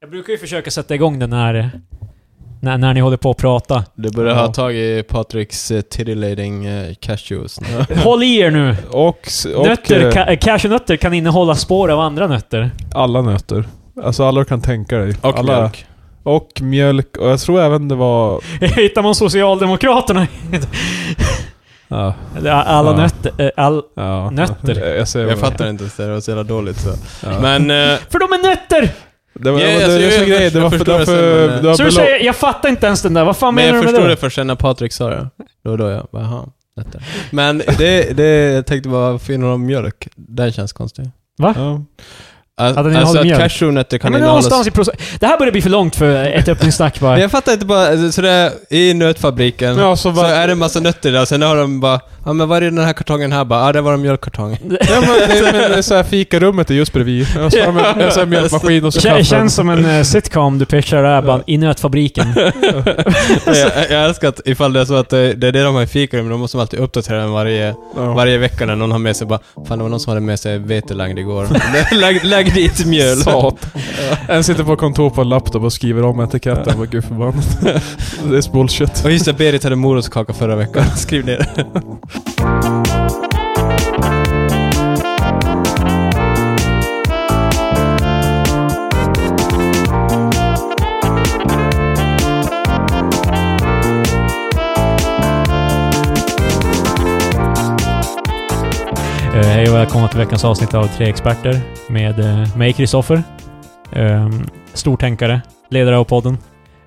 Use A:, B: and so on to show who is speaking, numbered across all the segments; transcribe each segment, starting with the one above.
A: Jag brukar ju försöka sätta igång den här... När, när ni håller på att prata.
B: Du börjar
A: Ja.
B: ha tag i Patriks eh, titillating eh, cashews. nu.
A: Håll i er nu!
C: Och, s- och
A: Nötter,
C: eh,
A: ka, eh, cashewnötter kan innehålla spår av andra nötter.
C: alla nötter. Alltså alla du kan tänka dig.
B: Och
C: alla,
B: mjölk.
C: Och mjölk. Och jag tror även det var...
A: Hittar man Socialdemokraterna?
C: Ja,
A: Eller alla
C: Ja.
A: nötter. eh, All,
C: ja.
A: Nötter.
C: Jag, jag, ser
B: Jag
C: vad-
B: fattar inte ens det, det var så jävla dåligt så.
C: Ja.
B: Men... eh,
A: för de är nötter!
C: Det var,
B: Ja,
C: det,
B: alltså,
C: det,
B: jag-
C: är så
B: jag
C: grejen. Det var för...
B: förstår det
C: därför-
B: sen, men,
C: det var
A: Så du
C: belopp-
A: säger, jag fattar inte ens den där. Vad fan
B: men
A: menar
B: jag
A: du med
B: förstod det
A: det?
B: först sen när Patrik sa det. Då och då jag bara, aha, detta. Men det, det, jag tänkte bara, varför innehåller de mjölk? Det känns konstigt.
C: Ja.
B: Al-
A: den
B: alltså
A: innehåller
B: att
A: mjölk?
B: cashewnötter
A: Ja,
B: kan
A: men
B: innehålla...
A: någonstans i process... Det här börjar bli för långt för ett öppningssnack bara.
B: Men jag fattar inte bara, alltså, så det är i nötfabriken
C: Ja, så
B: så,
C: var-
B: är det en massa nötter där, sen har de bara, ja men var är den här kartongen här? Bara, ja det var en mjölkkartong.
C: Ja, men, det, men det är så här, fikarummet är just bredvid. Och så har de en, en sån här mjölkmaskin och så
A: Kä-
C: kaffe.
A: känns som en eh, sitcom du pitchar där bara, i nötfabriken.
B: jag, jag älskar att ifall det är så att det, det är det de har i fikarummet, då måste de alltid uppdatera den varje,
C: Ja.
B: varje vecka när någon har med sig bara, fan det var någon som hade med sig vetelagd igår. lägg, lägg dit mjöl.
C: Satan. En sitter på kontor på en laptop och skriver om etiketten. Vad gud förbannat. Det är bullshit.
B: Och just det, Berit hade morotskaka förra veckan. Skriv ner det.
A: Eh, Hej och välkomna till veckans avsnitt av Tre Experter med eh, mig, Kristoffer. Eh, stortänkare, ledare av podden.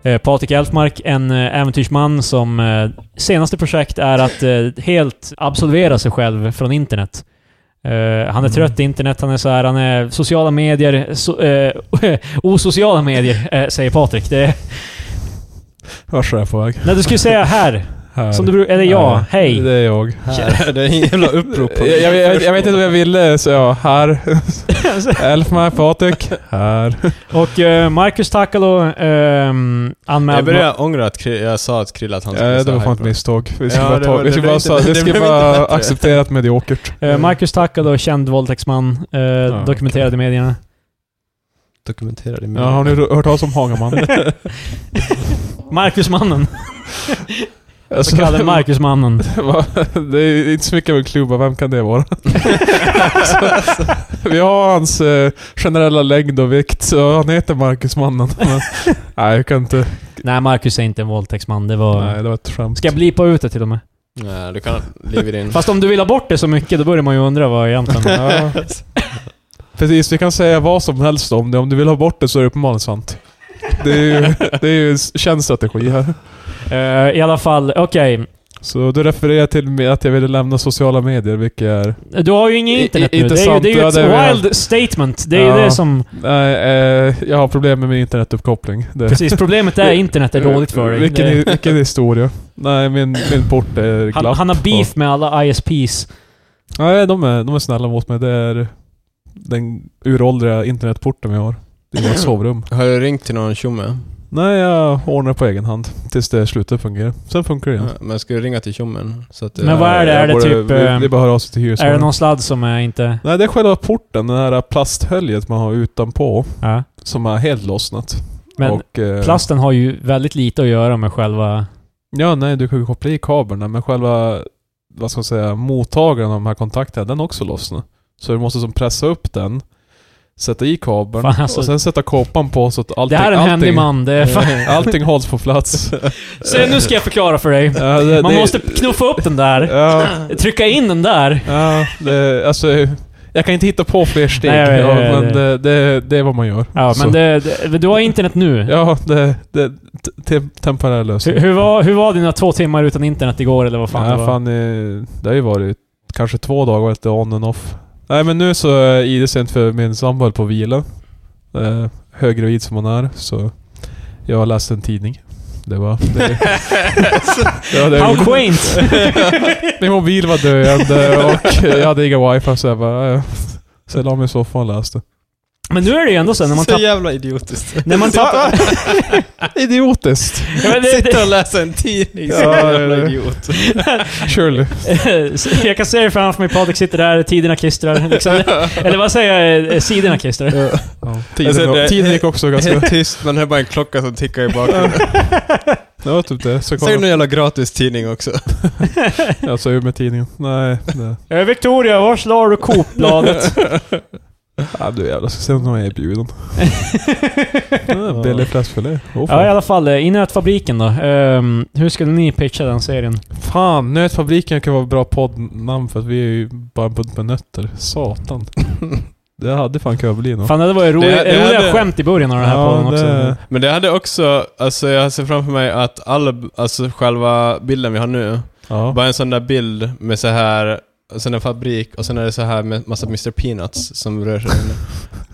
A: Eh, Patrik Elfmark, en eh, äventyrsman som eh, senaste projekt är att eh, helt absolvera sig själv från internet. Eh, han är
C: Mm.
A: trött i internet, han är så här, han är sociala medier, so, eh, osociala medier, eh, säger Patrik. Det är,
C: Vart är jag på väg?
A: när du skulle säga här,
C: Här.
A: som du, bru- eller ja,
C: Nej,
A: hej.
C: Det är jag.
B: Det är en jävla upprop.
C: Jag, jag, jag, jag vet inte om jag ville, så ja, här. Elfmark, Patrik. Här.
A: Och eh, Marcus Takalo ehm,
B: Jag
A: anmäld...
B: börjar ångra att Kri- jag sa att Krille att han
C: Ja, Eh, det
B: säga
C: var fan ett
B: hejfrån.
C: misstag. Vi ska
B: Ja,
C: bara,
B: det
C: ta,
B: var-
C: vi ska
B: det
C: bara,
B: blev
C: sa,
B: inte-
C: vi
B: det
C: ska
B: blev
C: bara
B: inte bättre.
C: acceptera att mediokert.
A: Eh, Marcus Takalo, känd våldtäktsman, eh, dokumenterade i medierna.
B: Dokumentera det
C: Ja, har ni hört talas om Hagamannen?
A: Marcusmannen. Så kallade Marcusmannen.
C: Va? Alltså, Det är inte så mycket av en klubba, vem kan det vara? Så- vi har hans eh, generella längd och vikt, så han heter Marcusmannen. Men, nej, jag kan inte...
A: Nej, Marcus är inte en våldtäktsman. Det var...
C: Nej, det var ett skämt.
A: Ska jag blipa ut det till och med?
B: Nej, du kan liv i din...
A: Fast om du vill ha bort det så mycket, då börjar man ju undra vad egentligen...
C: Ja. Precis, vi kan säga vad som helst om det. Om du vill ha bort det så är det uppenbarligen sant. Det är ju, det är ju känd strategi här.
A: Eh, I alla fall, okej.
C: Så du refererar till mig att jag ville lämna sociala medier, vilket är...
A: Du har ju inget
C: I-
A: internet
C: i-
A: nu.
C: inte
A: Det är, ju,
C: sant.
A: det är ju
C: Ja,
A: ett
C: det är väl-
A: wild statement. Det är ju
C: Ja.
A: det som...
C: Nej, eh, jag har problem med min internetuppkoppling. Det.
A: Precis, problemet är internet är dåligt för dig.
C: Vilken,
A: Det-
C: vilken historia. Nej, min, min port är glapp.
A: han, han har beef med alla ISPs.
C: Nej, de är, de är snälla mot mig. Det är den uråldriga internetporten vi har. Det är vårt sovrum.
B: Har du ringt till någon tjomme?
C: Nej, jag ordnar på egen hand. Tills det slutar fungera. Sen funkar det igen.
B: Ja, Men ska du ringa till tjommen? Så att, eh,
A: Men vad är det?
C: Jag
A: Är det
C: borde-
A: typ,
C: Det
A: eh,
C: det är bara att höra av sig till
A: Är det
C: hyresvärden.
A: någon sladd som är inte...
C: Nej, det är själva porten. Det här plasthöljet man har utanpå.
A: Ja.
C: Som har helt lossnat.
A: Men
C: Och, eh,
A: plasten har ju väldigt lite att göra med själva...
C: Ja, nej, du kan ju koppla i kablarna, men själva vad ska man säga, mottagaren av de här kontakterna, den har också lossnat. Så du måste som pressa upp den, sätta i kabeln
A: Fan, alltså.
C: och sen sätta kåpan på så att allting,
A: Det här är en händig
C: allting,
A: man. Det är fan...
C: allting hålls på plats.
A: Så nu ska jag förklara för dig.
C: Ja, det-
A: Man
C: det-
A: måste knuffa upp den där,
C: Ja,
A: trycka in den där.
C: ja det, alltså, jag kan inte hitta på fler steg,
A: Nej, jag vet,
C: ja,
A: jag vet,
C: men det, det, det är vad man gör.
A: Ja,
C: Så.
A: men det, det, du har internet nu.
C: Ja, det, det te- te, temporär lösning.
A: Hur, hur, var, hur var dina två timmar utan internet igår, eller vad fan
C: Nej,
A: det var?
C: fan, eh, det har ju varit kanske två dagar lite on and off. Nej men nu så eh, är Ida sent för min sambo höll på att vila. Eh, höggravid som hon är, så jag har läst en tidning. Det var... Det, det, var det,
A: How quaint!
C: min mobil var döende och jag hade inga wifi så jag bara... eh, Så jag la mig i soffan och läste.
A: Men nu är det ju ändå så här, när man
B: så
A: tappar...
B: jävla idiotiskt.
A: När man tappar...
C: Idiotiskt!
A: Ja, men det-
B: Sitta och läsa en tidning. Så
C: Ja,
B: jävla
C: eller-
B: idiot.
C: Surely.
A: det- jag kan se det framför mig, Patrik sitter där, tiderna klistrar. Liksom. Eller vad säger jag? Eh, Sidorna klistrar.
C: Tiden,
B: Alltså, det-
C: tiden gick också ganska...
B: Helt tyst, men det är bara en klocka som tickar i bakgrunden.
C: Det var typ det. Så
B: Säg
C: kolla.
B: någon jävla gratis tidning också.
C: Jag sa ur med tidningen. Nej, nej.
A: Eh, Victoria, vars la du Coop-bladet?
C: Ja, du jävlar, ska se om någon är erbjuden. Ja, Billig fläskfilé. Åh,
A: Ja, i
C: fan.
A: alla fall. eh, I nötfabriken då. Ehm, hur skulle ni pitcha den serien?
C: fan, Nötfabriken kan vara ett bra poddnamn för att vi är ju bara en bunt med nötter. Satan. Det hade fan kunnat bli något.
A: Fan, det var ju roliga,
B: Det- det
A: roliga
B: hade-
A: skämt i början av den här podden också.
C: det-
B: Men det hade också, alltså jag ser framför mig att alla, alltså själva bilden vi har nu,
C: Ja.
B: bara en sån där bild med så här och sen en fabrik och sen är det så här med massa Mr Peanuts som rör sig inne.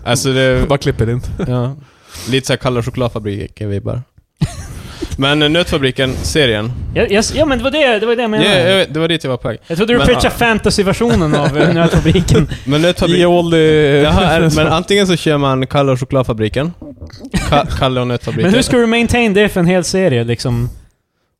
B: Alltså det,
C: Bara klipper in.
B: ja. Lite såhär kalla chokladfabriken vibbar. Men eh, Nötfabriken, serien.
A: Ja, yes, ja, men det var det, det, var det jag
B: Ja,
A: menade.
B: jag
A: jag,
B: vet, det var dit jag var på väg.
A: trodde du
B: men-
A: pitchade fantasyversionen av eh, nötfabriken.
B: Men Nötfabriken...
C: Jolly...
B: Jaha, är, men antingen så kör man Kalle och chokladfabriken. Ka, Kalle och nötfabriken.
A: men hur ska du maintain det för en hel serie liksom?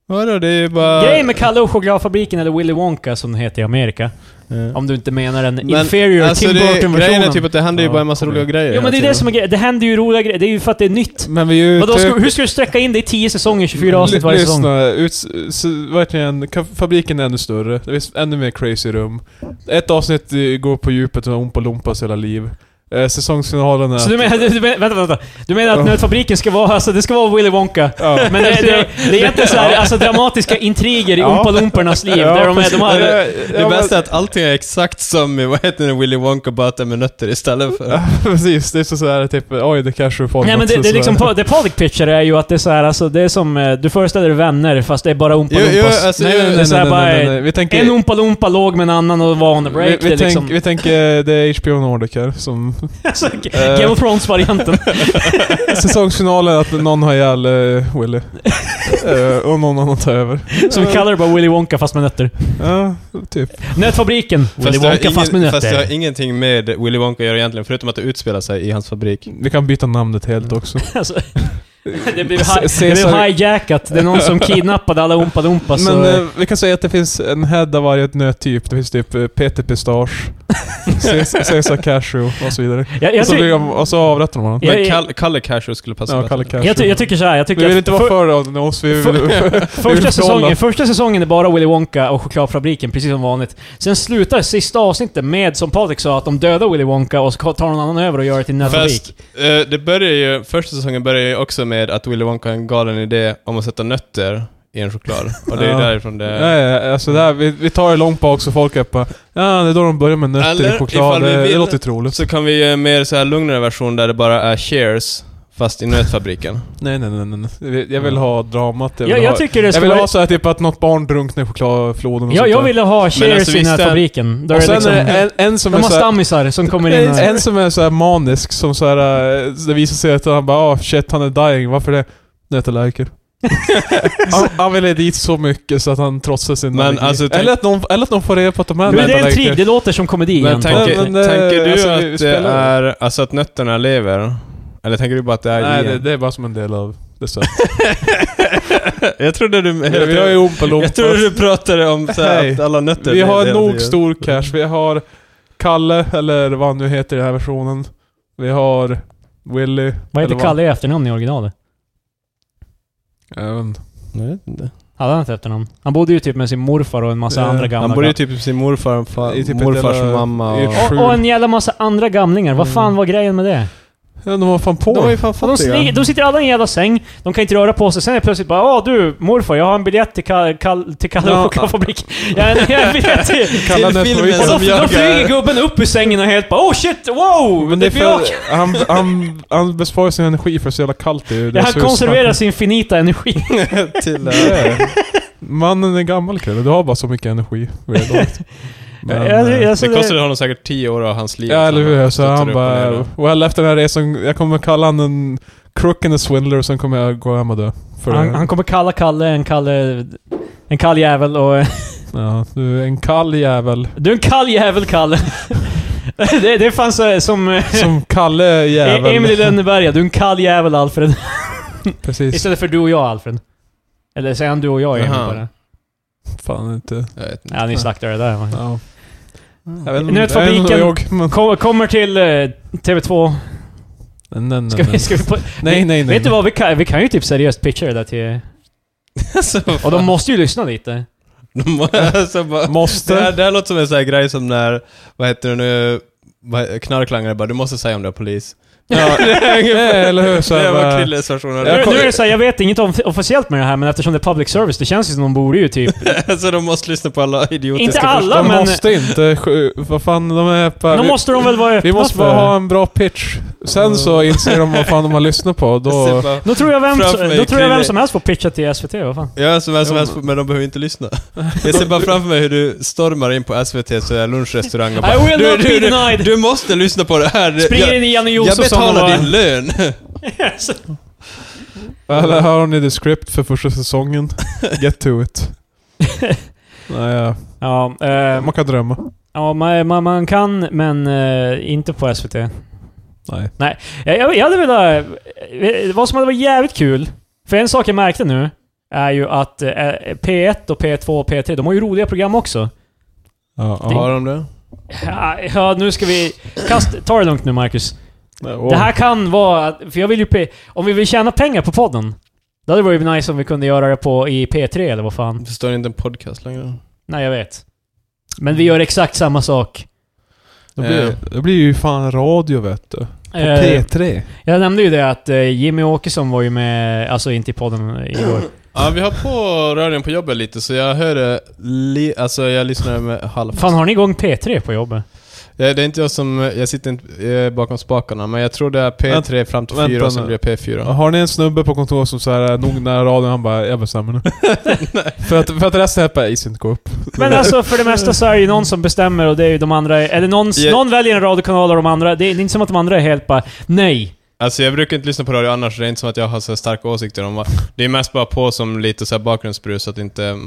B: Vadå, det är ju bara...
A: Grejen med Kalle och chokladfabriken, eller Willy Wonka som den heter i Amerika.
B: Ja.
A: Om du inte menar den
B: Men,
A: inferior
B: alltså
A: Tim
B: det, grejen är
A: Burton-versionen.
B: typ att det händer ju
C: Ja,
B: bara en massa
C: kom
B: roliga
C: igen.
B: grejer
A: Jo men det är det som är grejen. Det händer ju roliga grejer. Det är ju för att det är nytt.
C: Men vi är ju
A: Vadå,
C: ute-
A: ska,
B: typ-
A: hur ska du sträcka in det i 10 säsonger, 24 avsnitt
C: Ly-
A: varje
C: lyssna,
A: säsong?
C: Ut, så, verkligen, ka- fabriken är ännu större. Det finns ännu mer crazy rum. Ett avsnitt eh, går på djupet med Oompa Loompas hela liv. Eh, säsongsfinalen är...
A: Så du menar, du, du menar, vänta, vänta. Du menar att nötfabriken ska vara, alltså det ska vara Willy Wonka?
C: Ja.
A: Men det, det, det är egentligen såhär, alltså dramatiska intriger i
C: Ja.
A: Oompa Loomparnas liv. där de är, de har,
C: Ja,
B: Det
C: ja,
B: bästa är att allting är exakt som i, vad heter det, Willy Wonka bara att det är med nötter istället för...
C: men- Precis, det är så såhär typ oj det kanske du får
A: Nej men
C: något
A: det, det är
C: sådär.
A: liksom, pa- det Patrik pitchar är ju att det är såhär, alltså det är som, eh, du föreställer dig vänner fast det är bara Oompa
B: Jo, jo,
A: Loompas.
B: alltså,
C: Nej,
B: ju-
C: nej, nej,
A: det är så här
C: nej, nej,
A: bara-
C: nej, nej. Vi tänker...
A: En Oompa Loompa låg med en annan och var on the break.
C: vi,
A: det
C: vi,
A: är liksom,
C: tänk, vi tänker eh, det är HBO Nordic här som...
A: alltså, Game of Thrones-varianten.
C: Säsongsfinalen att någon har ihjäl eh, Willy. Eh, och någon annan tar över.
A: Så vi kallar det bara Willy Wonka fast med nötter.
C: Ja, typ.
A: Nötfabriken. Willy
B: det har
A: Wonka fast med
B: ingen, fast det
A: nötter.
B: har ingenting med Willy Wonka att göra egentligen, förutom att det utspelar sig i hans fabrik.
C: Vi kan byta namnet helt också.
A: Alltså, det blev, hi-
C: Se-
A: det blev
C: Cesar-
A: hijackat. Det är någon som kidnappade alla Oompa Loompas.
C: Men
A: och-
C: eh, vi kan säga att det finns en head av varje nöttyp. Det finns typ eh, Peter Pistage, Ces- Caesar Cashew och så vidare.
A: jag,
C: och,
A: jag,
C: så
A: ty-
C: blir de, och så avrättar de honom.
A: Ja,
B: Men
A: ja.
B: Kalle, Kalle Cashew skulle passa
C: Ja,
B: bättre.
C: Kalle Cashew.
A: jag, ty- jag tycker så här, jag tycker
C: vi
A: att
C: vill inte vara
A: för-
C: för Adnos, vi vill... vill
A: Första
C: behålla-
A: säsongen, första säsongen är bara Willy Wonka och chokladfabriken, precis som vanligt. Sen slutar sista avsnittet med, som Patrik sa, att de dödar Willy Wonka och så tar någon annan över och gör det till
B: Fast
A: nötfabrik.
B: eh, det börjar ju, första säsongen börjar ju också med att Willy Wonka har en galen idé om att sätta nötter i en choklad. Och det är
C: Ja.
B: därifrån det...
C: Nej, alltså det här, vi, vi tar det långt bak så folk är bara Ja, det är då de börjar med nötter
B: Eller
C: i choklad.
B: ifall vi
C: Det, det
B: vill-
C: låter troligt.
B: Så kan vi göra en mer så här lugnare version där det bara är shares fast i nötfabriken.
C: Nej, nej, nej, nej, nej. Jag vill ha dramat. Jag vill
A: Jag,
C: ha,
A: jag tycker det
C: jag
A: ska
C: vill
A: vara...
C: ha så här, typ att något barn drunknar i chokladfloden och
A: Jag,
C: sånt
A: jag
C: där.
A: ville ha Cheers
B: alltså,
A: i
B: visst är-
A: nötfabriken. Där
C: Och
A: är det
C: sen
A: liksom,
C: är det en, en som
A: de
C: är
A: har
C: så här,
A: stammisar som kommer in
C: En,
A: och...
C: en som är så här manisk, som så här, eh, det visar sig att han bara ah shit han är dying, varför det? Nötallergiker. han, han ville dit så mycket så att han trotsar sin
B: Men
C: allergi.
B: alltså, tänk-
C: eller, att någon, eller att någon får reda på att de är
A: Men det är en trig,
C: nötallergiker.
A: det låter som komedi igen.
B: Men tänker,
A: Patrik.
C: men det-
B: tänker du
C: alltså, vi- vi
B: att det
C: spelar-
B: är, alltså att nötterna lever? Eller tänker du bara att det är
C: Nej,
B: gen?
C: det, det är bara som en del av det så.
B: jag trodde du...
C: Vi har ju Oompa
B: jag trodde
C: Loompas.
B: du pratade om så här,
C: Nej.
B: att alla nötter...
C: Vi
B: det-
C: har
B: det-
C: nog
B: det-
C: stor cash. Vi har Kalle, eller vad han nu heter i den här versionen. Vi har Willy.
A: Vad
C: eller
A: heter Kalle i efternamn i originalet?
C: Även.
A: Hade han ett efternamn? Han bodde ju typ med sin morfar och en massa
C: Ja,
A: andra gamla
B: Han bor ju typ med sin morfar, fa,
C: I typ ett
B: morfars
C: jävla-
B: mamma
C: i
B: och...
C: ett-
A: Och, och en jävla massa andra gamlingar. Vad
C: Mm.
A: fan var grejen med det?
C: Ja, de var fan på.
B: De är ju fan
A: Och de, sni-
B: fattiga.
A: de sitter alla i en jävla säng, de kan inte röra på sig. Sen är det plötsligt bara Åh du morfar, jag har en biljett till, Kal- Kal- till Kalle
C: Ja.
A: och chokladfabrik. Jag har en- jag har en biljett till...
C: Kalle
B: Till
C: Nötfabrik.
B: filmen
A: Och då,
B: som jag
A: då
B: är-
A: flyger gubben upp ur sängen och helt bara Oh shit, wow!
C: Men det är
A: blir jag.
C: för, han, han, han besparar sin energi för det är så jävla kallt det är ju. Det
A: Ja,
C: är
A: han
C: så
A: konserverar sin finita energi.
B: till,
C: snack-
B: eh,
C: Nej. Mannen är gammal kille, du har bara så mycket energi. vid det laget. Men,
A: Jag-
C: eh,
A: jag- alltså,
B: det kostade honom säkert 10 år av hans liv.
C: Ja eller hur, så
B: Suttit upp
C: han
B: och
C: bara...
B: ner.
C: Well efter den här resan, jag kommer kalla han en crook and a swindler, sen kommer jag gå hem och dö. För
A: Han,
C: det.
A: han kommer kalla Kalle en Kalle... En kall jävel och...
C: Ja, du är en kall jävel.
A: Du är en kall jävel, Kalle. det, det fanns eh, som... eh, E-
C: Som Kalle jävel.
A: Emil i Lönneberga, du är en kall jävel Alfred.
C: Precis.
A: Istället för du och jag Alfred. Eller säger han du och jag Emil
B: Jaha.
A: bara?
C: Fan inte.
B: Jag vet inte.
A: Ja, ni slaktar det där. man.
C: Ja. Jag
A: Nu vet
C: jag inte
A: fabriken-
C: vad jag, men...
A: Kom, kommer till eh, TV2.
C: Nej, nej,
A: Ska vi,
C: nej.
A: ska vi på,
C: nej, nej, nej.
A: vet du vad? Vi kan, vi kan ju typ seriöst pitcha det där till...
B: Alltså, vad
A: Och
B: fan.
A: de måste ju lyssna lite.
B: De må- alltså, bara, det, här,
C: Måste?
B: det här låter som en sån här grej som när, vad heter det nu, vad- knarklangare bara du måste säga om du är polis.
C: Ja, eller hur? Så
B: det
C: här,
B: var
C: bara-
B: Krilles version av
A: Nu,
C: Jag
B: det.
A: nu är det såhär, jag vet inget om, officiellt med det här, men eftersom det är public service, det känns ju som de borde ju typ...
B: Alltså de måste lyssna på alla idiotiska
A: Inte
B: förslag.
A: alla,
C: de
A: men-
C: måste inte... sju- Vad fan, de är... Bara,
A: Då
C: vi,
A: måste de väl vara öppna
C: vi måste bara
A: för-
C: ha en bra pitch. Sen så inser de vad fan de har lyssnat på. Då...
B: Bara,
A: Då tror jag vem,
B: Framför mig,
A: då tror jag vem
B: Krille.
A: som helst får pitcha till SVT, vad fan.
B: Ja, som vem som
C: Ja,
B: helst, men de behöver inte lyssna. Jag ser bara framför mig hur du stormar in på SVT så här eh, lunchrestaurang och bara
A: I will
B: du,
A: not
B: du,
A: be
B: du,
A: denied!
B: du måste lyssna på det här!
A: Springer
B: jag,
A: in i Janne
B: jag
A: Josefsson
B: betalar
A: och
B: din lön!
A: bara...
C: Eller här har ni the script för första säsongen. Get to it. Nej, ja.
A: Ja, eh,
C: man kan drömma.
A: ja man, man, man kan, men eh, inte på SVT.
C: Nej.
A: Jag, jag, jag hade velat... eh, Vad som hade varit jävligt kul, för en sak jag märkte nu, är ju att eh, P1 och P2 och P3, de har ju roliga program också.
C: Ja, ja.
B: Har de det?
A: Ja, Ja, nu ska vi... Kast, ta det lugnt nu, Marcus.
C: Och-
A: Det här kan vara... För jag vill ju... pe- Om vi vill tjäna pengar på podden, då hade det varit nice om vi kunde göra det på i P3 eller vad fan.
B: Förstår ni inte en podcast längre?
A: Nej, jag vet. Men vi gör exakt samma sak.
C: det, blir, det Eh, blir ju fan radio vet du. På
A: Eh,
C: P3.
A: Jag nämnde ju det att eh, Jimmy Åkesson var ju med, alltså inte i podden igår.
B: Ja, vi har på radion på jobbet lite, så jag hörde... Li, alltså jag lyssnade med halvt.
A: Fan, har ni igång P3 på jobbet?
B: Ja, det är inte jag som... eh, Jag sitter inte jag är bakom spakarna, men jag tror det är P3 fram till
C: vänta
B: 4 och sen
C: nu.
B: blir det P4.
C: Har ni en snubbe på kontoret som såhär, nog nära radion, han bara 'Jag bestämmer nu' för, att, för att resten här bara 'Is inte gå upp'
A: Men alltså för det mesta så är det ju någon som bestämmer och det är ju de andra, eller någon,
B: Ja.
A: någon väljer en radiokanal och de andra, det är, det är inte som att de andra är helt bara nej.
B: Alltså jag brukar inte lyssna på radio annars, det är inte som att jag har så här starka åsikter om vad... Det är mest bara på som lite så här bakgrundsbrus, så att inte...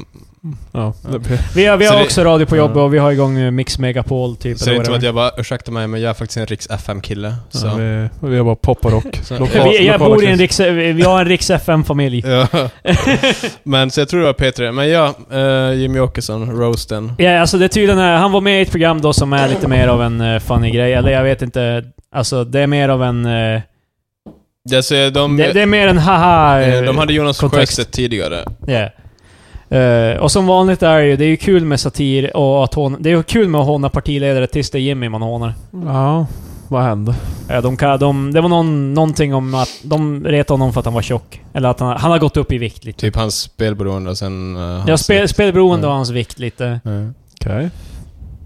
C: Ja, det blir...
A: Vi har, vi
B: Så
A: har
B: det-
A: också radio på
C: Ja.
A: jobbet och vi har igång eh, Mix Megapol typ.
B: Så det är
A: eller
B: inte som
A: whatever.
B: att jag bara, ursäkta mig, men jag är faktiskt en riks FM-kille. Så.
C: Ja, vi, vi har bara pop och rock.
B: Så-
C: Lokal-
A: vi, jag
C: lokala
A: bor i en
C: kris.
A: riks... Vi har en riks FM-familj.
B: Ja. Men så jag tror det var P3. Men ja, eh, Jimmy Åkesson, roasten.
A: Ja, alltså det är tydligen... eh, Han var med i ett program då som är lite mer av en eh, funny grej, eller jag vet inte. Alltså det är mer av en... eh,
B: Ja, så de,
A: Det, det är mer en haha...
B: eh,
A: eh,
B: de hade Jonas
A: kontext.
B: Sjöstedt tidigare.
A: Ja. Eh, och som vanligt är det ju, det är ju kul med satir och att håna... Det är ju kul med att håna partiledare tills det är Jimmy man hånar.
C: Ja, vad hände?
A: Eh, de kan, de, det var någon, någonting om att de retade honom för att han var tjock. Eller att han, han har gått upp i vikt lite.
B: Typ hans spelberoende och sen... eh,
A: Jag
B: hans-
A: spel, spelberoende
B: Ja.
A: och hans vikt lite.
B: Ja.
C: Okej.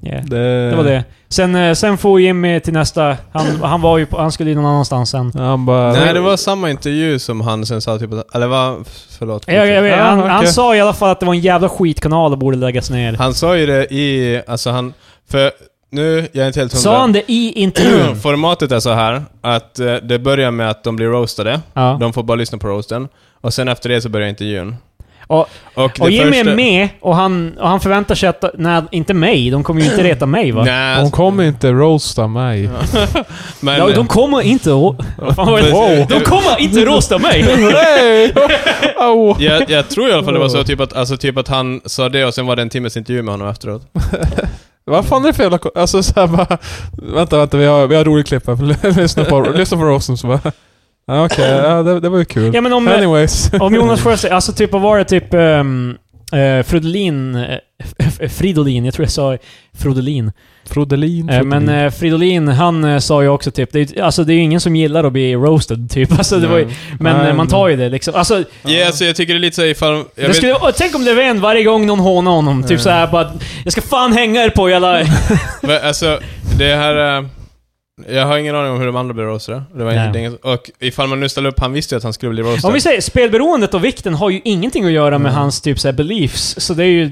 A: Ja.
C: Det...
A: Det var det. Sen, eh, sen får Jimmy till nästa... Han, han var ju på, Han skulle ju någon annanstans sen.
C: Han bara...
B: Nej, det var samma intervju som han sen sa typ att- Eller vad? Förlåt.
A: Jag, jag, vet,
C: Ja,
A: han,
C: okej.
A: han sa i alla fall att det var en jävla skitkanal och borde läggas ner.
B: Han sa ju det i... Alltså han... För nu, jag är inte helt hundra.
A: Sa han det i intervjun?
B: Formatet är så här att eh, det börjar med att de blir roastade.
A: Ja.
B: De får bara lyssna på roasten. Och sen efter det så börjar intervjun.
A: Och-
B: och,
A: Och Jimmy är med och han, och han förväntar sig att... Nej, inte mig. De kommer ju inte reta mig va?
B: Nej,
C: Hon kommer inte roasta mig.
B: men...
A: Ja, de kommer inte... å- Vad fan var det?
C: Wow.
A: De kommer inte rosta mig!
C: Nej! Au!
B: jag, jag tror i alla fall det var så typ att, alltså, typ att han sa det och sen var det en timmes intervju med honom efteråt.
C: Vad fan är det för jävla... ko- Alltså såhär bara... Vänta, vänta, vi har, vi har roligt klipp här. lyssna, på, lyssna på roasten så bara... Ja, Okej, ja, det, det var ju kul.
A: Ja men om,
C: Anyways.
A: om Jonas Sjöstedt... Alltså typ, vad var det? Typ... Um, uh, Fridolin... eh, F- Fridolin, jag tror jag sa Frodolin.
C: Frodelin,
A: Eh, Men
C: Frodelin.
A: eh, Fridolin, han eh, sa ju också typ... Det är, ju- alltså det är ju ingen som gillar att bli roasted typ. Alltså, det var ju, men
C: Nej,
A: eh, man
C: men-
A: tar ju det liksom. Alltså,
B: Ja, så jag tycker det är lite så här ifall... Jag
A: det skulle, och tänk om Löfven varje gång någon hånar honom, typ såhär bara... Jag ska fan hänga er på jävla...
B: vet, alltså, det här... eh, Jag har ingen aning om hur de andra blev roastade. Det var
A: Nej.
B: inte, det är inget, och ifall man nu ställer upp, han visste ju att han skulle bli roastad.
A: Om vi säger spelberoendet och vikten har ju ingenting att göra med hans typ såhär beliefs, så det är ju...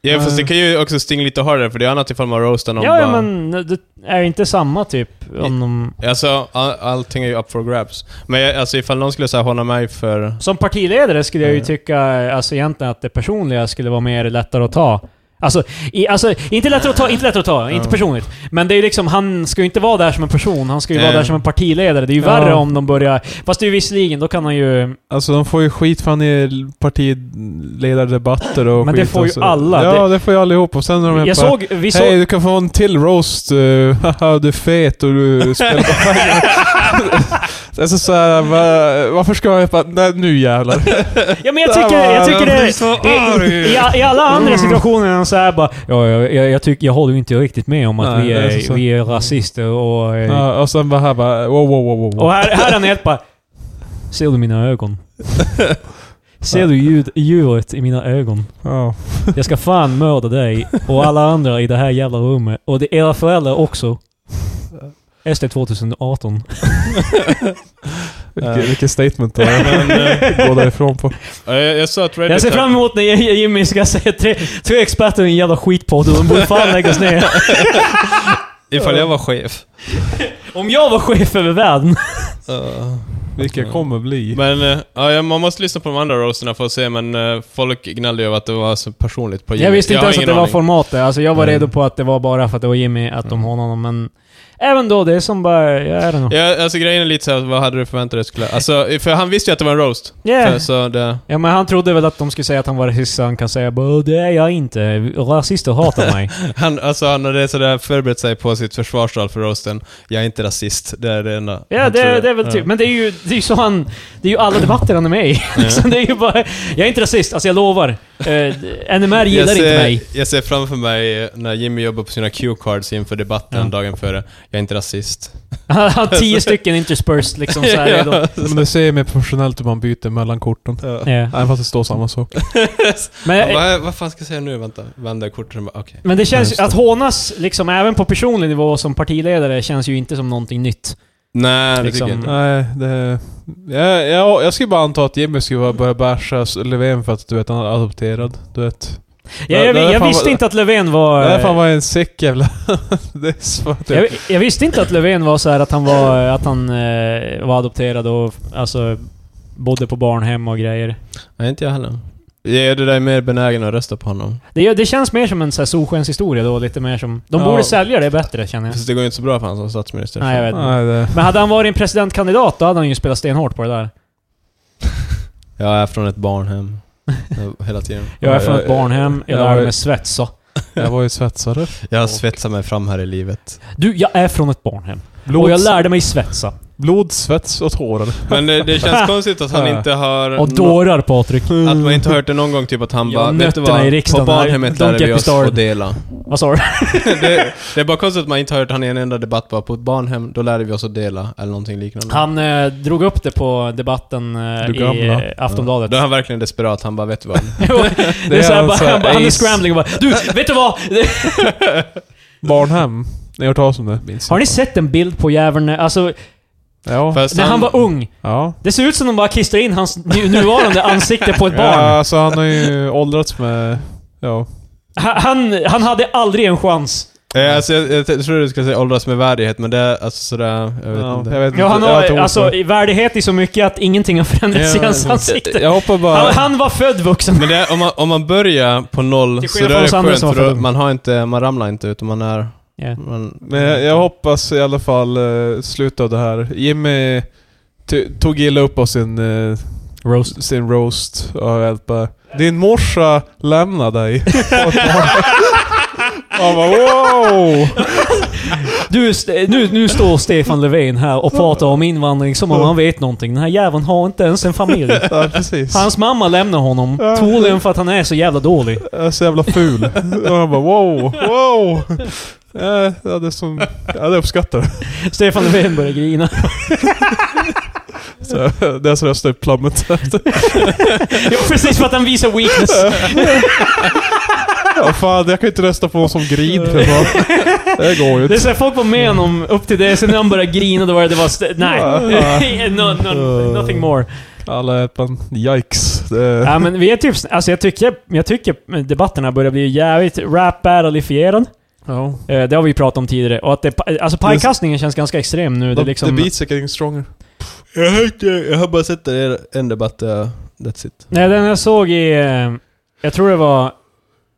B: Ja, fast det kan ju också stinga lite hårdare, för det är annat ifall man roastar någon
A: Ja, ja,
B: bara-
A: men det är inte samma typ om de...
B: Alltså, all, allting är ju up for grabs. Men jag, alltså ifall någon skulle säga håna mig för...
A: Som partiledare skulle jag ju
B: Mm.
A: tycka, alltså egentligen att det personliga skulle vara mer lättare att ta. Alltså, i, alltså inte lättare att ta, inte lättare att ta, inte
B: Ja.
A: personligt. Men det är ju liksom, han ska ju inte vara där som en person, han ska ju vara
B: Nej.
A: där som en partiledare. Det är ju
C: Ja.
A: värre om de börjar... Fast det är ju visserligen, då kan han ju...
C: Alltså de får ju skit för han är partiledardebatter och
A: Men det
C: skit
A: får ju
C: alltså.
A: alla.
C: Ja, det, får ju allihop. Och sen när de är
A: Jag
C: bara,
A: såg, vi
C: Hej,
A: såg...
C: du kan få en till roast. eh, Haha, du är fet och du spelar på Alltså såhär, va, varför ska jag bara, nej nu jävlar.
A: Ja men jag
C: Där
A: tycker,
C: var
A: jag tycker det
C: den.
A: är... I, i, I alla andra situationer är han såhär bara... Ja, jag, jag, jag, tycker, jag håller ju inte riktigt med om att
C: Nej,
A: vi,
C: det är så-
A: är, vi är rasister och... eh,
C: Ja, och sen bara här bara, wow, wow, wow, wow.
A: Och här, här är han helt bara... Ser du mina ögon? Ser du ljud, djuret i mina ögon?
C: Ja.
A: Jag ska fan mörda dig och alla andra i det här jävla rummet. Och det, era föräldrar också. SD 2018.
C: Vilket, vilket statement det
B: Men,
A: eh,
C: är. Gå därifrån på.
B: Ja, Jag, jag sa att Reddit...
A: Jag ser fram emot när Jimmy ska säga tre, tre experter i en jävla skitpodd och de borde fan läggas ner.
B: Ifall jag var chef.
A: Om jag var chef över världen.
B: Uh,
C: Vilka jag kommer bli.
B: Men eh, ja, jag- man måste lyssna på de andra roasterna för att se, men eh, folk gnällde ju över att det var så personligt på
A: Jag visste inte
B: har
A: ens att
B: ingen
A: det var
B: aning.
A: formatet. Alltså jag var
B: Mm.
A: redo på att det var bara för att det var Jimmy, att de har honom. Men även då, det är som bara... Jag är det nog.
B: Ja, alltså grejen är lite såhär, vad hade du förväntat dig skulle... Alltså, för han visste ju att det var en roast.
A: Yeah.
B: För, så det...
A: Ja men han trodde väl att de skulle säga att han var rasist, så han kan säga bara det är jag inte. Rasister hatar mig.
B: Han, alltså, han hade sådär förberett sig på sitt försvarstal för roasten. Jag är inte rasist, det är det enda.
A: Ja
B: han
A: det,
B: trodde.
A: det är väl
B: Ja.
A: typ, men det är ju det är ju så han... Det är ju alla debatter han är med i. Så det är ju bara, jag är inte rasist, alltså jag lovar. Eh, NMR gillar
B: jag ser,
A: inte mig.
B: Jag ser framför mig när Jimmy jobbar på sina cue cards inför debatten
A: Ja.
B: dagen före. Jag är inte rasist.
A: Han har tio stycken interspersed liksom så här redo.
C: Men det ser mer professionellt hur man byter mellan korten.
A: Ja.
C: Även fast det står samma sak.
A: Men, eh,
B: vad, vad fan ska jag säga nu? Vänta, vänder korten och bara okej.
A: men det
C: Just
A: känns
C: det.
A: att hånas, liksom även på personlig nivå som partiledare, känns ju inte som någonting nytt.
B: Nej, det
A: Liksom.
B: tycker jag inte.
C: Nej, det... Jag, jag, jag skulle bara anta att Jimmy skulle vara- börja basha Löfven för att du vet, han är adopterad. Du vet.
A: Jag,
C: Det-
A: jag,
C: det är
A: jag
C: fan
A: visste
C: vad-
A: inte att Löfven var...
C: Det där fan typ-
A: eh,
C: var en säck jävla... det är svårt.
A: Jag, jag visste inte att Löfven var så här att han var, att han eh, var adopterad och alltså bodde på barnhem och grejer.
B: Nej, inte jag heller. Jag är det där mer benägen att rösta på honom.
A: Det, det känns mer som en så här solskenshistoria då, lite mer som... De
C: Ja.
A: borde sälja det bättre känner jag.
B: Fast det går ju inte så bra för honom som statsminister.
A: Nej, jag vet inte.
C: Nej, det...
A: Men hade han varit en presidentkandidat, då hade han ju spelat stenhårt på det där.
B: Jag är från ett barnhem. Jag- Hela tiden.
A: Jag är
C: Ja,
A: från
C: ja,
A: ett barnhem, jag
C: ja,
A: lärde
C: ja.
A: mig svetsa.
C: Jag var ju svetsare.
B: Jag svetsar mig fram här i livet.
A: Du, jag är från ett barnhem. Och
C: Blod,
A: jag lärde mig svetsa.
C: blod, svets och tårar.
B: Men eh, det, det känns konstigt att han inte har...
C: Mm.
A: Och
B: nå-
A: dårar Patrik.
B: Att man inte har hört det någon gång, typ att han
A: Ja,
B: bara... Vet du
A: nötterna i
B: vad? På
A: riksdagen här.
B: barnhemmet
A: Don't
B: lärde
A: get
B: vi
A: me
B: oss
A: started."
B: att dela.
A: Vad
C: Mm.
A: sa du?
B: det, det är bara konstigt att man inte har hört han i en enda debatt bara på ett barnhem, då lärde vi oss att dela eller någonting liknande.
A: Han eh, drog upp det på debatten eh,
C: Du
A: i
C: gamla.
A: eh, Aftonbladet.
B: Då är han verkligen desperat, han bara vet du vad?
A: Jo, det är
C: är
A: såhär,
C: han
A: bara,
C: så här,
A: han, bara, han är
C: ace.
A: scrambling och bara Du, vet du vad?
C: Barnhem. Ni har hört talas om det? Minns
A: Har ni
C: inte.
A: sett en bild på jäveln, alltså,
C: Ja.
B: Fast
A: när han var ung?
C: Ja.
A: Det ser ut som de bara klistrar in hans nu- nuvarande ansikte på ett
C: Ja,
A: barn.
C: alltså han har ju åldrats med... Ja.
A: Ha- Han, han hade aldrig en chans.
B: Eh, alltså, jag, jag, tror du skulle säga åldras med värdighet, men det är alltså sådär, jag vet
C: ja,
B: inte.
C: jag vet inte.
A: Ja, han
C: Jag
A: har
C: tog
A: alltså
C: för-
A: i värdighet i så mycket att ingenting har förändrats i
C: Ja,
A: hans
C: jag-
A: ansikte.
C: Jag hoppar bara...
A: Han, han var född vuxen.
B: Men det, är- om, man, om man börjar på noll
A: Till
B: så
A: skillnad från
B: då är det
A: oss andra
B: skönt,
A: som var
B: för då,
A: födda.
B: man har inte, man ramlar inte utan man är...
A: Ja.
B: Man,
C: Men jag, jag hoppas i alla fall eh, slutet av det här. Jimmy ty- tog illa upp av sin, eh,
A: Roast.
C: sin roast och allt bara Din morsa lämnar dig. Och Han bara wow!
A: Du, st- nu, nu står Stefan Löfven här och pratar om invandring som om han vet någonting. Den här jäveln har inte ens en familj.
C: Ja, precis. Han
A: Hans mamma lämnar honom, troligen för att han är så jävla dålig.
C: är så jävla ful. Och han bara wow, wow! Ja, ja, det, är som, ja, det uppskattar jag.
A: Stefan Löfven börjar grina.
C: Så, Deras röster plummet.
A: Ja, precis för att han visar weakness.
C: Ja, fan, jag kan ju inte rösta på någon som griner. för fan. Det går ju
A: Det är
C: inte.
A: såhär, folk var med honom upp till det, sen när han började grina då var det, det var... st- Nej.
C: Ja.
A: no, no, nothing more.
C: Alla är fan, yikes. Det,
A: Ja, men vi är typ... Alltså jag tycker, jag tycker debatterna börjar bli jävligt rap-battle-ifierad.
C: ja.
A: Eh, Det har vi ju pratat om tidigare. Och att det, alltså pajkastningen känns ganska extrem nu. Det är liksom...
C: The beats are getting stronger.
B: jag, har inte, jag har bara sett det i en debatt, uh, that's it.
A: Nej, den jag såg i... eh, Jag tror eh, det var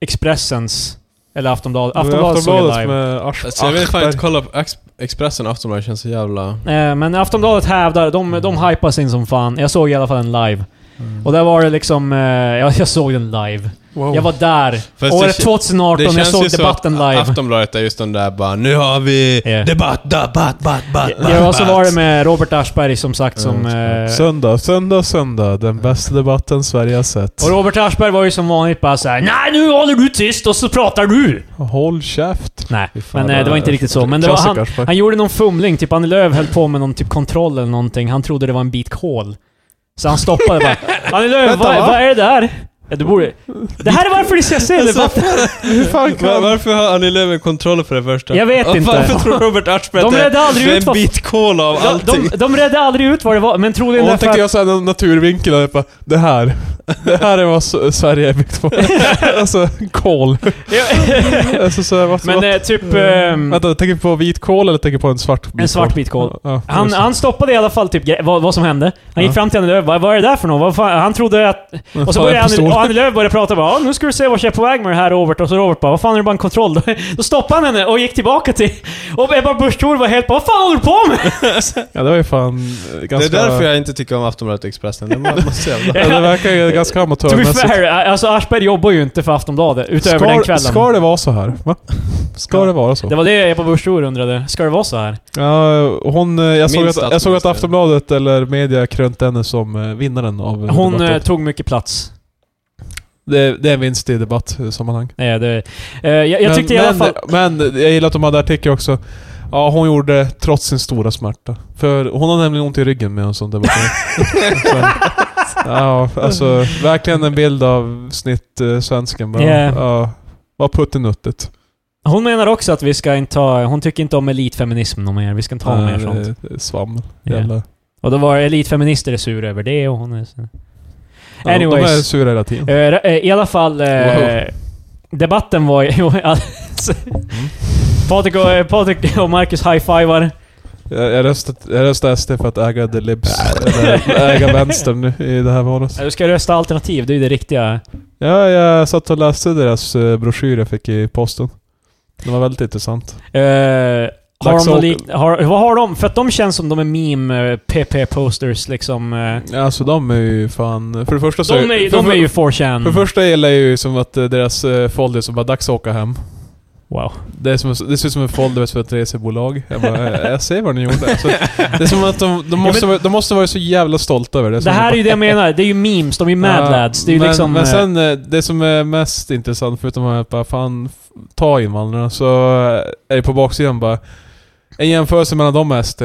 A: Expressens, eller Aftonbladet.
C: Men
A: Aftonbladet såg jag live.
C: med Asch,
B: Alltså, jag vill fan
C: Aschberg.
B: inte kolla på Ex- Expressen och Aftonbladet, känns så jävla...
A: Eh, Men Aftonbladet hävdar, de, de hypas in som fan. Jag såg i alla fall en live.
B: Mm.
A: Och där var det liksom... eh, Jag, jag såg den live.
B: Oh.
C: Wow.
A: Jag var där.
B: Fast
A: Året
B: det-
A: 2018, jag
B: känns ju
A: såg
B: så
A: debatten
B: att
A: live.
B: Aftonbladet är just den där bara nu har vi
A: Ja.
B: debatt, debatt, debatt, debatt,
A: Ja, och så var det med Robert Aschberg som sagt som...
B: Mm.
A: eh,
C: Söndag, söndag, söndag. Den bästa debatten Sverige har sett.
A: Och Robert Aschberg var ju som vanligt bara såhär Nej nu håller du tyst och så pratar du!
C: Håll käft.
A: Nej,
C: Fy fan,
A: men eh, det var inte riktigt så. Men det var
C: Klassiker,
A: han,
C: Aschberg.
A: han gjorde någon fumling, typ Annie Lööf höll på med någon typ kontroll eller någonting. Han trodde det var en bit kol. Så han stoppade bara. Annie Lööf,
C: Vänta,
A: vad,
C: va?
A: vad är det där? Ja, du borde... Det här är varför det ska säga det! Varför-
C: Hur fan
B: Va-
C: kan...
B: Varför har Annie Lööf kontroll för det första?
A: Jag vet
B: Och
A: inte.
B: Varför tror Robert Aschberg
A: De
B: att det-
A: redde aldrig
B: det är
A: ut vad-
B: en bit kol av
A: De,
B: allting?
A: de, de redde aldrig ut vad det var, men troligen
C: Och hon
A: därför
C: tänkte
A: att...
C: göra såhär en naturvinkel och jag bara, det här. Det här är vad S- Sverige är byggt på. alltså, kol. Alltså, så här, vad,
A: men
C: vad,
A: eh, typ... ehm,
C: Mm. Vänta, tänker du på vit kol eller tänker du på en svart bit
A: en svart bit kol.
C: Ja,
A: Han,
C: just det.
A: han stoppade i alla fall typ gre- vad, vad som hände. Han gick
C: Ja.
A: fram till Annie Lööf vad, vad är det där för något? Vad fan? Han trodde att... Och så
C: Fan,
A: började
C: en
A: Annie,
C: pistol.
A: och Annie Lööf började prata bara "Ja, nu ska du se vart jag är på väg med det här Robert. Och så Robert bara vad fan är det bara en kontroll? Då, då stoppade han henne och gick tillbaka till... Och Ebba Busch Thor var helt bara vad fan håller du på med?
C: Ja, det var ju fan eh,
B: det är
C: ganska...
B: därför jag inte tycker om Aftonbladet och Expressen. Det må- måste jag jävla...
C: Ja, det verkar ju ganska
A: to be
C: amatörmässigt.
A: fair, alltså Aschberg jobbar ju inte för Aftonbladet utöver den kvällen.
C: ska det vara så här? Va? Ska
A: Ja.
C: det vara så?
A: det var det Ebba Busch Thor undrade. Ska det vara så här?
C: Ja, hon, eh, jag, såg att,
B: Minst
C: jag såg att
B: statsminister.
C: Aftonbladet eller media krönt henne som eh, vinnaren av eh,
A: Hon eh,
C: debatten.
A: tog mycket plats.
C: Det, det är en vinst i debattsammanhang.
A: Nej, det, eh, jag, jag
C: Men-
A: tyckte i
C: men,
A: alla fall...
C: Men jag gillar att de hade artikel också. Ja, hon gjorde det trots sin stora smärta. För hon har nämligen ont i ryggen med en sån debatt. Så- ja, alltså verkligen en bild av snitt eh, svensken bara.
A: Yeah.
C: Ja, vad puttinuttigt.
A: Hon menar också att vi ska inte ta... Hon tycker inte om elitfeminism någon mer. Vi ska inte ha mer
C: Eh,
A: sånt.
C: eh, Svammel.
A: Yeah.
C: Jävla-
A: Och då var det elitfeminister är sura över det och hon är... så-
C: Ja, De är
A: Anyways.
C: sura hela tiden.
A: Eh, ra- eh, I alla fall... eh,
B: Wow.
A: Debatten var ju... alltså,
C: Mm.
A: Patrik, och, eh, Patrik och Marcus high-fivar. Eh,
C: Jag, jag, röstat, jag röstar SD för att äga the libs. Eller äga vänstern nu i det här valet.
A: Eh, Du ska rösta alternativ, det är ju det riktiga.
C: Ja, jag satt och läste deras eh, broschyr jag fick i posten. Den var väldigt intressant.
A: Eh, har
C: Dags
A: de något
C: att-
A: lik, har, vad har de? För att de känns som de är meme eh, PP-posters liksom. eh.
C: Ja, Alltså de är ju fan... För det första så...
A: De är,
C: Alltså, för,
A: de är ju
C: För det
A: 4chan.
C: första gillar jag ju som att eh, deras eh, folder som bara dags att åka hem.
A: Wow.
C: Det, är som, det ser ut som en folder för ett resebolag. Jag bara, eh, jag ser vad ni gjorde. Alltså, det är som att de, de, måste,
A: men-
C: vara, de måste vara så jävla stolta över det.
A: Det
C: Som
A: här
C: de
A: är ju det jag menar, det är ju memes, de är ju mad
C: Ja,
A: lads. Det är ju
C: men,
A: liksom...
C: Men
A: eh,
C: sen eh, det som är mest intressant, förutom att bara fan f- ta invandrarna, så eh, är det på baksidan bara en jämförelse mellan dem och SD.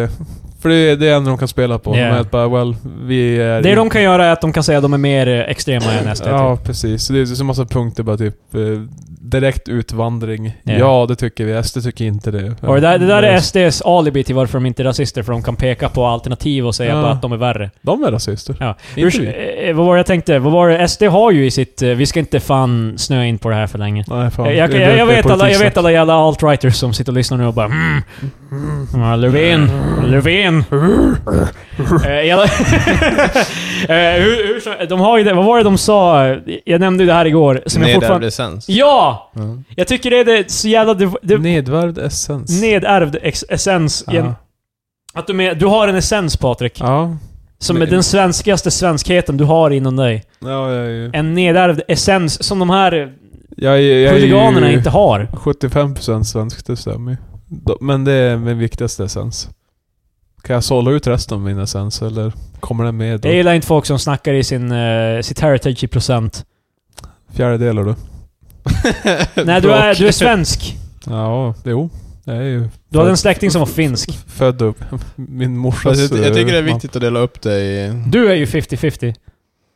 C: För det är det enda de kan spela på.
A: Yeah.
C: De är bara, well, vi är...
A: det de kan göra är att de kan säga att de är mer eh, extrema än SD. typ.
C: Ja, precis. Så Det är så massa punkter bara typ eh, direkt utvandring.
A: Yeah.
C: Ja, det tycker vi. SD tycker inte det.
A: Och det där, det där
C: Ja,
A: är SDs alibi till varför de inte är rasister, för de kan peka på alternativ och säga
C: Ja.
A: bara att de är värre.
C: De är rasister.
A: Ja.
C: Inte vi.
A: Urs- eh, vad var det jag tänkte? Vad var det? SD har ju i sitt... eh, Vi ska inte fan snöa in på det här för länge. Eh,
C: Nej, fan.
A: Jag, jag,
C: Det-
A: jag,
C: det är
A: jag, vet alla, jag
C: politiskt.
A: vet alla jävla alt-writers som sitter och lyssnar nu och bara mm. Ja, Löfven, Löfven. Eh, jävla- Eh, hur, hur, så- de har ju det, vad var det de sa? Jag nämnde ju det här igår. Som jag fortfarande...
B: sens.
A: Ja!
B: Mm.
A: Jag tycker det är det så jävla... Det, det,
C: Nedvärd essens.
A: nedärvd ex- essens. i en-
C: Ja.
A: Att du, med, du har en essens Patrik,
C: Ja.
A: som är
C: men-
A: den svenskaste svenskheten du har inom dig.
C: Ja, jag är ju...
A: En nedärvd essens som de här
C: Jag, är- jag, är
A: huliganerna
C: ju
A: inte har.
C: 75% svensk, det stämmer ju. Då- Men det är min viktigaste essens. Kan jag sålla ut resten av min essens eller kommer den med då?
A: Jag gillar inte folk som snackar i sin, eh, sitt heritage i procent.
C: Fjärdedelar du?
A: Nej, du är, du är svensk.
C: Ja, jo. Jag är ju
A: Du hade en släkting som var finsk.
C: född upp. Min morsas...
B: Fast Alltså, jag, jag tycker det är
C: eh, mamma.
B: viktigt att dela upp det i...
A: Du är ju 50-50.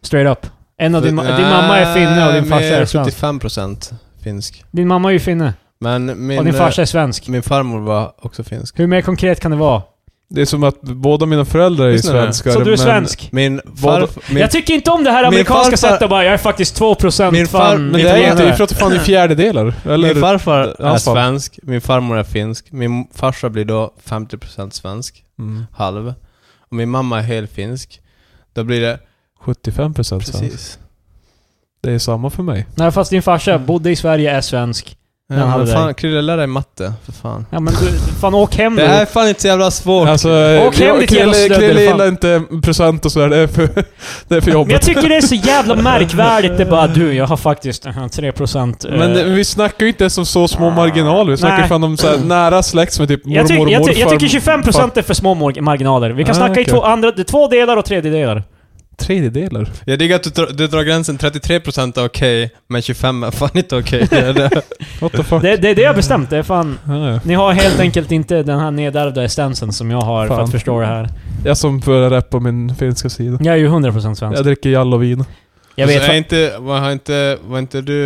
A: Straight up. En av din, ma- din mamma är finne och din farsa är svensk.
B: 75% finsk.
A: Din mamma är ju finne
B: Men min,
A: och din
B: eh,
A: farsa är svensk.
B: min farmor var också finsk.
A: Hur mer konkret kan det vara?
C: Det är som att båda mina föräldrar är
B: Lyssna nu.
C: svenskar.
A: Så du är
C: men-
A: svensk?
B: Min
C: Båda-
B: farfar... Min,
A: Jag tycker inte om det här
B: min
A: amerikanska
B: farfar-
A: sättet att bara jag är faktiskt 2%
B: Min far-
A: fan
C: Men
B: men
C: det är ju inte,
B: Italienare.
C: vi pratar fan i fjärdedelar. Eller?
B: min farfar är
C: hans farfar.
B: svensk, min farmor är finsk, min farsa blir då 50% svensk,
C: Mm,
B: halv. Och min mamma är helfinsk. Då blir det...
C: 75% svensk.
B: Precis.
C: Det är samma för mig.
A: Nej, fast din farsa
B: Mm.
A: bodde i Sverige, är svensk. Den
B: Ja,
A: hade
B: men
A: dig. Mm.
B: fan, Krille, lär dig matte. För fan.
A: Ja men du, fan åk hem
B: Det här
A: då.
B: är fan inte så jävla svårt.
C: Alltså,
A: Åk hem
C: jag-
A: ditt jävla
C: Krille
A: stövel,
C: Krille
A: fan.
C: gillar inte present och sådär. Det är för, det
A: Men
C: är för
A: jag
C: jobbigt.
A: tycker det är så jävla märkvärdigt. Det är bara du, jag har faktiskt eh, 3% eh,
C: Men eh, Ah. vi snackar ju inte ens om så små marginaler. Vi snackar
A: Nej.
C: fan om så här nära släkt som är typ mormor
A: jag, ty-
C: och
A: jag, ty- jag
C: morfar.
A: tycker 25% är för små mor- marginaler. Vi kan
C: Ah,
A: snacka i
C: okej.
A: två, andra, det är två delar och tredjedelar.
C: Tredjedelar?
B: Jag diggar att du, drar- du drar gränsen 33% är okej, men 25 är fan inte okej. Det är det.
C: What the fuck?
A: Det, det är det jag bestämt. Det är fan...
C: Ja, ja.
A: Ni har helt enkelt inte den här nedärvda essensen som jag har för
C: Fan.
A: att förstå det här.
C: Jag som börjar rappa min finska sida.
A: Jag är ju 100% svensk.
C: Jag dricker jallovin.
A: Jag
B: Så
A: vet.
B: Alltså, är
A: fa-
B: inte, var, har inte, var inte du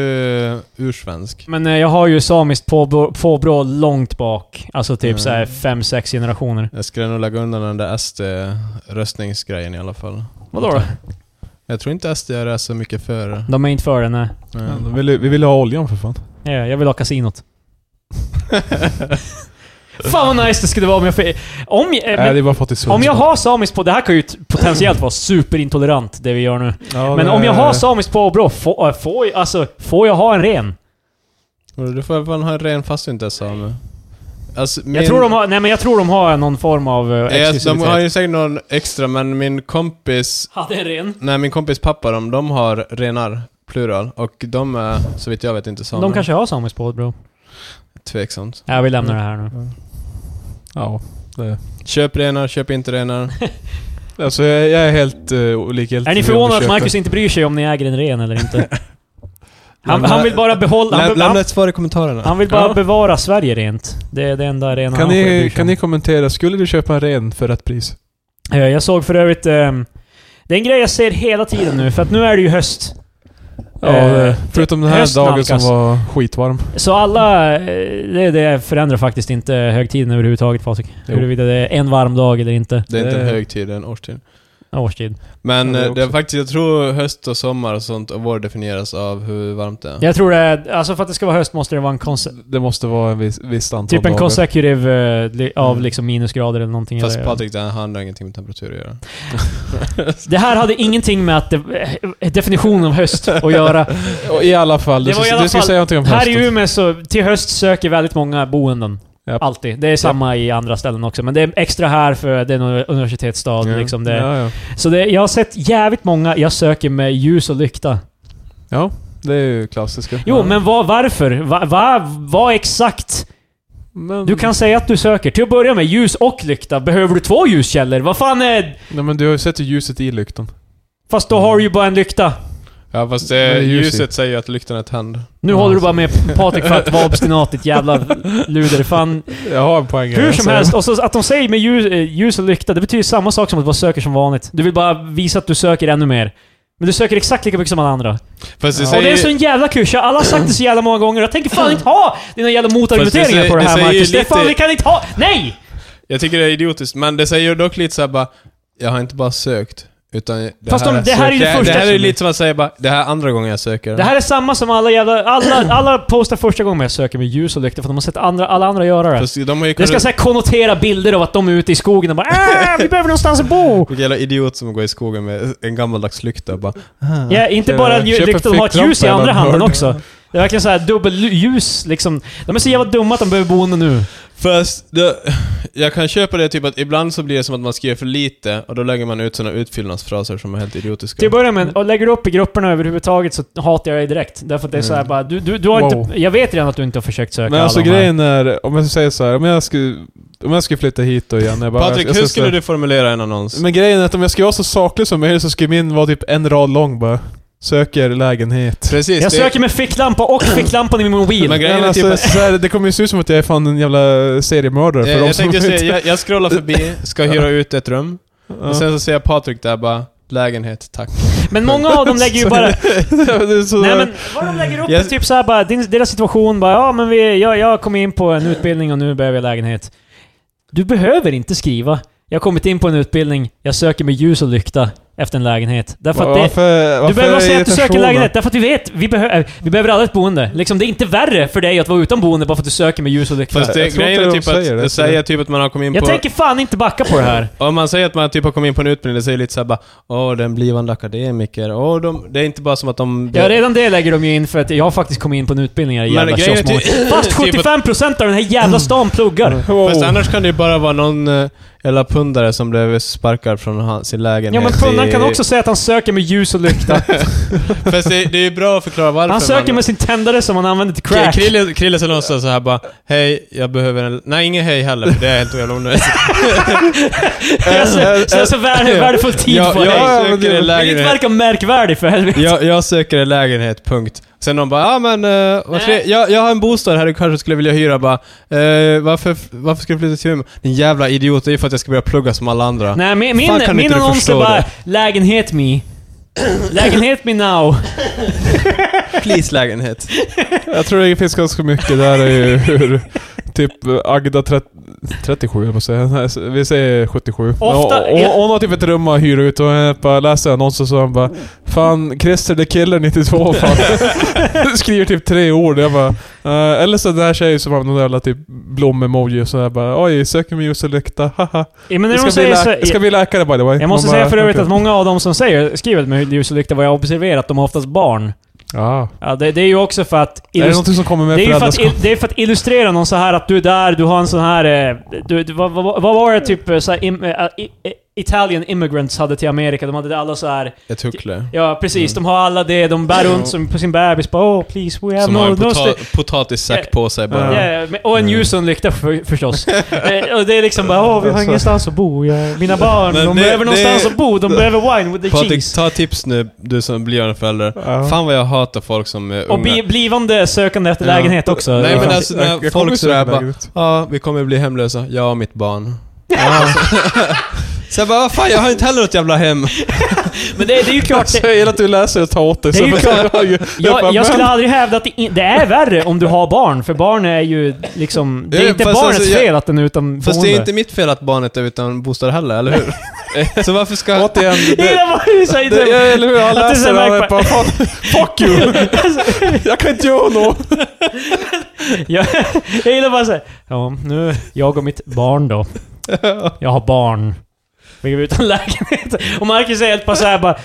B: ursvensk?
A: Men eh, jag har ju samiskt påbrå, påbrå långt bak. Alltså typ
B: Mm.
A: såhär 5-6 generationer.
B: Jag skulle nog lägga undan den där SD-röstningsgrejen i alla fall.
A: Vadå då?
B: Jag tror inte SD är så mycket för Mm. det.
A: De är inte för det, nej.
B: Nej.
C: Vi vill, ju- vi vill ju ha oljan för fan.
A: Ja, jag vill ha kasinot. Fan vad nice det skulle vara om jag fick... Om, jag- eh,
C: Nej,
A: men,
C: det är bara för att det är sunt.
A: om jag har samiskt på... Det här kan ju t- potentiellt vara superintolerant, det vi gör nu.
C: Ja,
A: Men
C: det-
A: om jag har samiskt påbrå, får, äh, får, jag- alltså, får jag ha en ren?
B: Men Du får fan ha en ren fast du inte är same. Alltså, min-
A: Jag tror de har... Nej men jag tror de har någon form av eh,
B: Ja, alltså, De
A: exklusivitet.
B: har ju säkert någon extra, men min kompis...
A: Hade en ren.
B: Nej, min kompis pappa, de, de har renar, plural. Och de är, så vitt jag vet, inte samer.
A: De kanske har samiskt påbrå.
B: Tveksamt.
A: Ja, vi lämnar det här nu.
C: Ja.
B: Köp renar, köp inte renar.
C: Alltså jag, jag är helt uh, likgiltig.
A: Är ni förvånade att Marcus inte bryr sig om ni äger en ren eller inte? Han,
B: Lämna-
A: han vill bara behålla... Han,
B: Läm,
A: vill-
B: lämna
A: han,
B: ett svar i kommentarerna.
A: han vill bara
C: Ja.
A: bevara Sverige rent. Det är det enda rena
C: kan
A: han bryr sig
C: ni,
A: om.
C: kan ni kommentera, skulle du köpa en ren för rätt pris?
A: Eh, Jag såg för övrigt... ehm, det är en grej jag ser hela tiden nu, för att nu är det ju höst.
C: Ja,
A: Eh,
C: det- förutom den här
A: hösten
C: dagen som
A: nalkas.
C: var skitvarm.
A: Så alla... eh, Det, det förändrar faktiskt inte högtiden överhuvudtaget Patrik.
C: Jo.
A: Huruvida det är en varm dag eller inte.
B: Det är inte en
C: Eh.
B: högtid, det är en årstid.
A: Årstid.
B: Men
C: Ja, det
B: eh, det är
C: också.
B: faktiskt, jag tror höst och sommar och sånt och vår definieras av hur varmt det är.
A: Jag tror det är, Alltså för att det ska vara höst måste det vara en konse-
C: Det måste vara en viss, visst antal
A: Typ en
C: dagar.
A: consecutive eh, li- av
B: Mm.
A: liksom minusgrader eller någonting.
B: Fast
A: eller,
B: Patrik, det han har ingenting med temperatur att göra.
A: Det här hade ingenting med att det, eh, definitionen av höst att göra.
C: Och I alla fall, du
A: Det var i
C: ska,
A: alla
C: du ska
A: fall-
C: säga någonting om
A: Här
C: hösten.
A: i Umeå så, till höst söker väldigt många boenden.
C: Japp.
A: Alltid. Det är samma i andra ställen också, men det är extra här för det är en universitetsstad.
B: Ja.
A: Liksom det.
C: Ja, ja.
A: Så det, jag har sett jävligt många jag söker med ljus och lykta.
C: ja, det är ju klassiska.
A: Jo,
C: Ja.
A: men vad, varför? Va, va, vad exakt?
C: Men-
A: Du kan säga att du söker. Till att börja med, ljus och lykta. Behöver du två ljuskällor? Vad fan är...
C: Nej, men du har ju sett ljuset i lyktan.
A: Fast då har du ju bara en lykta.
B: Ja fast
C: Men det
B: det,
C: är ljus i.
B: ljuset säger ju att lyktan är tänd.
A: Nu
C: Ja,
A: håller du bara med
B: alltså.
A: Patrik för att vara obstinat, ditt jävla luder. Fan,
C: Jag har en poäng här, Alltså-
A: hur som
C: så-
A: helst. Och så att de säger med ljus, eh, ljus och lykta, det betyder samma sak som att du bara söker som vanligt. Du vill bara visa att du söker ännu mer. Men du söker exakt lika mycket som alla andra.
B: Fast det
C: Ja.
A: Och det är
B: säger
A: en sån jävla kursa. Alla har sagt det så jävla många gånger. Jag tänker fan inte ha dina jävla
B: Fast det
A: motargumenteringar
B: säger-
A: på det
B: det
A: här
B: säger ju
A: Marcus. Det är
B: lite-
A: fan, vi kan inte ha... Nej!
B: Jag tycker det är idiotiskt, men det säger ju dock lite såhär bara... Jag har inte bara sökt, utan... Det
A: Fast
B: här
A: de- det här är ju det
B: det,
A: första
B: det här är
A: som-
B: lite som att säga bara, det här är andra gången jag söker.
A: Det här är samma som alla jävla... Alla, alla postar första gången jag söker med ljus och lykta för de har sett andra, alla andra göra det.
B: Fast de har
A: Det
B: ju
A: ska
B: kunnat...
A: såhär konnotera bilder av att de är ute i skogen och bara "Ah, vi behöver någonstans att bo!
B: Vilken jävla idiot som går i skogen med en gammaldags lykta och bara...
A: Ja, inte
C: Köp-
A: bara en
C: köp
A: ju-
C: en
A: lykta, de har ett ljus i
C: ficklampa
A: andra
C: eller en
A: handen
C: hörn.
A: också. Det är verkligen såhär dubbelljus liksom. De är så jävla dumma att de behöver boende nu.
B: Fast, det, jag kan köpa det typ att ibland så blir det som att man skriver för lite och då lägger man ut sådana utfyllnadsfraser som är helt idiotiska.
A: Till
C: Typ-
A: att börja med, och lägger du upp i grupperna överhuvudtaget så hatar jag dig direkt. Därför att det är såhär
B: Mm.
A: bara, du, du, du har
C: Wow.
A: inte... Jag vet redan att du inte har försökt söka
C: Men
A: alla
C: alltså
A: de här.
C: grejen är, om jag säger så här, om jag skulle, om jag skulle flytta hit då igen. Jag bara,
B: Patrik,
C: jag, jag
B: hur skulle du formulera en annons?
C: Men grejen är att om jag ska vara så saklig som möjligt så skulle min vara typ en rad lång bara. Söker lägenhet.
B: Precis.
A: Jag
B: det-
A: söker med ficklampa och ficklampan i min mobil.
B: Men grejen
C: Men
B: är
C: alltså,
B: typ att-
C: så här, det kommer ju se ut som att jag är fan en jävla seriemördare för
B: Eh,
C: de
B: jag
C: som
B: tänkte
C: inte...
B: säga, jag, jag scrollar förbi, ska hyra ut ett rum.
C: Ja.
B: Och sen så ser jag Patrik där bara, lägenhet, tack.
A: Men många av dem lägger ju bara...
C: det är så
A: Nej men vad de lägger upp
B: Jag-
A: är typ såhär bara, din, deras situation bara ja men vi, jag, jag kom in på en utbildning och nu behöver jag lägenhet. Du behöver inte skriva. Jag har kommit in på en utbildning, jag söker med ljus och lykta. efter en lägenhet. Därför
C: Varför,
A: att det,
C: varför
A: du behöver bara säga att du
C: irritationen?
A: söker lägenhet, därför att vi vet. Vi, behö äh, vi behöver alla ett boende. Liksom, det är inte värre för dig att vara utan boende bara för att du söker med ljus och lykta.
B: Fast det,
C: Jag tror
B: grejen är
C: inte de
B: typ att,
C: säger
B: säger
C: det, så-
B: säger typ att man har kommit in
A: Jag
B: på...
A: tänker fan inte backa på det här.
B: Om man säger att man typ har kommit in på en utbildning, det säger lite såhär bara Åh, den blivande akademiker, åh, de... Det är inte bara som att de...
A: Ja, redan det lägger de ju in för att jag har faktiskt kommit in på en utbildning här i
B: Men
A: jävla
B: grejen är
A: tjocksmål.
B: typ-
A: Fast
B: typ att-
A: 75% av den här jävla stan pluggar.
C: Wow.
B: Fast annars kan det ju bara vara någon eh, jävla pundare som blev sparkad från han, sin lägenhet
A: Ja men pundaren
B: i-
A: kan också säga att han söker med ljus och lykta.
B: Fast det, det är ju bra att förklara varför
A: Han söker
B: man...
A: med sin tändare som han använder till
B: K-
A: crack.
B: Krille, Krille skulle någon säga så här bara Hej, jag behöver en... Nej, ingen hej heller, för det är helt jävla onödigt.
A: Alltså, så, så värde, värdefull tid
B: jag,
A: för
B: jag
A: dig.
C: eh, ja, men
B: söker
C: det-
B: en
A: Vill inte
B: lägenhet.
A: verka märkvärdig för helvete.
B: Jag, jag söker en lägenhet, punkt. Sen de bara, ja ah, men, eh, vad tre-
A: Nej.
B: jag, jag har en bostad här du kanske skulle vilja hyra bara. Eh, varför, varför ska du flytta till Umeå? Din jävla idiot, det är ju för att jag ska börja plugga som alla andra.
A: Nej, min, min,
B: Fan, kan
A: min
B: inte du
A: annons är
B: förstå
A: bara
B: det?
A: “Lägenhet me”. Lägenhet me now.
B: Please lägenhet.
C: Jag tror det finns ganska mycket där är ju hur typ Agda 30, 37 jag måste säga. Nej, Vi säger 77.
A: Ofta
C: hon,
A: är-
C: hon, hon har typ ett rum att hyra ut och jag bara läser annonsen så hon bara Fan, Christer the Killer 92 fan. Skriver typ tre ord. Jag bara, eh, eller så den här tjejen som har någon jävla typ blom-emoji och sådär bara Oj, söker med ljus och lykta, haha.
A: Ja, men när
C: Jag
A: de
C: ska,
A: säger
C: bli
A: så,
C: lä- jag ska bli läkare by the way.
A: jag måste
C: Man bara,
A: säga för övrigt
C: "Okej."
A: att många av de som säger, skriver med ljus och lykta, vad jag har observerat, de har oftast barn.
C: Ja.
A: Ja, det, det är ju också för att...
C: Är det
A: illus-
C: någonting som kommer med
A: det är ju för att,
C: föräldraskap?
A: il- det är för att illustrera någon så här att du är där, du har en sån här... eh, Du, du, vad, vad, vad var det typ eh, så här, im, eh, i- eh, Italian immigrants hade till Amerika? De hade det alla så här...
B: Ett huckle.
A: Ja, precis. De har alla det. De bär runt som på sin bebis. Bara, oh, please, we have
B: Som
A: no...
B: har en Mm.
A: no sta-
B: pota potatissack på sig bara.
C: Ja.
A: Ja, ja, men- och en ljus och en lykta för, förstås. Eh, och det är liksom bara åh, vi har
C: Alltså.
A: ingenstans att bo. Jag, mina barn,
B: Men
A: de
B: det-
A: behöver
B: det-
A: någonstans att bo. De behöver wine with the
B: Patrik,
A: cheese.
B: ta tips nu, du som blir en förälder.
C: Ja.
B: Fan vad jag hatar folk som är
A: Och
B: unga.
A: bli, blivande sökande efter
B: Ja.
A: lägenhet också.
B: Nej,
A: Ja.
B: men alltså, när
C: Jag- jag
B: folk
C: kommer
B: sådär
C: söka
B: bara-
C: lägenhet.
B: Ja, vi kommer bli hemlösa. Jag och mitt barn. Så jag bara, vad fan, jag har inte heller något jävla hem.
A: men det, det är ju
B: Alltså.
A: klart...
C: Jag
A: Det,
C: gillar att du läser och tar åt dig.
A: Det är ju
C: så-
A: klart.
C: Jag-
A: jag,
C: men-
A: jag skulle aldrig hävda att det, in, det är värre om du har barn, för barn är ju liksom... Det är
B: Ja,
A: inte
B: fast
A: barnets
B: alltså, jag-
A: fel att den är utan boende.
B: Fast det är inte mitt fel att barnet är utan bostad heller, eller hur? så varför ska...
C: Återigen,
A: Jag
C: det,
A: gillar vad du säger.
C: det, ja, eller hur? Han
A: Att det är så
C: läser det
A: här
C: och bara "Fan, Fuck you!
A: Alltså,
C: Jag kan inte göra något!
A: Jag, jag gillar bara såhär, ja nu, jag och mitt barn då. Jag har barn. Vi är utan lägenhet. Och Marcus är helt bara såhär bara,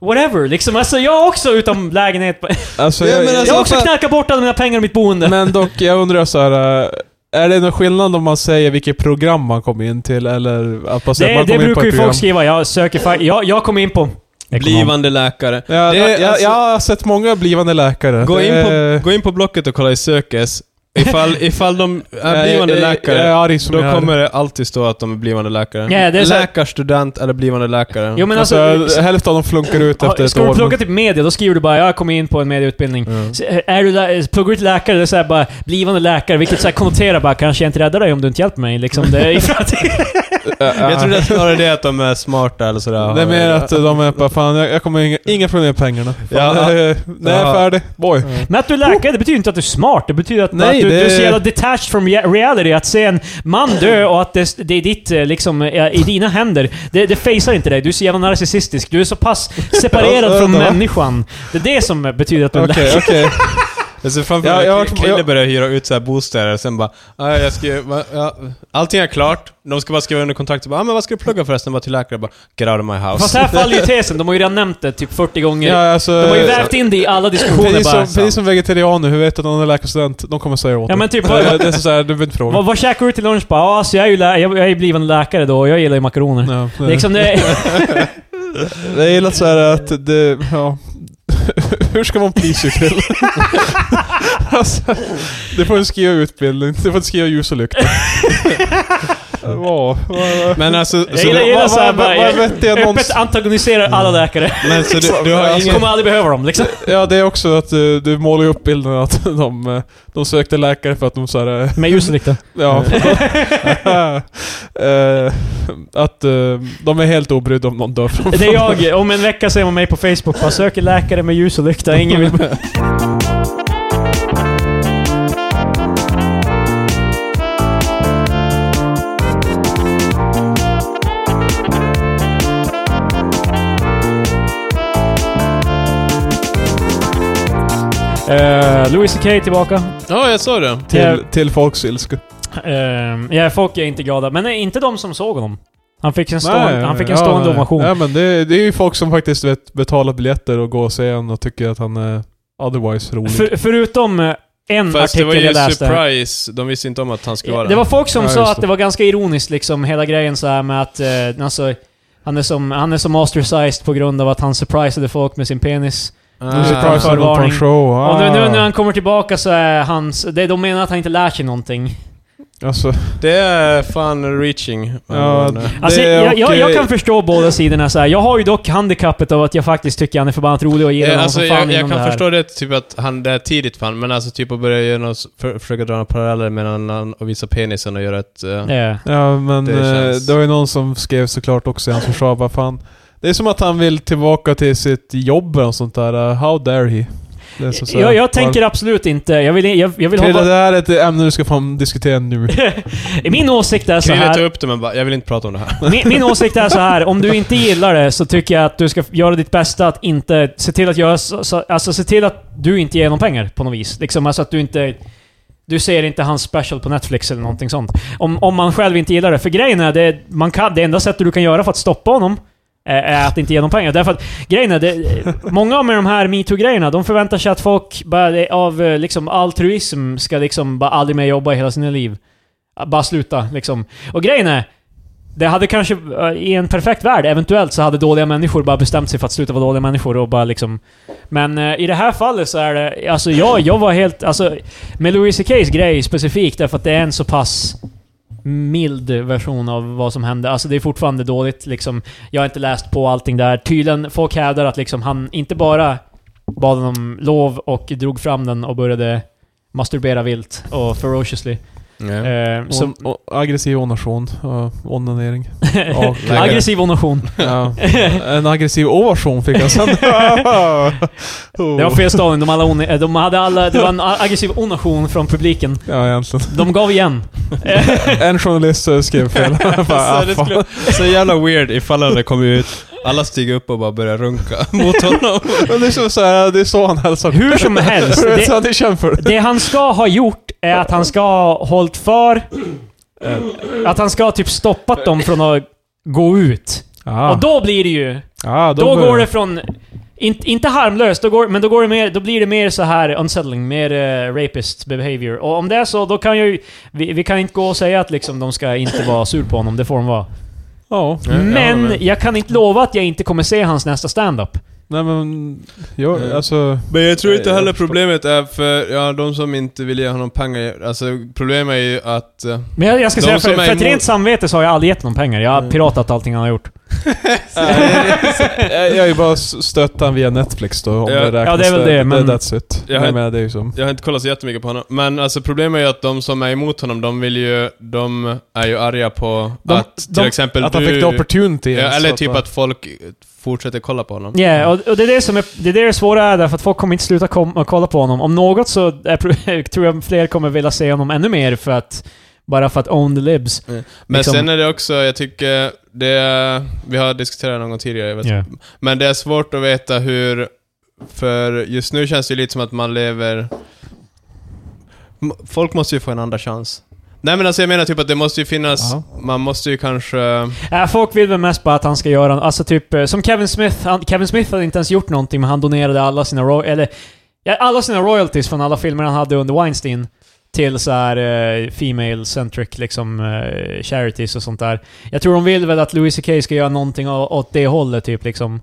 A: whatever liksom. Alltså jag är också utan lägenhet.
C: Alltså,
B: Ja,
C: jag,
B: men
C: men,
B: alltså-
A: Jag har också
B: fan.
A: knarkat bort alla mina pengar och mitt boende.
C: dock, jag undrar så här. eh, Är det någon skillnad om man säger vilket program man kom in till eller att man säger
A: det
C: att man
A: det
C: kom in
A: brukar
C: på ett
A: ju
C: program?
A: folk skriva, jag söker fa- jag, jag kom in på... Ekonom.
B: Blivande läkare.
C: Ja,
B: Det är-
C: jag, jag,
B: alltså-
C: jag har sett många blivande läkare. Eh,
B: Gå
C: Det
B: in,
C: är-
B: på, gå in på Blocket och kolla i Sökes. Ifall, ifall de är
C: jag-
B: blivande
C: jag-
B: läkare,
C: eh, Jag är arg som
B: då
C: jag är.
B: kommer det alltid stå att de är blivande läkare.
A: Ja, det är så-
B: Läkarstudent eller blivande läkare.
A: Jo men alltså...
C: Alltså, hälften av dem flunkar ut efter
A: ha-
C: ett
A: Ska du
C: år.
A: plugga typ media, då skriver du bara jag kom in på en medieutbildning.
C: Ja.
A: Så, eh, Är du lä- pluggar du till läkare, det är såhär bara blivande läkare, vilket såhär konnoterar bara kanske jag inte räddar dig om du inte hjälper mig liksom. Det är i framtiden.
B: Jag tror det är snarare det att de är smarta eller sådär.
C: Det är mer att de är bara fan, jag, jag kommer inga, inga problem med pengarna. Fan,
B: Ja,
C: ja, eh, när jag
B: ja. Mm.
C: är färdig, boy.
A: Men att du är läkare, det betyder inte att du är smart. Det betyder att,
C: Nej,
A: att du,
C: det-
A: du är så jävla detached from rea- reality. Att se en man dö och att det, det är ditt, eh, liksom, eh, i dina händer. Det, det facear inte dig. Du är så jävla narcissistisk. Du är så pass separerad från
C: Ja.
A: människan. Det är det som betyder att du är läkare.
C: Okej, okej.
B: Jag ser framför
C: Ja,
B: mig
C: jag har
B: att
C: varit-
B: Krille
C: jag-
B: börjar hyra ut så här bostäder och sen bara "Ja, jag ska, ju- va, ja, Allting är klart, de ska bara skriva under kontrakt och bara ah, men vad ska du plugga förresten?” Bara till läkare bara “Get out of my house”.
A: Fast här faller ju tesen. De har ju redan nämnt det typ 40 gånger.
C: Ja, alltså,
A: De har
B: Eh,
A: ju vävt in det i alla diskussioner
C: Precis som,
A: bara.
C: precis som vegetarianer, hur vet du att någon är läkarstudent? De kommer säga åt
A: Ja
C: dig.
A: men typ,
C: det,
A: vad,
C: är- det är såhär, du behöver inte fråga.
A: vad, vad käkar du till lunch? Bara, ah, alltså, jag är ju lä- jag, jag är ju blivande läkare då och jag gillar ju makaroner.
C: Ja, det-
A: Liksom det...
C: Jag gillar såhär att det, ja. Hur ska man please you till? alltså, du får inte skriva utbildning, du får inte skriva ljus och lykta. Wow.
B: Men alltså...
A: Jag
B: Så
A: gillar, jag
B: du,
A: gillar
C: vad-
A: så här
C: vad-
A: bara,
C: vad
A: jag-
C: vettiga
A: öppet
C: någonsin-
A: antagoniserar alla läkare.
B: men, så Mm. du, du har
C: Alltså,
A: Jag
B: ingen...
A: kommer aldrig behöva dem liksom.
C: Ja, det är också att du, du målar ju upp bilden att de, eh, de sökte läkare för att de eh, såhär,
A: Med ljuslykta.
C: Ja. Eh, att eh, de är helt obrydda om någon dör framför
A: Det är jag. Om en vecka ser man mig på Facebook. Bara söker läkare med ljus och lykta. Ingen vill... Eh, Louis CK tillbaka.
B: Ja, jag sa
A: Mm.
B: det.
C: Till,
A: Jag-
C: till folks ilska.
A: Ehm, ja, folk är inte glada. Men nej, inte de som såg honom. Han fick en, stående-
C: Nej,
A: han fick en
C: ja,
A: stående
C: nej.
A: ovation.
C: Nej, men det, det är ju folk som faktiskt vet, betalar biljetter och går och ser honom och tycker att han är otherwise rolig.
A: För, förutom eh, en
B: Fast det
A: artikel
B: var
A: jag
B: ju
A: läste.
B: surprise. De visste inte om att han skulle vara
A: Det
B: där.
A: var folk som
C: Ja,
A: sa
C: just
A: att
C: det.
A: det var ganska ironiskt liksom, hela grejen så här med att eh, alltså, han är som, han är som ostracized på grund av att han surprisade folk med sin penis.
B: Ah.
C: Nu surprisar
A: surprise
C: de på en
A: förvarning.
C: show. Ah.
A: Och nu, nu när han kommer tillbaka så är hans... Det, de menar att han inte lär sig någonting.
C: Alltså,
B: Det är fan reaching.
C: Ja,
B: Men, eh,
A: Alltså,
C: Det är
A: jag, jag, jag
C: okej.
A: kan förstå båda sidorna så här. Jag har ju dock handikappet av att jag faktiskt tycker han är förbannat rolig och gillar
B: eh,
A: honom
B: alltså,
A: som fan
B: jag, jag
A: inom det
B: kan
A: här.
B: förstå det, typ att han, det är tidigt fan, men alltså typ att börja göra något, för, försöka dra några paralleller mellan han och visa penisen och göra ett... eh,
A: Ja.
C: ja men
B: Det
C: det,
B: känns-
C: det var ju någon som skrev såklart också i hans försvar, vad fan. Det är som att han vill tillbaka till sitt jobb och sånt där. Uh, How dare he? Det är så, så här,
A: Jag,
C: bara-
A: jag tänker absolut inte... Jag vill, jag, jag vill
C: Krille,
A: hoppa...
C: det här är ett ämne du ska fan diskutera nu.
A: Min åsikt är så
B: Krille tog
A: här.
B: upp det men bara, jag vill inte prata om det här.
A: Min, min åsikt är så här. Om du inte gillar det så tycker jag att du ska göra ditt bästa att inte... Se till att göra... Så, så, alltså se till att du inte ger någon pengar på något vis. Liksom alltså att du inte... Du ser inte hans special på Netflix eller någonting sånt. Om, om man själv inte gillar det. För grejen är, det, man kan, det enda sättet du kan göra för att stoppa honom eh, är att inte ge honom pengar. Därför att grejen är, det, många av de här metoo-grejerna, de förväntar sig att folk bara, av eh, liksom, altruism ska liksom bara aldrig mer jobba i hela sina liv. Bara sluta liksom. Och grejen är, det hade kanske, eh, i en perfekt värld, eventuellt så hade dåliga människor bara bestämt sig för att sluta vara dåliga människor och bara liksom... Men eh, i det här fallet så är det, alltså jag, jag var helt, alltså med Louis CK's grej specifikt, därför att det är en så pass mild version av vad som hände. Alltså det är fortfarande dåligt liksom. Jag har inte läst på allting där. Tydligen, folk hävdar att liksom han inte bara bad om lov och drog fram den och började masturbera vilt och ferociously.
B: Yeah.
A: Eh, som,
C: On, o, aggressiv onation och onanering. Och, eh,
B: Lägger.
A: aggressiv onation.
C: ja, en aggressiv ovation fick jag sen. Oh.
A: Det var fel stavning. De, alla on- eh, de hade alla... Det var en a- aggressiv onation från publiken.
C: Ja, egentligen.
A: De gav igen.
C: En journalist eh, skrev fel. Jag bara, ah,
B: så, det
C: fan.
B: skulle, så jävla weird ifall han hade kommit ut, alla stiger upp och bara börjar runka mot honom.
C: Men det är som så här, det är så han hälsar.
A: Hur som helst.
C: Det,
A: Det,
C: han är känd för.
A: det han ska ha gjort är att han ska ha hållit för... eh, Att han ska ha typ stoppat dem från att gå ut.
C: Ah,
A: Och då blir det ju...
C: ah,
A: Då går det från... In, inte harmlöst, då går, men då, går det mer, då blir det mer så här unsettling, mer eh, rapist behavior. Och om det är så, då kan jag ju... Vi, vi kan inte gå och säga att liksom, de ska inte vara sur på honom, det får de vara.
C: Ja.
A: Men jag kan inte lova att jag inte kommer se hans nästa stand-up.
C: Nej men... Jag,
B: Eh.
C: alltså...
B: Men jag tror inte
C: Jag
B: heller
C: förstår.
B: problemet är för, ja, de som inte vill ge honom pengar, alltså problemet är ju att... eh,
A: Men jag, jag ska
B: De
A: säga,
B: som
A: för,
B: är
A: för ett
B: emot- Mm.
A: rent samvete så har jag aldrig gett någon pengar. Jag har piratat allting han har gjort.
C: Eh, jag har ju bara s- stött han via Netflix då, om
B: Ja.
C: det räknas.
A: Ja, det är väl det, men-
C: That's it.
B: Jag
C: Jag
B: har-
C: Nej, men det är ju som...
B: Jag har inte kollat så jättemycket på honom, men alltså problemet är ju att de som är emot honom, de vill ju, de är ju arga på
C: De-
B: att till
C: de-
B: exempel
C: Att
B: du,
C: han fick the opportunity.
B: ja,
C: ens,
B: Eller
C: så
B: typ
C: man-
B: att folk fortsätter kolla på honom.
A: Ja, och, och det är det som är det, är det det svåra är därför att folk kommer inte sluta kom, och kolla på honom. Om något så är, pro- tror jag fler kommer vilja se honom ännu mer för att... Bara för att own the libs.
B: Mm. Men
A: liksom-
B: sen är det också, jag tycker, det är, vi har diskuterat det någon gång tidigare, jag vet
A: Yeah.
B: Men det är svårt att veta hur... För just nu känns det ju lite som att man lever... M- Folk måste ju få en andra chans. Nej men alltså jag menar typ att det måste ju finnas...
C: Ja.
B: Man måste ju kanske...
A: Äh, folk vill väl mest bara att han ska göra... Alltså typ eh, som Kevin Smith. Han, Kevin Smith hade inte ens gjort någonting men han donerade alla sina... Ro- eller, ja, alla sina royalties från alla filmer han hade under Weinstein till så här eh, female centric liksom eh, charities och sånt där. Jag tror de vill väl att Louis CK ska göra någonting å- åt det hållet typ liksom.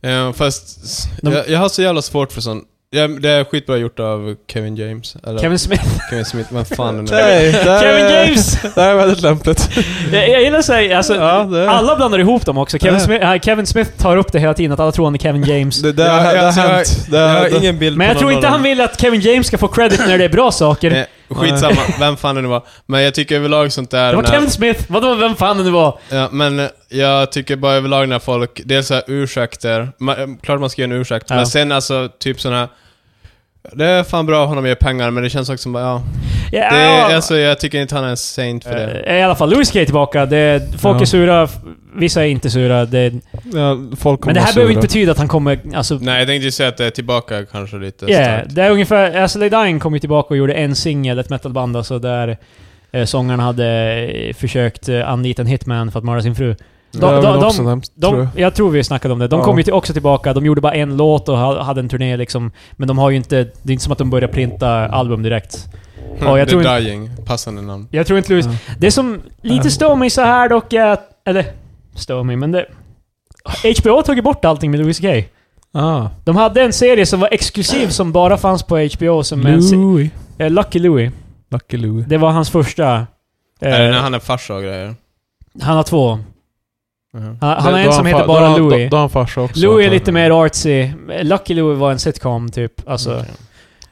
B: Eh, fast... s-
A: De-
B: Jag, jag har så jävla svårt för sånt. Ja, det är skitbra gjort av Kevin James. Eller
A: Kevin
B: Kevin,
A: Smith.
B: Smith, vem fan är det?
C: Nej, det här
A: Kevin
C: är-
A: James!
C: Det här är väldigt lämpligt.
A: jag, jag gillar såhär, alltså,
C: Ja, det är-
A: alla blandar ihop dem också. Kevin
C: Ja.
A: Smith, äh, Kevin Smith tar upp det hela tiden, att alla tror han är Kevin James.
C: Det, det,
B: Ja,
C: har- det
B: alltså,
C: har
B: jag-
C: hänt. Det,
B: Jag
C: det,
B: har ingen bild
A: Men
B: på
A: jag tror
B: någon
A: inte
B: av
A: han
B: dem.
A: vill att Kevin James ska få credit när det är bra saker.
B: Eh, Skitsamma, vem fan det nu var. Men jag tycker överlag sånt där...
A: Det var
B: när-
A: Kevin Smith, vadå vem fan det nu var?
B: Ja, men eh, jag tycker bara överlag när folk, dels så här ursäkter, ma- eh, klart man ska göra en ursäkt,
A: Ja.
B: men sen alltså typ såna här det är fan bra att honom ger pengar, men det känns också som bara, ja.
A: Ja,
B: Det är, alltså, jag tycker inte han är en saint för det.
A: eh, I alla fall, Louis Gate är tillbaka. Det är, folk
C: Ja.
A: är sura, f- vissa är inte sura. Det,
C: Ja, folk kommer
A: men det här
C: att
A: behöver
C: sura.
A: inte betyda att han kommer... Alltså,
B: Nej, jag tänkte ju säga att det är tillbaka kanske lite
A: Ja,
B: starkt.
A: det är ungefär... Alltså, Dying kom ju tillbaka och gjorde en singel, ett metalband alltså, där eh, sångaren hade eh, försökt eh, anlita en hitman för att mörda sin fru.
C: Det är
A: de-
C: väl
A: de-
C: också hemskt,
A: De,
C: tror
A: jag.
C: jag.
A: tror vi snackade om det. De
C: Ja.
A: kom ju till, också tillbaka, de gjorde bara en låt och ha- hade en turné liksom. Men de har ju inte... Det är inte som att de börjar printa album direkt. ja, jag
B: The
A: tror-
B: Dying, passande namn.
A: Jag tror inte Louis... Det som lite stör mig så här dock är att... Eller, stör mig, men det... HBO har tagit bort allting med Louis CK.
C: Ah.
A: De hade en serie som var exklusiv som bara fanns på HBO som en se-
C: Louie.
A: eh, Lucky Louie.
C: Lucky Louie.
A: Det var hans första... eh,
B: Eller när han är farsa och grejer.
A: han har två.
B: Mhm.
A: Han, han har
C: Då
A: en som
C: fa-
A: heter
C: då har
A: bara
C: han- då-
A: Louie.
C: Då har han farsa också.
A: Louie är
C: antar jag.
A: lite mer artsy. Lucky Louie var en sitcom typ. Alltså,
B: Okej.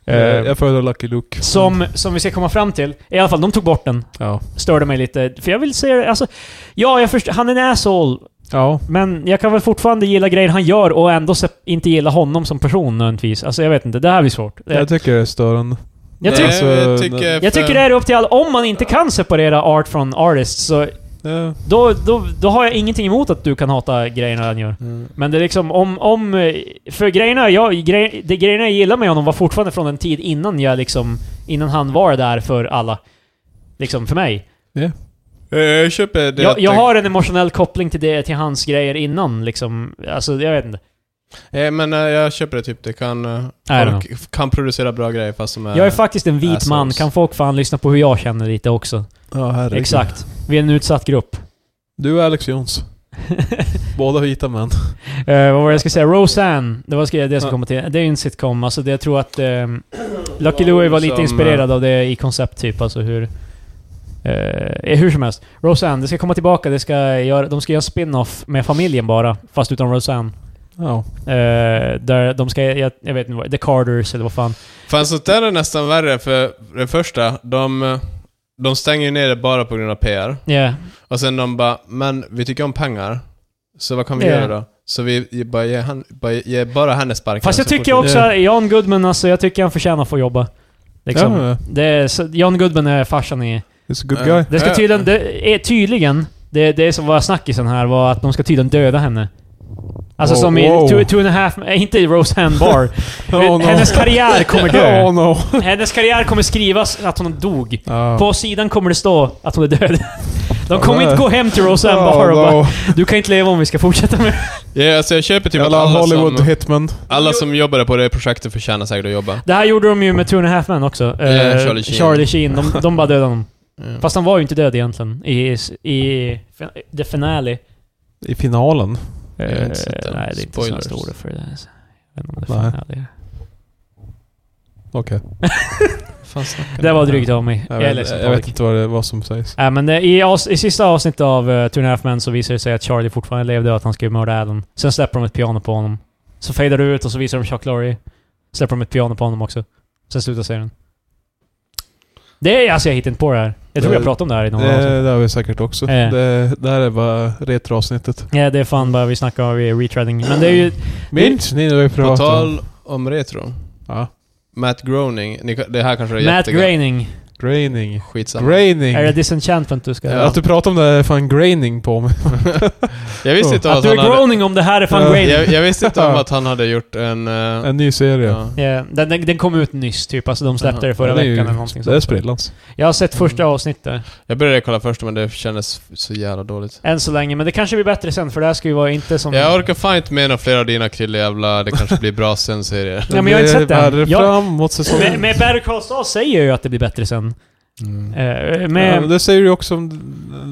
C: Eh,
A: eh,
C: jag föredrar Lucky Luke.
A: som, som vi ska komma fram till. I alla fall, de tog bort den.
C: Ja.
A: Störde mig lite. För jag vill se det. Alltså, ja, jag förstår. Han är en asshole.
C: Ja.
A: Men jag kan väl fortfarande gilla grejer han gör och ändå se- inte gilla honom som person nödvändigtvis. Alltså jag vet inte, det här blir svårt.
C: Jag
A: Jag,
C: tycker det är störande.
A: jag,
B: Nej,
A: tyck-
C: Alltså,
B: jag tycker...
A: jag tycker det är upp till alla. Om man inte kan separera art från artist så
C: Ja.
A: då, då, då har jag ingenting emot att du kan hata grejerna han gör.
B: Mm.
A: Men det är liksom om... om eh, för grejerna jag, gre, de grejerna jag gillar med honom var fortfarande från en tid innan jag liksom... Innan han var där för alla. Liksom för mig.
B: Eh, Jag köper det
A: Jag,
B: att
A: jag
B: det-
A: har en emotionell koppling till det, till hans grejer innan liksom. Alltså jag vet inte.
B: Eh, men eh, jag köper det typ. Det kan... eh,
A: don't know.
B: Folk f- kan producera bra grejer fast som är...
A: Jag är faktiskt en vit man,
B: assholes.
A: kan folk fan lyssna på hur jag känner lite också?
C: Ja, herregud.
A: Exakt. Vi är en utsatt grupp.
C: Du och Alex Jones. Båda vita män.
A: Eh, vad var det jag skulle säga? Roseanne, det var ska- det jag skulle
C: Ja.
A: komma till. Det är ju en sitcom, alltså det, jag tror att ehm, Lucky Louie var lite
B: Som,
C: eh,
A: inspirerad av det i koncept typ, alltså hur... Eh, hur som helst. Roseanne, det ska komma tillbaka, det ska göra, de ska göra en spin-off med familjen bara, fast utan Roseanne.
C: Ja.
A: Eh, där de ska, jag, jag vet inte vad, The Carters eller vad fan.
B: Fan, sånt där är nästan värre för det första, de... eh, De stänger ju ner det bara på grund av PR.
A: Yeah.
B: Och sen de bara, men vi tycker om pengar. Så vad kan vi
A: Ja.
B: göra då? Så vi ge- bara ger, han, bara, ger bara henne sparken.
A: Fast jag
B: så
A: tycker
B: fortsätter-
A: också, Jan Goodman alltså, jag tycker han förtjänar att få jobba. Liksom.
C: Ja, ja.
A: Det är, så, John Goodman är farsan i...
C: It's a good guy.
A: Det ska
B: Ja.
A: tydligen... Det är tydligen... Det, det som var snackisen här var att de ska tydligen döda henne. Alltså
C: Wow,
A: som i
C: wow.
A: two, two and a half... eh, Inte i Roseanne Barr. Hennes karriär kommer dö.
C: Oh no. Ah.
A: Hennes karriär kommer skrivas att hon dog.
C: Ja.
A: På sidan kommer det stå att hon är död. De kommer
C: Ja,
A: inte
C: nej.
A: gå hem till Roseanne
C: Oh,
A: Barr och bara
C: no.
A: Du kan inte leva om vi ska fortsätta med
B: Ja, alltså jag köper typ att
C: Jävla
B: alla Ah.
C: Hollywood
B: som,
C: hitman.
B: alla som jobbade på det projektet förtjänar säkert att jobba.
A: Det här gjorde de ju med Two and a half men också. Eh,
B: Charlie Sheen.
A: Charlie Sheen. De, de bara dödade honom.
B: Ja.
A: Fast han var ju inte död egentligen. I, i the finale.
C: I finalen.
A: Eh,
B: har
A: nej,
B: inte sett den.
A: det är inte så
B: Spoilers.
A: stora för det. alltså. Jag vet inte om det
C: Nej.
A: finale.
C: Okej.
B: Fan, snackar ni
A: Det var
B: om?
A: drygt av mig. Jag,
C: Jag,
A: är
C: vet-
A: ledsen
C: jag vet
A: Patrik.
C: inte vad, det, vad som sägs.
A: Nej, men eh, i, avs- i sista avsnittet av uh, Two and a half men så visar det sig att Charlie fortfarande levde och att han skulle mörda Alan. Sen släpper de ett piano på honom. Så fejdar det ut och så visar de Chuck Lorre. Släpper de ett piano på honom också. Sen slutar serien. Det är... Alltså jag hittar inte på det här. Jag tror
C: Det-
A: jag pratade om det här i någon annan
C: Det, det har vi säkert också.
A: Eh.
C: Det, det här är bara retroavsnittet.
A: Ja, det är fan bara vi snackar om vi är retreading. Men det är ju...
C: Minns ni när vi
B: På
C: pratade om...
B: tal om retro.
C: Ja.
B: Matt Groening. Ni, kan- det här kanske är
A: Matt
B: jättegott.
A: Groening.
C: Graining.
B: Skitsamma.
C: Graining.
A: Är det disenchantment du ska...
B: Ja.
C: Att du pratar om det är fan graining på mig.
B: Jag visste inte om
A: Att
B: att
A: du är
B: han hade...
A: groaning om det här är fan
C: Ja.
A: groaning.
B: Jag, jag visste inte om att han hade gjort en... eh,
C: En ny serie.
B: ja.
A: Ja, Eh, den, den, den kom ut nyss typ, alltså de släppte det förra
C: Det är ju-
A: veckan eller någonting
C: Det är
A: sånt.
C: sprillans.
A: Jag har sett första
B: Mm.
A: avsnittet,
B: Jag började kolla först men det kändes så jävla dåligt.
A: än så länge, men det kanske blir bättre sen för det här ska ju vara inte som...
B: Jag orkar fan inte med några fler av dina krilljävla, det kanske blir bra sen serier.
A: Ja, men jag har inte sett
C: Det
A: den.
C: är värre
A: Jag-
C: framåt säsongen.
A: med, med Better Call Saul säger jag ju att det blir bättre sen. Eh,
C: ja,
A: med,
C: men det säger du också om...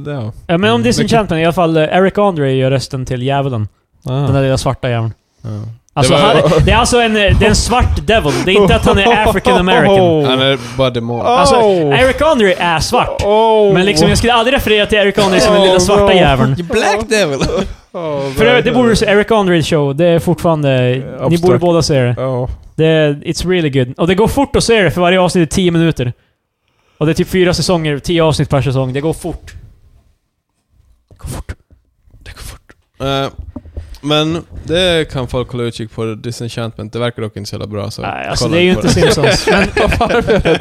C: Det, ja.
A: eh, men om
B: Mm.
A: Disenchantment, i alla fall eh, Eric Andre gör rösten till djävulen. Den där
C: Ah.
A: lilla svarta djävulen.
B: Ja.
A: Alltså,
B: Det var-
A: han, det är alltså en, eh, det är en svart devil, det är inte att han är African American.
B: Han är bara demon.
A: Alltså,
C: Oh.
A: Eric Andre är svart.
C: Oh.
A: Men liksom, jag skulle aldrig referera till Eric Andre som den lilla
C: Oh,
A: svarta
C: no.
A: djävulen.
B: Black Devil!
C: Oh,
A: För övrigt, det borde du se. Eric Andre show. Det är fortfarande...
C: Eh,
A: Ni borde
C: abstrakt.
A: båda se det.
C: Ja.
A: det är, it's really good. Och det går fort att se det, för varje avsnitt är 10 minuter. Och det är typ fyra säsonger, 10 avsnitt per säsong. Det går fort. Det går fort.
B: Eh, Men det kan folk hålla utkik på, Disenchantment. Det verkar dock inte så jävla bra så
A: Nej, alltså
B: kolla
A: det är ju
B: på
A: inte Simpsons. Men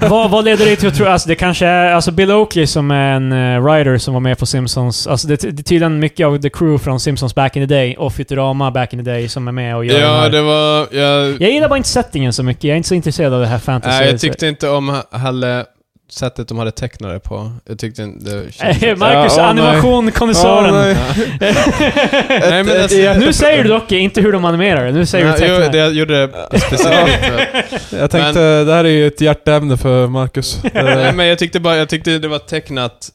A: vad, vad leder det till att tro? Alltså det kanske är... Alltså Bill Oakley som är en uh, writer som var med på Simpsons. Alltså det, det är tydligen mycket av the crew från Simpsons back in the day och Futurama back in the day som är med och gör den
B: Ja,
A: här.
B: det var... Jag,
A: Jag gillar bara inte settingen så mycket. Jag är inte så intresserad av det här fantasy.
B: nej, jag tyckte inte om ha- Halle... Sättet de hade tecknat det på. Jag tyckte inte... Det
A: Eh,
B: kändes-
A: Marcus,
C: Ja, åh,
A: animationkonnässören.
C: nej.
B: Ja.
C: Nej, men
B: Ett-
C: alltså,
B: ett-
A: nu säger du dock inte hur de animerar det. Nu säger
B: Nej,
A: du
B: jo,
A: tecknar.
B: det jag gjorde det specifikt. för-
C: Jag tänkte, det här är ju ett hjärteämne för Marcus.
B: Nej,
C: Eh,
B: men jag tyckte bara, jag tyckte det var tecknat,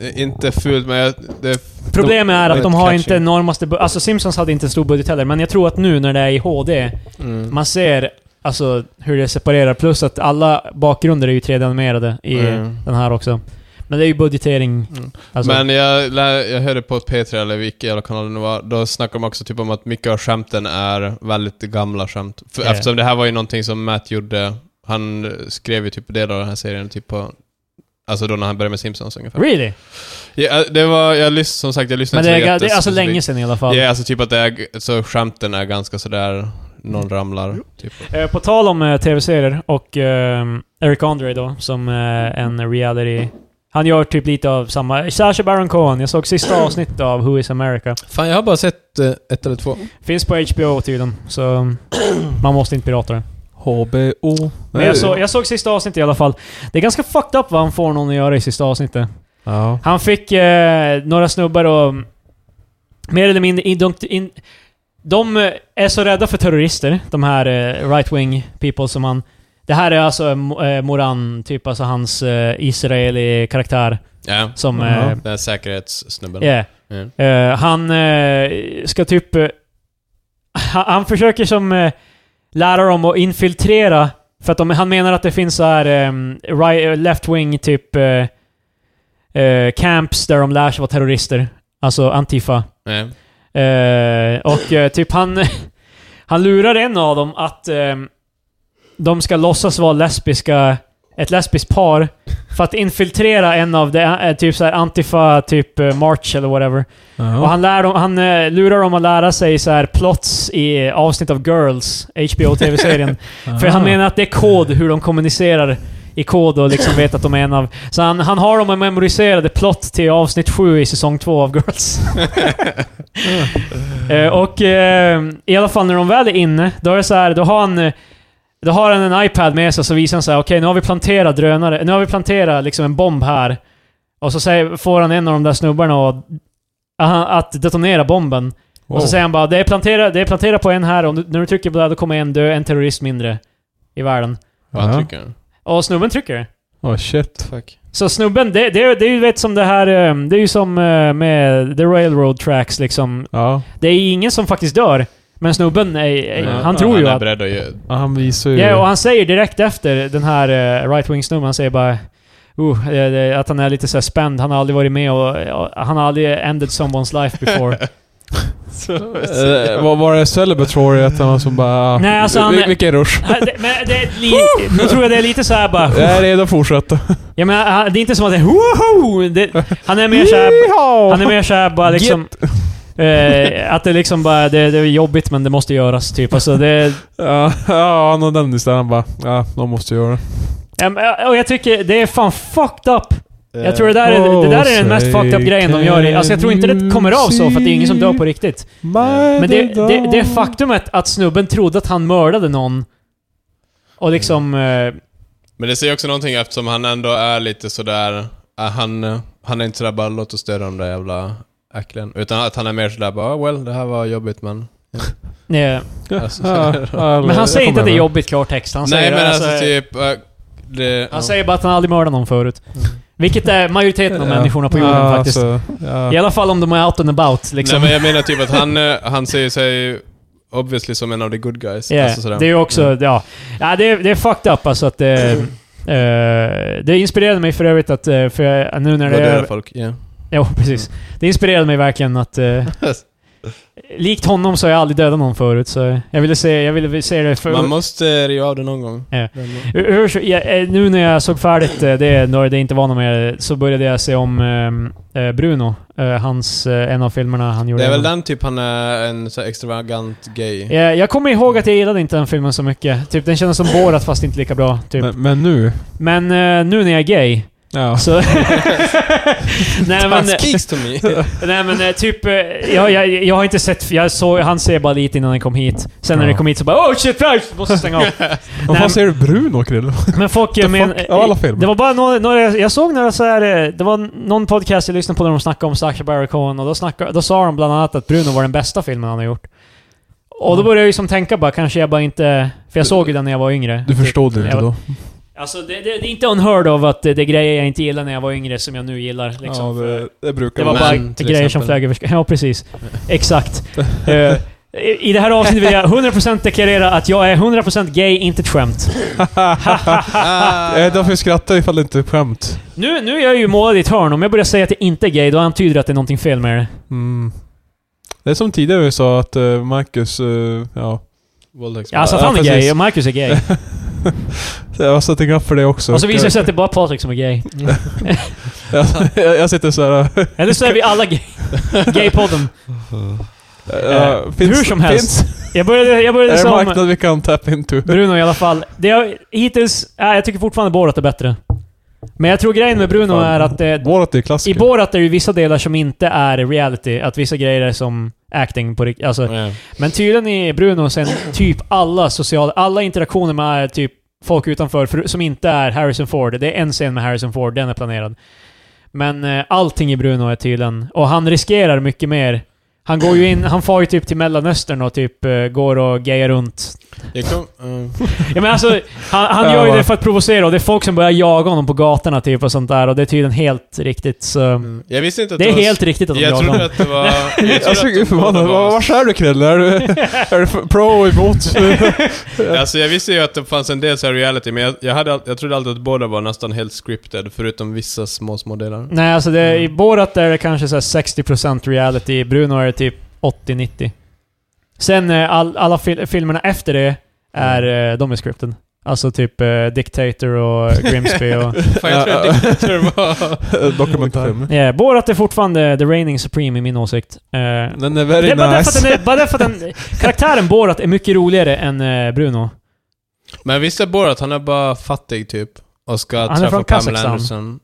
B: eh, inte fult, men jag, det,
A: Problemet är att de har
B: Catchy.
A: inte enormaste... bu- Alltså Simpsons hade inte stor budget heller, men jag tror att nu när det är i HD,
B: mm.
A: man ser alltså hur det separerar. Plus att alla bakgrunder är ju 3D-animerade i
B: Mm.
A: den här också. Men det är ju budgetering.
B: Mm.
A: Alltså,
B: Men jag, lä- jag hörde på P3, eller vilken jävla kanal det nu var, då snackade de också typ om att mycket av skämten är väldigt gamla skämt. För,
A: Ja.
B: Eftersom det här var ju någonting som Matt gjorde, han eh, skrev ju typ delar av den här serien typ på Alltså då när han började med Simpsons ungefär.
A: really?
B: Ja, det var, jag lyssnade, som sagt, jag lyssnade
A: Men det är, det
B: inte
A: är alltså
B: jättespecifikt.
A: länge sedan i alla
B: Ja,
A: fall.
B: alltså typ att det är, så skämten är ganska sådär, någon ramlar. Typ.
A: Eh, På tal om eh, tv-serier och ehm, Eric Andre då, som eh, en reality... Han gör typ lite av samma... Sacha Baron Cohen. Jag såg sista avsnittet av Who is America.
B: Fan, jag har bara sett eh, ett eller två.
A: Finns på HBO tydligen, så mm, man måste inte pirata det.
C: HBO.
A: Men jag, såg jag såg sista avsnittet i alla fall. Det är ganska fucked up vad han får någon att göra i sista avsnittet.
C: Ja.
A: Han fick eh, några snubbar och... Mer eller mindre... In, de, in, de eh, är så rädda för terrorister, de här eh, right-wing people som han... Det här är alltså eh, Mo- eh, Moran, typ alltså hans eh, Israeli-karaktär
B: Ja.
A: som...
C: Ja.
A: eh,
B: Den här säkerhetssnubben.
A: yeah.
B: Mm.
A: Eh, han eh, ska typ... eh, han, han försöker som eh, lära dem att infiltrera. För att de, han menar att det finns så här ehm, right, left-wing typ eh, eh, camps där de lär sig vara terrorister. Alltså Antifa.
B: Ja.
A: Eh, och eh, typ han... han lurar en av dem att ehm, de ska låtsas vara lesbiska... Ett lesbiskt par. För att infiltrera en av de, eh, typ så här Antifa, typ eh, March eller whatever. Och
C: Ja.
A: han, lär dem, han eh, lurar dem att lära sig så här plots i eh, avsnitt av Girls, HBO-tv-serien. För
C: Ah.
A: han menar att det är kod, hur de kommunicerar i kod och liksom vet att de är en av... Så han, han har dem att memoriserade plott till avsnitt sju i säsong två av Girls. Eh, och eh, i alla fall när de väl är inne, då är det så här, då har han... eh, Då har han en iPad med sig så visar han så här, okej nu har vi planterat drönare, nu har vi planterat liksom en bomb här. Och så säger, får han en av de där snubbarna att, att detonera bomben.
C: Wow.
A: Och alltså, så säger han bara det är plantera, det är plantera på en här och nu- när du trycker på det här då kommer en dö, en terrorist mindre i världen.
B: Vad han
C: Ja.
B: trycker han?
A: Och snubben trycker det.
C: Åh, shit.
B: Fuck.
A: Så snubben, det, det, är- det är ju vet som det här, eh, det är ju som eh, med the railroad tracks liksom.
C: Ja.
A: Det är ingen som faktiskt dör, men snubben, är, är- han tror ju
B: han är Mm.
A: att...
B: beredd att ge...
C: Ja, Han visar ju...
A: Ja, och han säger direkt efter den här eh, right-wing-snubben, han säger bara Uh, eh, det- att han är lite så här spänd, han har aldrig varit med och, och han har aldrig ended someone's life before.
C: Eh, vad var det Celebratory att han var som bara...
A: Nej, alltså han-
C: Vil- vilken rush.
A: Nej, Äh, det, men det, är li- nu tror jag det är lite så här bara...
C: Jag är redo att fortsätta.
A: Ja men han- det är inte som att det är woho! Det, han är mer såhär... Han är mer såhär bara liksom... Eh, att det liksom bara, det, det är jobbigt men det måste göras typ. Alltså det...
C: Ja, ja, han har den istället. Han bara, ja, de måste göra det.
A: Ja, men- och jag tycker det är fan fucked up. Jag tror det där är,
C: Oh,
A: det där är den mest fucked up grejen de gör. i- Alltså jag tror inte det kommer av så för att det är ingen som dör på riktigt. Men det, det, det faktumet att snubben trodde att han mördade någon och liksom... Eh,
B: Men det säger också någonting eftersom han ändå är lite sådär... eh, han, eh, han är inte sådär bara låt oss döda de där jävla äcklen. Utan att han är mer sådär bara oh, well, det här var jobbigt men...
A: nej.
B: Alltså,
C: Ja, ja,
A: Men han
C: jag
A: säger inte att det
C: kommer
A: är
C: med.
A: jobbigt klartext. Han
B: Nej
A: säger
B: men alltså,
A: alltså,
B: typ... eh, det,
A: Han säger bara att han aldrig mördat någon förut. Vilket är majoriteten av
C: Ja.
A: människorna på jorden
C: Ja,
A: faktiskt.
C: alltså, ja.
A: I alla fall om de är out and about liksom.
B: Nej men jag menar typ att han, eh, han ser sig obviously som en av the good guys.
A: Yeah,
B: Alltså sådär.
A: det är ju också, ja. ja det, är, det är fucked up alltså att det... eh, det inspirerade mig för övrigt att... eh, för jag, nu när
B: Vad
A: det
B: dödar
A: är...
B: folk, ja.
A: Jo, precis. Det inspirerade mig verkligen att... eh, Likt honom så har jag aldrig dödat någon förut, så jag ville se, jag ville se det för...
B: Man måste riva av det någon gång.
A: Ja.
B: Men-
A: Hur- Hur, så- ja, eh, nu när jag såg färdigt eh, det, när det inte var något mer, så började jag se om eh, eh, Bruno. Eh, hans, eh, en av filmerna han gjorde.
B: Det är väl den typ han är en så här extravagant gay.
A: Eh, jag kommer ihåg att jag gillade inte den filmen så mycket. Typ, den kändes som Borat fast inte lika bra. Typ.
C: Men, men nu...
A: Men eh, nu när jag är gay,
C: Ja.
A: så... nej, men,
B: Hans kicks to me.
A: nej men eh, typ... eh, Jag, jag, jag har inte sett... Jag såg, han ser bara lite innan han kom hit. Sen när
C: Ja.
A: det kom hit så bara oh shit, jag måste stänga av.
C: Vad
A: men-
C: fan säger du Bruno Krille?
A: Men folk...
C: The
A: eh, Men,
C: fuck? Av alla filmer.
A: Det var bara några, några... Jag såg några så här. eh, Det var någon podcast jag lyssnade på där de snackade om Sacha Baron Cohen och då, snackade, då sa de bland annat att Bruno var den bästa filmen han har gjort. Och då började jag ju som tänka bara, kanske jag bara inte... För jag såg ju den när jag var yngre.
C: Du förstod det
A: Jag
C: inte
A: var-
C: då?
A: Alltså det, det, det är inte unheard of att eh, det, det är grejer jag inte gillade när jag var yngre som jag nu gillar. Liksom,
C: ja,
A: För-
C: det, det brukar
A: det var
B: Men,
C: vara-
A: bara
B: till
A: grejer som
B: exempel.
A: flög över Ja, precis. Exakt. Eh, i- I det här avsnittet vill jag 100% deklarera att jag är 100% gay, inte ett skämt.
B: Ah.
C: Eh, därför skrattar jag ifall det inte är ett skämt.
A: Nu, nu är jag ju målad i ett hörn. Om jag börjar säga att jag inte är gay, då antyder det att det är någonting fel med det.
C: Mm. Det är som tidigare vi sa att eh, Marcus... eh, ja.
B: Våldtäktsman.
A: Alltså att
C: Ja,
A: han är
C: precis.
A: gay och Marcus är gay.
C: Jag har satt en grapp för det också.
A: Och så visar det sig att det är bara Patrik som är gay.
C: jag, jag, jag sitter såhär...
A: Eller så är vi alla gay. Gaypodden.
C: Uh,
A: hur som helst.
C: Finns,
A: Jag började, jag började
C: är det
A: som...
C: marknad vi kan tappa into?
A: Bruno i alla fall. Det jag, hittills... Äh, jag tycker fortfarande Borat är bättre. Men jag tror grejen med Bruno
C: Fan.
A: är att det,
C: Borat är ju
A: i
C: klassiker.
A: Borat är det ju vissa delar som inte är reality. Att vissa grejer är som acting på riktigt. Alltså,
B: Ja.
A: men tydligen i Bruno sen typ alla sociala... Alla interaktioner med typ folk utanför för, som inte är Harrison Ford. Det är en scen med Harrison Ford, den är planerad. Men eh, allting i Bruno är tydligen... Och han riskerar mycket mer. Han går ju in... Han far ju typ till Mellanöstern och typ eh, går och gejar runt
B: Jag kom, mm.
A: Ja, men alltså, han han
C: Ja,
A: gör ju
C: va.
A: det för att provocera och det är folk som börjar jaga honom på gatorna typ och sånt där och det är tydligen helt riktigt så...
B: Mm. Jag visste inte att
A: Det är
B: var-
A: helt riktigt att de
B: Jag
A: jagar
B: trodde
A: honom.
B: att det var... Jag trodde
C: Jag såg
B: att de
C: ut förbannad.
B: båda var-
C: Vad är du Krille? Är du, är du för- pro och emot?
B: Alltså jag visste ju att det fanns en del så här reality, men jag, jag, hade, all- jag trodde alltid att båda var nästan helt scripted, förutom vissa små, små delar.
A: Nej, alltså det,
C: Mm.
A: i Borat är det kanske så här 60% reality, i Bruno är det typ 80-90. Sen eh, all, alla fil filmerna efter det är...
C: Mm.
A: eh, De är scripted. Alltså typ eh, Dictator och eh, Grimsby och...
B: Fan, jag tror att Dictator var...
C: Dokumentär.
A: Yeah, Borat är fortfarande the reigning supreme i min åsikt. Eh,
C: Den är
A: det
C: very
A: är bara därför att
C: nice.
A: den är, bara därför att den, karaktären Borat är mycket roligare än eh, Bruno.
B: Men visst är Borat, han är bara fattig typ. Och ska
A: Han är
B: träffa
A: från
B: Pamela
A: Kazakstan.
B: Anderson.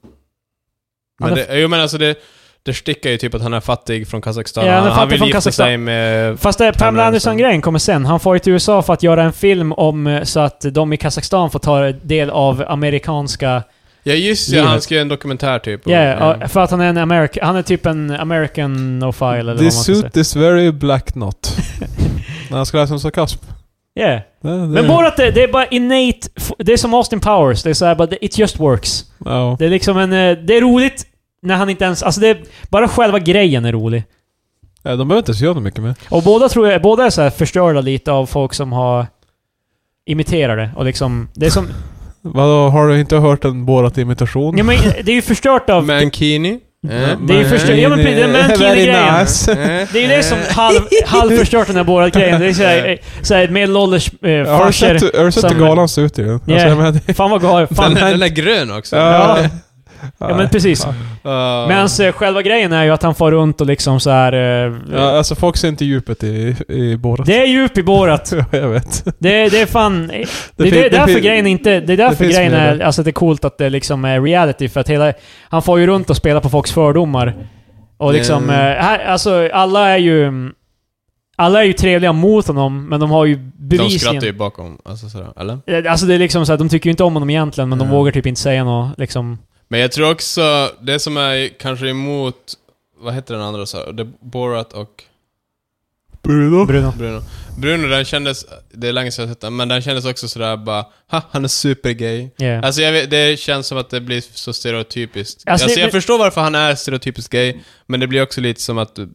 A: Han
B: Men
A: är-
B: det, jo men alltså det, det sticker ju typ att han är fattig från Kazakstan.
A: Ja, han är
B: han, han
A: fattig
B: vill
A: från
B: gifta
A: Kazakstan.
B: sig med...
A: Fast det är Pamela
B: Pamela Anderson.
A: Anderson-grejen kommer sen. Han far ju till USA för att göra en film om eh, så att de i Kazakstan får ta del av amerikanska...
B: Ja just det,
A: Livet.
B: han ska göra en dokumentär typ.
A: Ja,
B: Mm.
A: ja, uh, för att han är en Amerik... Han är typ en American-ofile eller vad man
C: This
A: ska säga.
C: suit is very black not. När han ska läsa om sarkasm.
A: Yeah.
C: Det- det-
A: Men bara att det, det är bara innate... f- Det är som Austin Powers. Det är såhär bara, det- it just works.
C: Ja.
A: Det är liksom en... eh, Det är roligt när han inte ens... Alltså det är, bara själva grejen är rolig.
C: Ja, De behöver inte ens göra något mycket mer.
A: Och båda tror jag, båda är så här förstörda lite av folk som har imiterat det. Och liksom, det är som...
C: Vadå, har du inte hört en Borat-imitation?
A: Ja, men det är ju förstört av...
B: Mankini. Eh,
C: Ja,
A: det är ju
C: men-
A: förstör- ja, men precis, det är den
C: Very
A: grejen.
C: nice.
A: Det är ju det
B: Eh.
A: som halv, halvförstört den här Borat-grejen. Det är eh, såhär, såhär medelålders eh,
C: Har du
A: farsor.
C: sett, har du sett hur
A: som-
C: galan ser ut i den? Alltså,
A: Yeah.
C: jag menar, det-
A: Fan vad galet. Fan.
B: Den, den är grön också.
A: Ja.
C: Ja.
A: Ja men precis.
B: Ja.
A: Men eh, själva grejen är ju att han far runt och liksom så här. eh,
C: Ja, alltså folk ser inte djupet i, i Borat.
A: Det är djup i Borat.
C: Ja, jag vet.
A: Det, är- det är fan... Det, är
C: fin-
A: det, därför
C: fin-
A: grejen inte... Det är därför
C: finns
A: grejen
C: mer
A: är...
C: där.
A: Alltså att det är coolt att det liksom är reality, för att hela... Han får ju runt och spelar på folks fördomar. Och liksom...
B: Mm.
A: eh, Här, alltså alla är ju... mm, Alla är ju trevliga mot honom, men de har ju
B: De
A: bevisningen...
B: skrattar ju bakom, alltså sådär, eller?
A: Eh, Alltså det är liksom så här, de tycker ju inte om honom egentligen, men de
B: Mm.
A: vågar typ inte säga något liksom...
B: Men jag tror också, det som är kanske emot, vad heter den andra så? Det, Borat och
C: Bruno.
A: Bruno.
B: Bruno. Bruno, den kändes, det är länge sedan jag sett den, men den kändes också sådär bara, ha, han är supergay.
A: Yeah.
B: Alltså jag vet, det känns som att det blir så stereotypiskt.
A: Alltså,
B: Alltså,
A: det-
B: jag
A: men-
B: förstår varför han är stereotypiskt gay, men det blir också lite som att... Eh,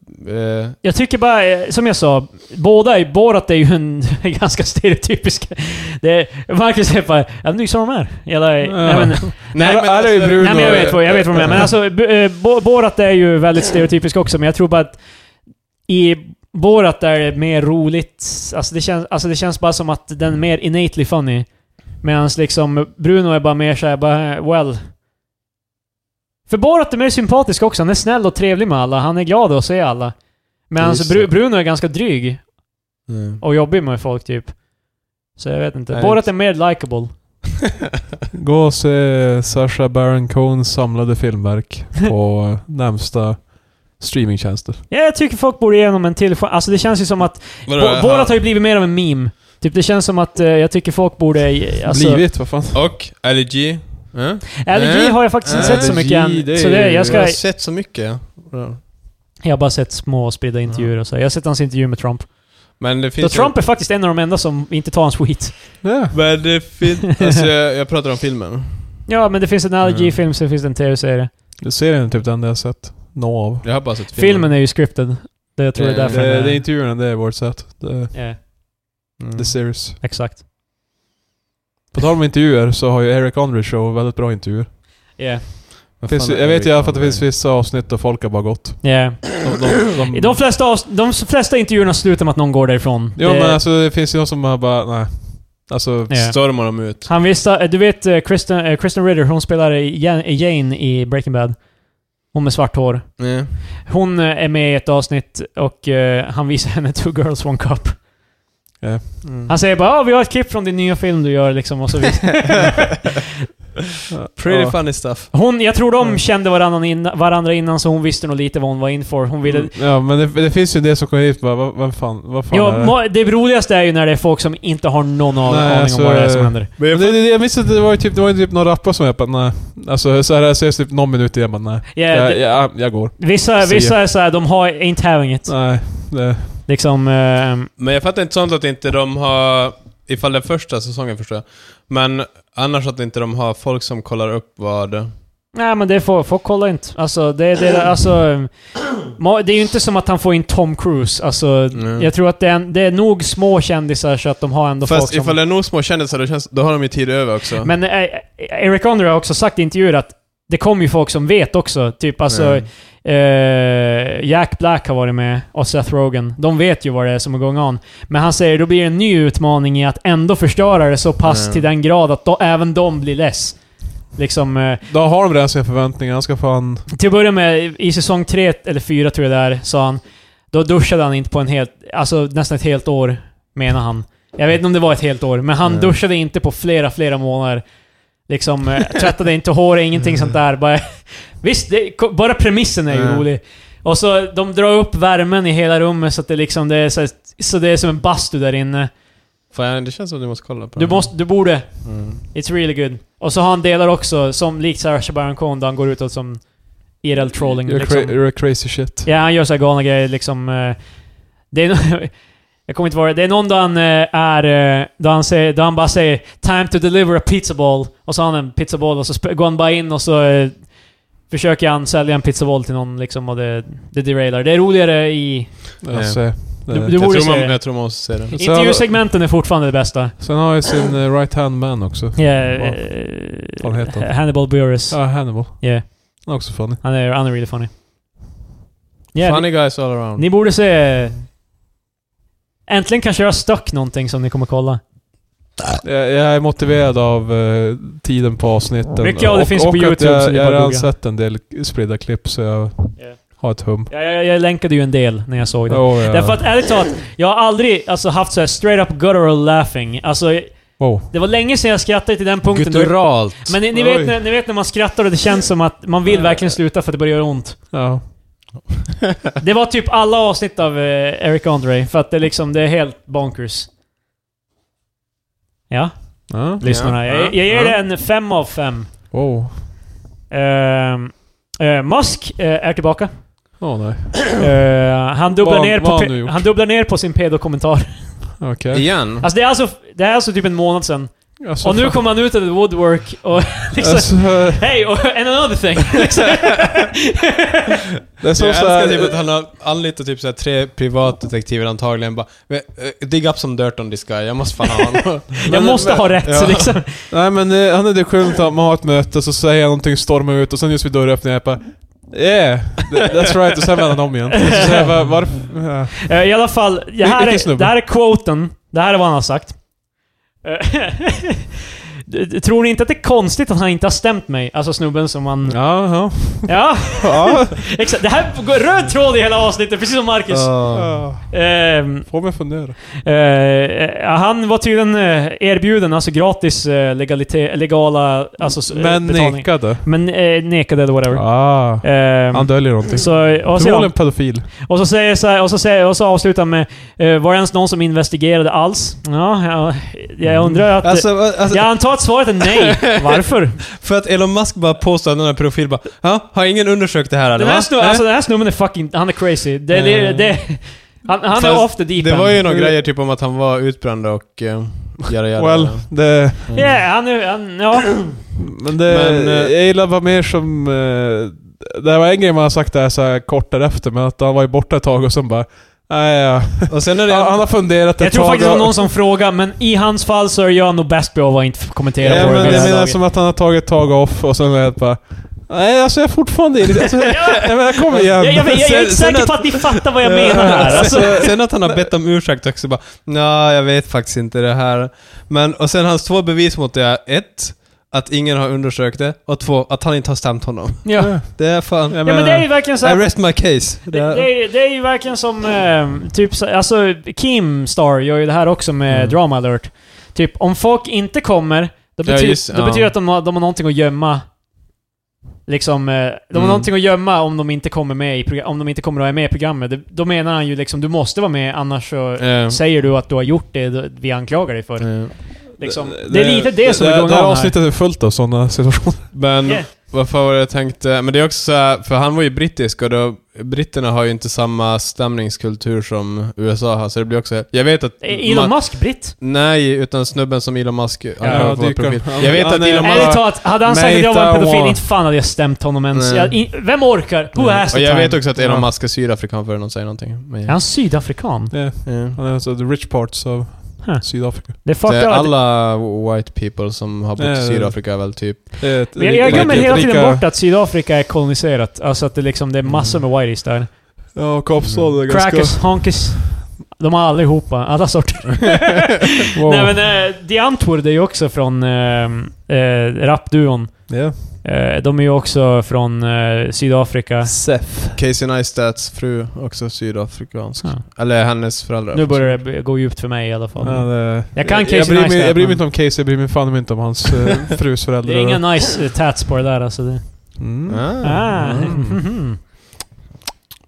A: Jag tycker bara, eh, som jag sa, båda i Borat är ju en ganska stereotypisk... Det är, Marcus säger bara ja, men det är ju så de är. Jävla, nej, men,
C: Här- här är ju
B: alltså,
C: Bruno.
A: Nej men jag vet vad, jag vet vad du menar. Men alltså, B- eh, Bo- Borat är ju väldigt stereotypisk också, men jag tror bara att i Borat där är mer roligt. Alltså det, känns, alltså det känns bara som att den är mer innately funny. Medan liksom Bruno är bara mer såhär bara, eh, well. För Borat är mer sympatisk också. Han är snäll och trevlig med alla. Han är glad att se alla. Medan
B: Just
A: Bru-
B: det.
A: Bruno är ganska dryg
B: Mm.
A: och jobbig med folk typ. Så jag vet inte.
B: Nej,
A: Borat
B: inte-
A: är mer likable.
C: Gå och se Sasha Baron Cohens samlade filmverk på eh, närmsta streamingtjänster.
A: Ja, jag tycker folk borde ge honom en till chans. Alltså det känns ju som att...
B: Vadå,
A: Bo-
B: han-
A: Borat har ju blivit mer av en meme. Typ det känns som att eh, jag tycker folk borde... eh, Alltså,
C: Blivit, vad fan.
B: Och Ali G. Mm.
A: LG
B: Nej.
A: har jag faktiskt inte
B: Nej.
A: sett så
C: LG,
A: mycket än.
C: det
A: Så
C: är
A: det,
C: ju-
A: jag,
B: Jag
A: ska,
B: har sett så mycket. ja.
A: jag har bara sett små spridda intervjuer och så. Jag har sett hans intervju med Trump.
B: Men det
A: Då
B: finns
A: Trump är faktiskt en av de enda som inte tar hans skit.
C: Ja.
B: ju... Men det finns... Alltså, jag, jag pratar om filmen.
A: Ja, men det finns en
B: Mm.
A: LG-film, sen finns det en tv-serie.
C: Serien är typ den jag har sett. Nå av.
B: Jag har bara sett filmen.
A: Filmen är ju scripted. Det jag tror jag
B: Ja,
A: är
B: ja,
A: därför
C: Eh, Det,
A: den
C: det är
A: är-
C: intervjuerna, det är vårt sätt. Det är
A: Ja,
B: Mm.
C: the series.
A: exakt.
C: På tal om intervjuer så har ju Eric Andre Show väldigt bra intervjuer.
A: Ja.
B: Vad fan
C: Finns,
B: är
C: jag vet
B: Eric
C: ju i alla fall att det
B: Andre?
C: finns vissa avsnitt där folk har bara gått.
A: ja.
C: De, de, de,
A: I De flesta, avs- de flesta intervjuerna slutar med att någon går därifrån.
C: Jo
A: Det-
C: men alltså det finns ju de som har bara, nej. Alltså,
A: Ja.
B: Stormar de ut.
A: Han visste, eh, du vet eh, Kristen, eh, Kristen Ritter, hon spelar i Jan- eh, Jane i Breaking Bad. Hon med svart hår.
B: Ja.
A: Hon eh, är med i ett avsnitt och eh, han visar henne Two Girls One Cup. Han säger bara "Ah, vi har ett klipp från din nya film du gör liksom och så vidare.
B: Pretty
C: ja.
B: funny stuff.
A: hon, jag tror de
C: Mm.
A: kände varandra innan, varandra innan så hon visste nog lite vad hon var in för. Hon ville...
C: Mm. Ja men det, det finns ju det som kommer hit bara, vad, vad fan, vad fan
A: Ja,
C: är det?
A: må- det roligaste är ju när det är folk som inte har någon av-
C: Nej,
A: aning
C: alltså,
A: om vad det är
C: eh,
A: som händer.
C: Men
B: Men jag
C: det, det, jag minns att det var ju typ, det var ju typ några rappare som jag bara nej. Alltså så här, jag ses typ någon minut igen bara nej.
A: Ja,
C: Jag,
A: det,
C: jag, jag går.
A: vissa,
C: se.
A: vissa är såhär, de har ain't having it.
C: Nej. Det,
A: Liksom... eh,
B: Men jag fattar inte sånt att inte de har... Ifall det är första säsongen förstår jag. Men annars att inte de har folk som kollar upp vad...
A: Nej men det får, folk kollar inte. Alltså det, det, alltså, um, ma- det är ju inte som att han får in Tom Cruise. Alltså,
B: Mm.
A: Jag tror att det är, en, det är nog små kändisar så att de har ändå
B: Fast
A: folk som...
B: ifall det är nog små kändisar då, känns, då har de ju tid över också.
A: Men eh, eh, Eric Andre har också sagt i intervjuer att det kommer ju folk som vet också. Typ alltså...
B: Mm.
A: eh, Jack Black har varit med och Seth Rogen. De vet ju vad det är som är going on. Men han säger då blir det en ny utmaning i att ändå förstöra det så pass
B: Mm.
A: till den grad att då, även de blir less. Liksom... eh,
C: då har de redan sina förväntningar. Han ska fan...
A: Till att börja med, i säsong tre eller fyra tror jag det är, sa han. Då duschade han inte på en helt, alltså nästan ett helt år, menar han. Jag vet inte om det var ett helt år, men han
B: Mm.
A: duschade inte på flera, flera månader. Liksom, eh, tvättade inte håret, ingenting sånt där. Bara, visst, det, ko- bara premissen är ju
C: Mm.
A: rolig. Och så de drar upp värmen i hela rummet så att det liksom, det är så, här- så det är som en bastu där inne.
B: Fan, det känns som att du måste kolla på
A: Du
B: den.
A: måste, du borde.
B: Mm.
A: It's really good. Och så har han delar också, som likt Sacha Baron Cohen, då han går utåt som IRL trolling.
C: You're,
A: liksom.
C: cra- you're crazy shit.
A: Ja, han gör så här galna grejer liksom. eh, Det är, no- jag kommer inte vara det. är någon då han eh, är... eh, Då han, säger, då han bara säger “Time to deliver a pizza ball” och så har han en pizza ball och så sp- går han bara in och så eh, försöker han sälja en pizza ball till någon liksom och det, det derailar. Det är roligare i...
C: Alltså, det-
A: Du-
B: Jag,
A: du- borde
B: tror
A: se det.
B: man, jag tror man måste se den.
C: Så-
A: Intervjusegmenten är fortfarande det bästa.
C: Sen har jag sin eh, right hand man också.
A: Ja,
C: Vad fan heter
A: eh,
C: han?
A: Hannibal Buress.
C: Ja, Hannibal.
A: Yeah.
C: Han är också funny.
A: Han är, han är really funny. Yeah,
B: Funny guys all around.
A: Ni borde se... Äntligen kanske jag har stuck någonting som ni kommer kolla.
C: Jag, jag är motiverad av eh, tiden på avsnitten.
A: Mycket av det
C: och,
A: finns
C: och
A: på
C: att
A: YouTube, så
C: Jag,
A: det är bara
C: jag har
A: att
C: redan
A: googla.
C: sett en del spridda klipp så jag har ett hum.
A: Jag, jag, jag länkade ju en del när jag såg den.
C: Oh, ja.
A: Därför att ärligt talat, jag har aldrig alltså, haft så här straight up guttural laughing. Alltså,
C: wow.
A: det var länge sedan jag skrattade till den punkten. då-
B: Gutturalt.
A: Men ni, ni,
C: Oj.
A: vet, när- ni vet när man skrattar och det känns som att man vill verkligen sluta för att det börjar göra ont.
C: Ja.
A: Det var typ alla avsnitt av eh, Eric Andre, för att det, liksom, det är helt bonkers. Ja,
C: ja.
A: lyssnarna. Jag, jag ger det en fem av fem.
C: Wow.
A: Ehm, eh, Musk eh, är tillbaka.
C: Åh nej.
A: Eh, han, dubblar
C: Vad-
A: ner
C: vad
A: på
C: har
A: pe-
C: han nu gjort?
A: han dubblar ner på sin pedokommentar.
C: Okej.
B: Igen?
A: Alltså det är alltså, det är alltså typ en månad sedan.
C: Alltså,
A: Och nu
C: fan.
A: kommer han ut av the woodwork och liksom...
C: Alltså,
A: Hej, och and another thing! Liksom.
C: det är som
B: jag
C: så
B: älskar
C: här,
B: typ att han har anlitat typ så här tre privatdetektiver antagligen bara "Men, eh, Dig up some dirt on this guy, jag måste fan ha honom.
A: Jag måste ha rätt,
C: Ja.
A: liksom.
C: Nej men eh, han är det skönt att man har ett möte, så säger han någonting, stormar ut och sen just vid dörröppningen jag bara Yeah! th- That's right, och sen vänder han om igen. Så säger jag, varför... ja.
A: Eh, I alla fall, det här,
C: Vilken
A: är,
C: snubbe?
A: det här är quoten. Det här är vad han har sagt. Eh, d- d- Tror ni inte att det är konstigt att han inte har stämt mig? Alltså snubben som man...
C: Ja,
A: Ja,
C: ja.
A: exakt. Det här går röd tråd i hela avsnittet, precis som Marcus.
C: ja.
A: Ehm,
C: Får mig att fundera.
A: eh, han var tydligen eh, erbjuden, alltså gratis eh, legalite, legala alltså, s- eh,
C: Men
A: betalning.
C: nekade.
A: Men eh, nekade eller whatever.
C: Ah.
A: Ehm,
C: Han döljer någonting.
A: så, och, så,
C: Förmodligen pedofil.
A: och så säger så här, och så, säger, och så avslutar han med eh, Var det ens någon som investigerade alls? Ja, jag, jag undrar att...
B: Alltså, alltså,
A: jag antar att svaret är nej. Varför?
B: För att Elon Musk bara påstår att den här profil bara "Ja, har ingen undersökt det här eller
A: Den här,
B: va?"
A: snubben,
B: Nej.
A: alltså, den här snubben är fucking... Han är crazy. Det, det,
B: Eh.
A: det, han han är
B: Fast
A: off the deep
B: Det
A: end.
B: var ju några grejer typ om att han var utbränd och... Uh, jada, jada,
C: Well,
B: jada.
C: det...
B: Mm.
A: Yeah, han är... Han, ja.
C: Men det...
B: Men, eh,
C: jag gillar vad mer som... eh, det var en grej man har sagt där så här kort därefter, men att han var ju borta ett tag och sen bara... Nej, ja.
B: Och sen är det...
C: han, han har funderat ett
A: Jag tror
C: tag
A: faktiskt det var
C: och-
A: någon som frågade, men i hans fall så är jag nog bäst på att inte kommentera
C: Ja,
A: på det.
C: men
A: vid det
C: jag
A: här
C: menar
A: laget.
C: som att han har tagit ett tag off och sen är det bara... Nej, alltså jag är fortfarande i det. Alltså, jag menar, kom igen.
A: jag, jag, jag, jag är
B: Sen-
A: inte
B: sen
A: säker
B: att-
A: på att ni fattar vad jag menar här. Alltså,
B: sen, sen att han har bett om ursäkt också bara "Nja, jag vet faktiskt inte det här. Men, och sen hans två bevis mot det är ett, att ingen har undersökt det och två, att han inte har stämt honom.
A: ja.
B: Det är fan...
A: ja, men det är ju verkligen så här,
B: I rest my case.
A: Det, det, är, det är ju verkligen som, eh, typ, så- alltså Kim Star gör ju det här också med
B: Mm.
A: Drama Alert. Typ, om folk inte kommer, då,
B: Ja,
A: bety
B: just-
A: då
B: ja.
A: betyder det att de har, de har någonting att gömma. Liksom, eh, de har
B: Mm.
A: någonting att gömma om de inte kommer med i progra- om de inte kommer att vara med i programmet. Det, då menar han ju liksom, du måste vara med annars så
B: Eh,
A: säger du att du har gjort det då- vi anklagar dig för.
B: eh,
A: Liksom, det är lite det som
C: det,
A: är
C: Det här
A: gången här.
C: avsnittet är fullt av sådana situationer.
B: Men
A: Yeah.
B: vad fan var det jag tänkte? Men det är också så här, för han var ju brittisk och då, britterna har ju inte samma stämningskultur som USA har, så det blir också... Jag vet att...
A: Är Eh, Elon
B: Ma-
A: Musk britt?
B: Nej, utan snubben som Elon Musk... Ja,
C: dyker.
B: Jag vet
C: Han
B: att
C: är-
B: Elon Musk...
C: bara-
A: Ärligt talat, hade han sagt att jag var en
C: Mate, I
A: pedofil,
C: wanna-
A: inte fan hade jag stämt honom ens.
B: Nej.
A: Jag, in, vem orkar? Who has the
B: Och jag
A: time?
B: vet också att Elon
C: Ja.
B: Musk är sydafrikan för någon säger någonting. Men, Eh,
A: Är han sydafrikan?
C: Ja,
B: Ja.
C: Han är alltså the rich parts av
A: Huh.
C: Sydafrika.
A: Det är
B: Det
A: fucked
B: är
A: up.
B: alla white people som har bott
C: Nej,
B: i
C: det-
B: Sydafrika är väl typ...
C: Det är ett-
A: Men jag, jag
C: det är
A: glömmer
C: ett
A: hela tiden
C: rika-
A: bort att Sydafrika är koloniserat. Alltså att det, liksom, det är massor med whiteys där.
C: Ja, Kapstaden är ganska...
A: Crackers, honkies. De har allihopa, alla sorter.
C: Wow.
A: Nej men eh, The Antwoord är ju också från eh, eh, rapduon.
C: Ja.
A: Eh, de är ju också från eh, Sydafrika.
C: Seth.
B: Casey Neistats fru, också sydafrikansk.
A: Ja.
B: Eller hennes föräldrar.
A: Nu börjar det gå djupt för mig i alla fall.
C: Ja, det,
A: Jag kan Casey
C: eh, jag bryr, mig,
A: Neistat,
C: jag bryr mig
A: men-
C: inte om Casey, jag bryr mig fan inte om hans eh, frus föräldrar.
A: Det är inga nice eh, tats på det där alltså. Det.
C: Mm.
B: Ah.
A: Ah.
C: Mm.
A: mhm.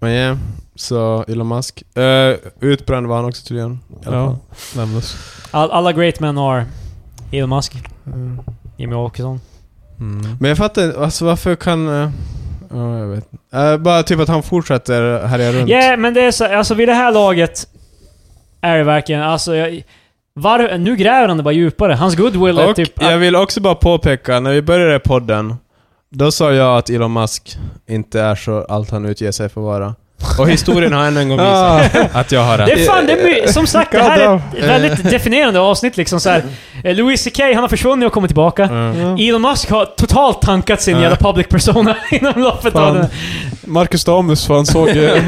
B: Men ja, så Elon Musk. Eh, utbränd var han också tydligen. i alla
C: Ja,
B: fall.
C: nämndes.
A: All, alla great men are Elon Musk, Jimmy Åkesson.
C: Mm.
B: Men jag fattar inte, alltså varför kan... eh, Ja, jag vet inte. Eh, Bara typ att han fortsätter härja runt.
A: Ja, men det är så, alltså vid det här laget är det verkligen, alltså jag, var, nu gräver han det bara djupare. Hans goodwill är
B: Och
A: typ...
B: jag vill också bara påpeka, när vi började podden, då sa jag att Elon Musk inte är så allt han utger sig för att vara. Och historien har än en gång visat
C: Ah,
B: att jag har
A: det
B: rätt.
A: är fan, det är, my- som sagt, det här är ett
B: Goddamn.
A: väldigt definierande avsnitt liksom så här. Eh, Louis CK, han har försvunnit och kommit tillbaka.
B: Mm. Eh.
A: Elon Musk har totalt tankat sin
B: Ja.
A: jävla public persona inom loppet av
C: Fan.
A: den.
C: Marcus Damus, fan såg, eh,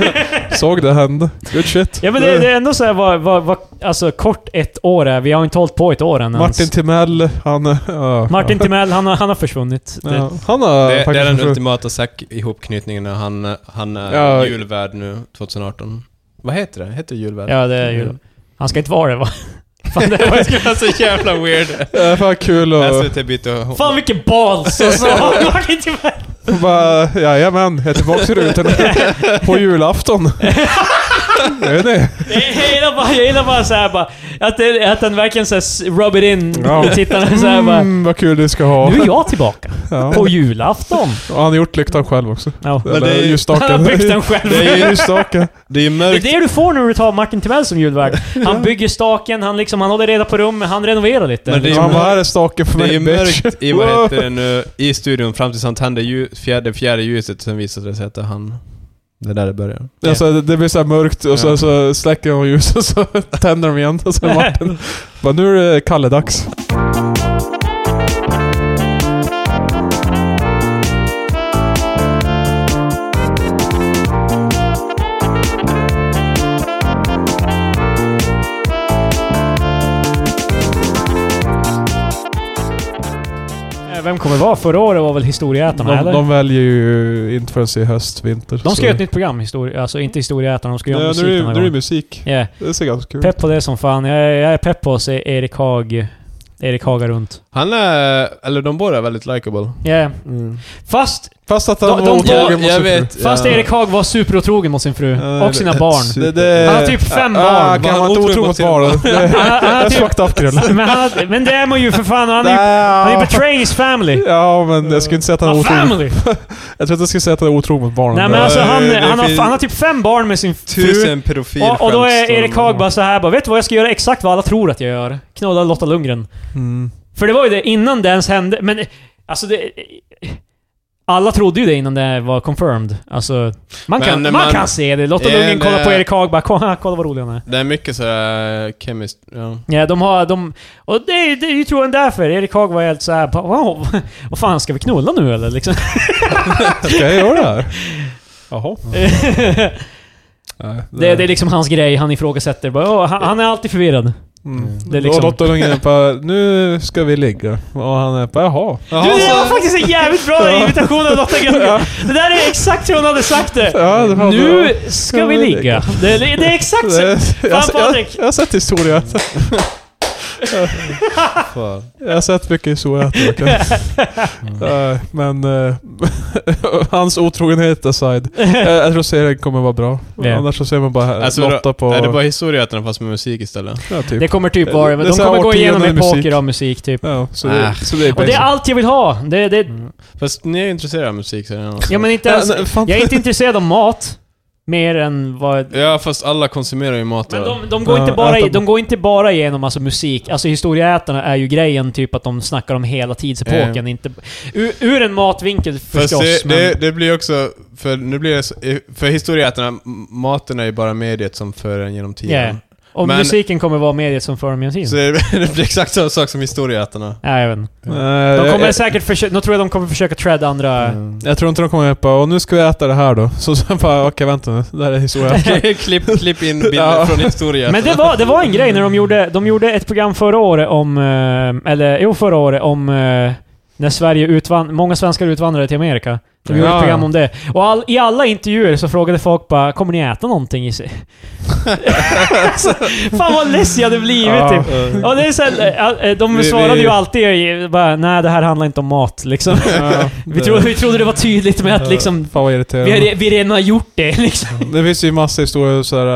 C: såg det hända. Good shit.
A: Ja men
B: Eh.
A: det, det är ändå så här vad, vad, vad, alltså kort ett år är. Vi har inte hållit på ett år än ens.
C: Martin Timell, han... eh, ja.
A: Martin Timell, han, har- han har försvunnit. Det-
C: Ja, han har
B: Det, det är
C: faktiskt...
B: den
C: försvunnit.
B: ultimata säck ihopknytningen när han, han är
C: Ja.
B: julvärd nu 2018. Vad heter det? Heter det julvärd?
A: Ja, det är ju... Han ska inte vara det va? Fan, det var,
B: skulle vara så jävla weird.
C: Det är fan kul och...
B: SVT bytte
A: fan vilken balls alltså! Martin Timell!
C: Och bara, jajamän, jag är tillbaka i rutan. På julafton. Jag vet inte.
A: Jag gillar bara, jag gillar bara såhär bara... Att, det, att han verkligen såhär rub it in
C: Ja.
A: i tittarna såhär bara...
C: Mm, vad kul du ska ha.
A: Nu är jag tillbaka!
C: Ja.
A: På julafton!
C: Och han har gjort lyktan själv också.
A: Ja.
B: Men det är
C: Eller
B: ju-
A: Han
C: ljusstaken.
A: har byggt den själv.
B: Det
C: Det
B: är ju-
C: är ljusstaken.
B: Det är ju
A: Det är
B: mörkt.
A: det du får när du tar Martin Timell som julvärd. Han bygger staken, han, liksom, han håller reda på rummet, han renoverar lite.
B: Men det är ju
C: Han bara,
B: mörkt.
C: här är staken för
B: Det är
C: mig
B: ju
C: bitch.
B: mörkt i, vad heter det nu, i studion fram tills han tände ljus, fjärde, fjärde ljuset, sen visade det sig att det är han... Det är där det börjar.
C: Alltså, det- det blir såhär mörkt och så,
B: Ja.
C: så släcker de ljuset och så tänder de igen. Och så är Martin. Bara, nu är det Kalle-dags.
A: vem kommer vara? Förra året var väl Historieätarna,
C: De,
A: eller?
C: de väljer ju inte förrän i höst, vinter.
A: De
C: så-
A: ska göra ett nytt program, histori- alltså inte Historieätarna, de ska
C: Nej,
A: göra musik
C: nu, är
A: den
C: det-
A: här
C: nu är det
A: gången.
C: musik. Mm.
A: Yeah.
C: Det ser ganska kul ut.
A: Pepp på det som fan. Jag är, jag är pepp på att se Erik Haag... Erik Haga runt.
B: Han är... Eller de båda är väldigt likable.
A: Yeah. Fast,
C: Fast att
A: De-
C: han
A: de
C: var
A: tar-
C: otrogen mot
B: jag
C: sin fru.
B: vet.
A: fast
B: Mm. Ja.
A: Erik Haag var superotrogen mot sin fru.
C: Ja,
A: och sina
C: det-
A: barn.
C: det- det-
A: Han har typ fem
C: Ah,
A: barn.
C: Kan
B: Var
C: man
B: han
C: inte
B: otrogen
C: otrogen
B: mot
C: mot
B: sin-
C: barnen? Det
A: Han- han- han
C: det
A: har
C: är
A: typ-
C: fucked up krull.
A: men, han, men det är man ju för fan. Han är ju han är betraying his family.
C: Ja, men jag skulle inte säga att han är
A: My
C: otrogen.
A: family!
C: Jag tror inte jag skulle säga att han är otrogen mot barnen.
A: Nej men
B: Nej,
A: alltså han,
B: det
A: han, har,
B: finns-
A: han har typ fem barn med sin fru.
B: Tusen pedofil
A: Och, och då är Erik Haag bara så här bara, vet du vad jag ska göra exakt vad alla tror att jag gör? Knulla Lotta Lundgren.
C: Mm.
A: För det var ju det innan det ens hände. Men eh, alltså det... eh, Alla trodde ju det innan det var confirmed. Alltså, man,
B: Men
A: kan,
B: när
A: man,
B: man-
A: kan se det. Lotta
B: Eh,
A: Lundgren kollar på
B: nej.
A: Erik Haag bara kolla, kolla vad rolig han är.
B: Det är mycket sådär kemiskt... Ja.
A: Ja, de har... De, och det, är- det är ju troligen därför. Erik Haag var helt såhär bara wow, Vad fan, ska vi knulla nu eller? Liksom.
C: Ska jag göra det här? Jaha. Nej,
A: det, det är liksom hans grej. Han ifrågasätter bara "Åh, han, han är alltid förvirrad.
C: Mm.
A: det är liksom-
C: Och Lotta Lundgren bara, nu ska vi ligga. Och han är bara, jaha.
A: Du, det var faktiskt en jävligt bra invitation av Lotta Lundgren. Det där är exakt hur hon hade sagt det.
C: Ja, det var
A: Nu ska vi ligga. Det, det är exakt så.
C: Det- jag,
A: Fan,
C: jag,
A: Patrik.
C: jag har sett historia. Jag har sett mycket historia. Uh, men eh, hans otrogenhet aside. Jag, jag tror serien kommer vara bra.
A: Ja.
C: Annars så ser man bara
B: Alltså,
C: Lotta på...
B: Är det bara historieätarna fast med musik istället?
C: ja, typ.
A: Det kommer typ
C: Det-
A: vara...
C: det
A: De
C: är så här
A: kommer gå igenom
C: årtionden i
A: epoker
C: musik.
A: av musik typ.
C: ja, så,
B: Ah.
C: det, så det är
A: Och det är
C: basic.
A: allt jag vill ha! Det, det,
B: Fast ni är intresserade av musik säger jag.
A: ja, men inte
C: Ja,
A: ens,
C: nej, fan.
A: jag är inte intresserad av mat. Mer än vad...
B: Ja, fast alla konsumerar ju mat.
A: Men
B: ja.
A: de, de, går
C: Ja,
A: inte bara, i-
C: äta-
A: de går inte bara igenom alltså, musik. Alltså historieätarna är ju grejen typ att de snackar om hela tidsepoken. Inte, ur, ur en matvinkel
B: Fast
A: förstås.
B: det,
A: men,
B: det, det blir också, för nu blir det så, för historieätarna, m- maten är ju bara mediet som för en genom tiden.
A: Yeah. och
B: men-
A: musiken kommer vara mediet som för dem genom
B: Så
A: tiden.
B: det, det blir exakt samma sak som historieätarna.
A: Nej, jag vet inte.
C: Nej,
A: De
C: jag- Mm.
A: kommer
C: jag-
A: säkert försöka... Nu tror jag de kommer försöka träda andra...
C: Jag tror inte de kommer hjälpa. Och nu ska vi äta det här då. Så sen bara, okej vänta nu. Det här är historia.
B: klipp, klipp in bilder
C: Ja.
B: från historieätarna.
A: Men det var, det var en grej när de gjorde, de gjorde ett program förra året om... eh, Eller jo, förra året om... eh, När Sverige utvandrade... Många svenskar utvandrade till Amerika. De gjorde
C: Ja.
A: ett program om det. Och all, i alla intervjuer så frågade folk bara “Kommer ni äta någonting?” i sig? alltså, Fan vad less jag hade blivit
C: Ja.
A: typ. Och det är så här, eh, eh, de
B: Vi-
A: svarade
B: vi-
A: ju alltid eh, bara “Nej, det här handlar inte om mat” liksom.
C: Ja,
A: vi, trodde, vi trodde det var tydligt med att liksom...
C: Fan vad
A: Vi,
C: irriterande.
A: har, vi redan har gjort det liksom.
C: Det finns ju massa historier så här,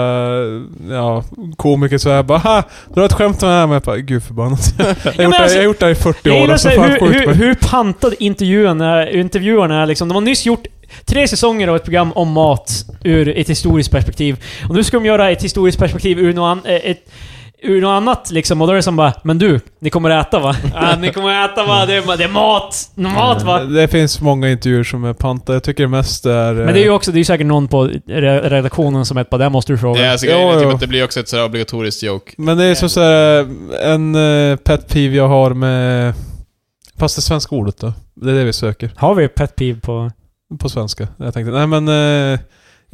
C: eh, ja, komiker så här bara "Ha, Du har ett skämt om det här med jag bara, gud förbannat. Jag har
A: men
C: gjort, det-
A: alltså-
C: jag har gjort det här i 40
A: Jag
C: år.
A: gillar
C: Alltså,
A: såhär,
C: fan,
A: hur,
C: skjut
A: hur,
C: mig.
A: hur pantad intervjuerna, intervjuerna är liksom. De har nyss gjort tre säsonger av ett program om mat ur ett historiskt perspektiv. Och nu ska de göra ett historiskt perspektiv ur något, an, eh, ett, ur något annat liksom. Och då är det som bara “Men du, ni kommer äta va?” ah, “Ni kommer äta va? Det är, det är mat! Mat va?”
C: Det finns många intervjuer som är panta. Jag tycker det mest är... eh,
A: Men det är ju också, det är ju säkert någon på re- redaktionen som är på “Det här måste du fråga”.
B: Ja, alltså, grejen
C: Jo,
B: är typ
C: jo.
B: att det blir också ett sådär obligatoriskt joke.
C: men det är som så här, eh, en eh, pet peeve jag har med... Fast det svenska ordet då. Det är det vi söker.
A: Har vi pet peeve på...
C: på svenska. Jag tänkte, nej men... Eh,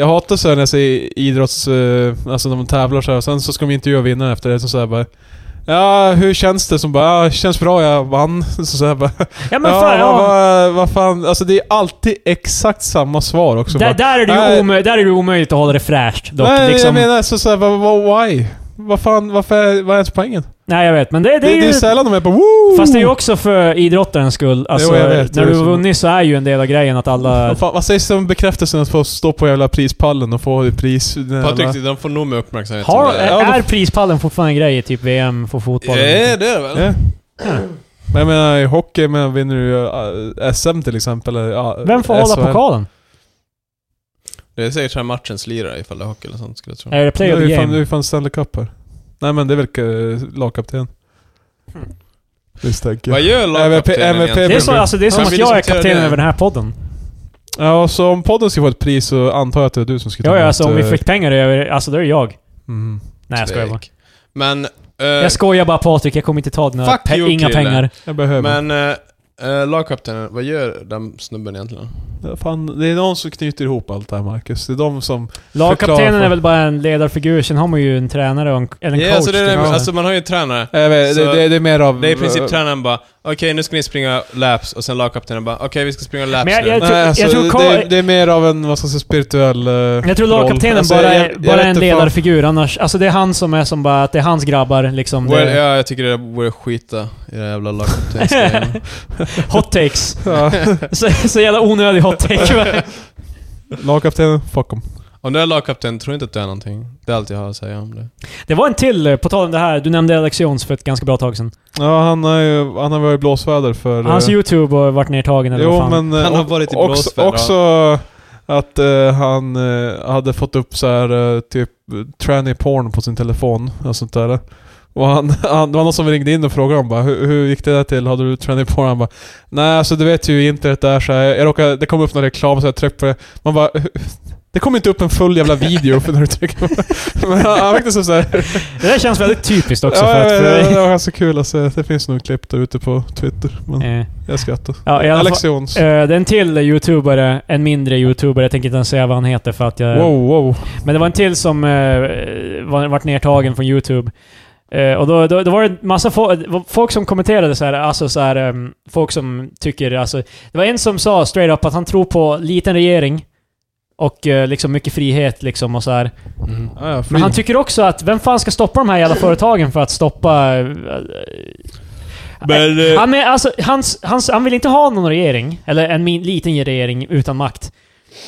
C: jag hatar så här när jag ser idrotts... Eh, alltså när de tävlar så här, och sen så ska de intervjua vinnaren efter det. Så, så här bara... Ja, hur känns det? Som bara, ja, känns bra, jag vann. Så, så här bara,
A: Ja men
C: ja,
A: fan,
C: vad,
A: ja.
C: vad, vad fan. Alltså det är alltid exakt samma svar också.
A: Där,
C: bara,
A: där, är det ju
C: Nej.
A: omö- där är det ju omöjligt att hålla det fräscht dock.
C: nej,
A: liksom.
C: jag menar så, så här, vad, vad, why? Vad fan, varför, är- vad är ens poängen?
A: Nej jag vet, men det, det,
C: Det, det,
A: är ju...
C: är sällan de är på woo!
A: Fast det är ju också för idrottarens skull. Alltså,
C: jag vet.
A: när
C: Det
A: du
C: är
A: har
C: så.
A: vunnit så är ju en del av grejen att alla...
C: Vad fan, vad sägs det om bekräftelsen att få stå på jävla prispallen och få pris?
B: Patrik, de får nog med uppmärksamhet.
A: Har,
B: som det är.
C: Ja,
A: är prispallen fortfarande en grej i typ VM för fotboll?
B: Ja, det är det väl?
C: Ja. Men jag menar i hockey, men vinner du eh, SM till exempel? Eller, ja,
A: Vem får hålla
C: SHL?
A: pokalen?
B: Det är säkert såhär matchens lirare ifall det är hockey eller sånt skulle jag tro.
A: Är det
C: Det
A: play
C: är
A: of the
C: ju fan, det är
A: game?
C: ju fan Stanley Cup här. Nej men det är väl uh, lagkapten. Visst tänker
B: Vad
C: jag.
B: gör lagkaptenen
C: MVP
A: Det är, så,
B: egentligen?
A: alltså, det är som
B: Men
A: att
B: vi
A: jag är
B: diskuterar
A: kapten
B: det.
A: över den här podden.
C: Ja, och så om podden ska få ett pris så antar jag att det är du som ska
A: Ja, ja,
C: emot,
A: alltså om vi
C: eh,
A: fick pengar över... Alltså då är det jag.
C: Mm.
A: Nej, jag skojar bara.
B: Tvek. Men... eh,
A: Jag skojar bara Patrik, jag kommer inte ta dina
B: Fuck
A: pe-
B: you,
A: inga
B: kille.
A: pengar.
C: Jag behöver.
B: men eh, eh, lagkaptenen, vad gör den snubben egentligen?
C: Ja, Fan, det är någon som knyter ihop allt det här Marcus. Det är de som...
A: Lagkaptenen
C: Förklara för-
A: är väl bara en ledarfigur, sen har man ju en tränare och en, eller en
B: Ja,
A: coach.
B: alltså, det är,
A: till
B: alltså man har ju en tränare.
C: Jag vet,
B: Så-
C: det, det, det är mer av...
B: Det är i princip tränaren bara Okej, nu ska ni springa laps och sen lagkaptenen bara Okej, vi ska springa laps
A: Men jag-
B: nu.
A: jag-
C: Nej, alltså,
A: tror Karl-
C: det, det är mer av en, vad ska jag säga, spirituell... eh,
A: Jag tror
C: roll.
A: lagkaptenen
C: Alltså,
A: bara
C: jag-
A: är,
C: jag
A: bara är
C: vet
A: en
C: inte fan.
A: ledarfigur annars. Alltså det är han som är som bara, att det är hans grabbar liksom.
B: Well,
A: det,
B: ja, jag tycker det vore skita i det här jävla lagkaptensgrejen.
A: Hot takes.
C: Ja,
A: så, så jävla onödig hot take. va?
C: lagkaptenen, fuck em.
B: om du är lagkapten, tror inte att du är någonting. Det är allt jag har att säga om det.
A: det var en till, eh, på tal om det här. Du nämnde Alex Jones för ett ganska bra tag sedan.
C: Ja, han har ju, han har varit i blåsväder för... eh,
A: Hans YouTube har varit nertagen eller vad
C: Jo,
A: fan.
C: men... eh,
B: Han har
C: och-
B: varit i
C: också,
B: blåsväder,
C: också att eh, han eh, hade fått upp så här eh, typ tranny porn på sin telefon och sånt där. Och han, han, det var någon som ringde in och frågade honom bara, hur, hur gick det där till? Hade du tranny porn? Han bara Nej, alltså du vet ju internet är så här. Jag råkade, det kom upp någon reklam så jag tryckte på det. Man bara "Hur- Det kom inte upp en full jävla video för när du trycker på det." Men han, han verkade som så här.
A: Det där känns väldigt typiskt också.
C: ja,
A: för att,
C: ja, ja, det var ganska kul alltså. Det finns nog klipp där ute på Twitter. Men
A: Eh,
C: jag skrattar.
A: ja, i alla fall,
C: Alex Jones.
A: eh, det är en till YouTubare, en mindre YouTubare. Jag tänker inte ens säga vad han heter för att jag...
C: Wow, wow.
A: Men det var en till som eh, var, vart nertagen från YouTube. Eh, och då, då, då var det massa fo- det var folk som kommenterade så här, alltså så här, ehm, folk som tycker, alltså. Det var en som sa straight up att han tror på liten regering. Och eh, liksom mycket frihet liksom och så här.
B: Mm.
C: Ja, ja,
A: Men
C: freedom.
A: han tycker också att vem fan ska stoppa de här jävla företagen för att stoppa... eh,
B: Men, eh,
A: han, men, alltså, hans, hans, han vill inte ha någon regering, eller en min, liten regering utan makt.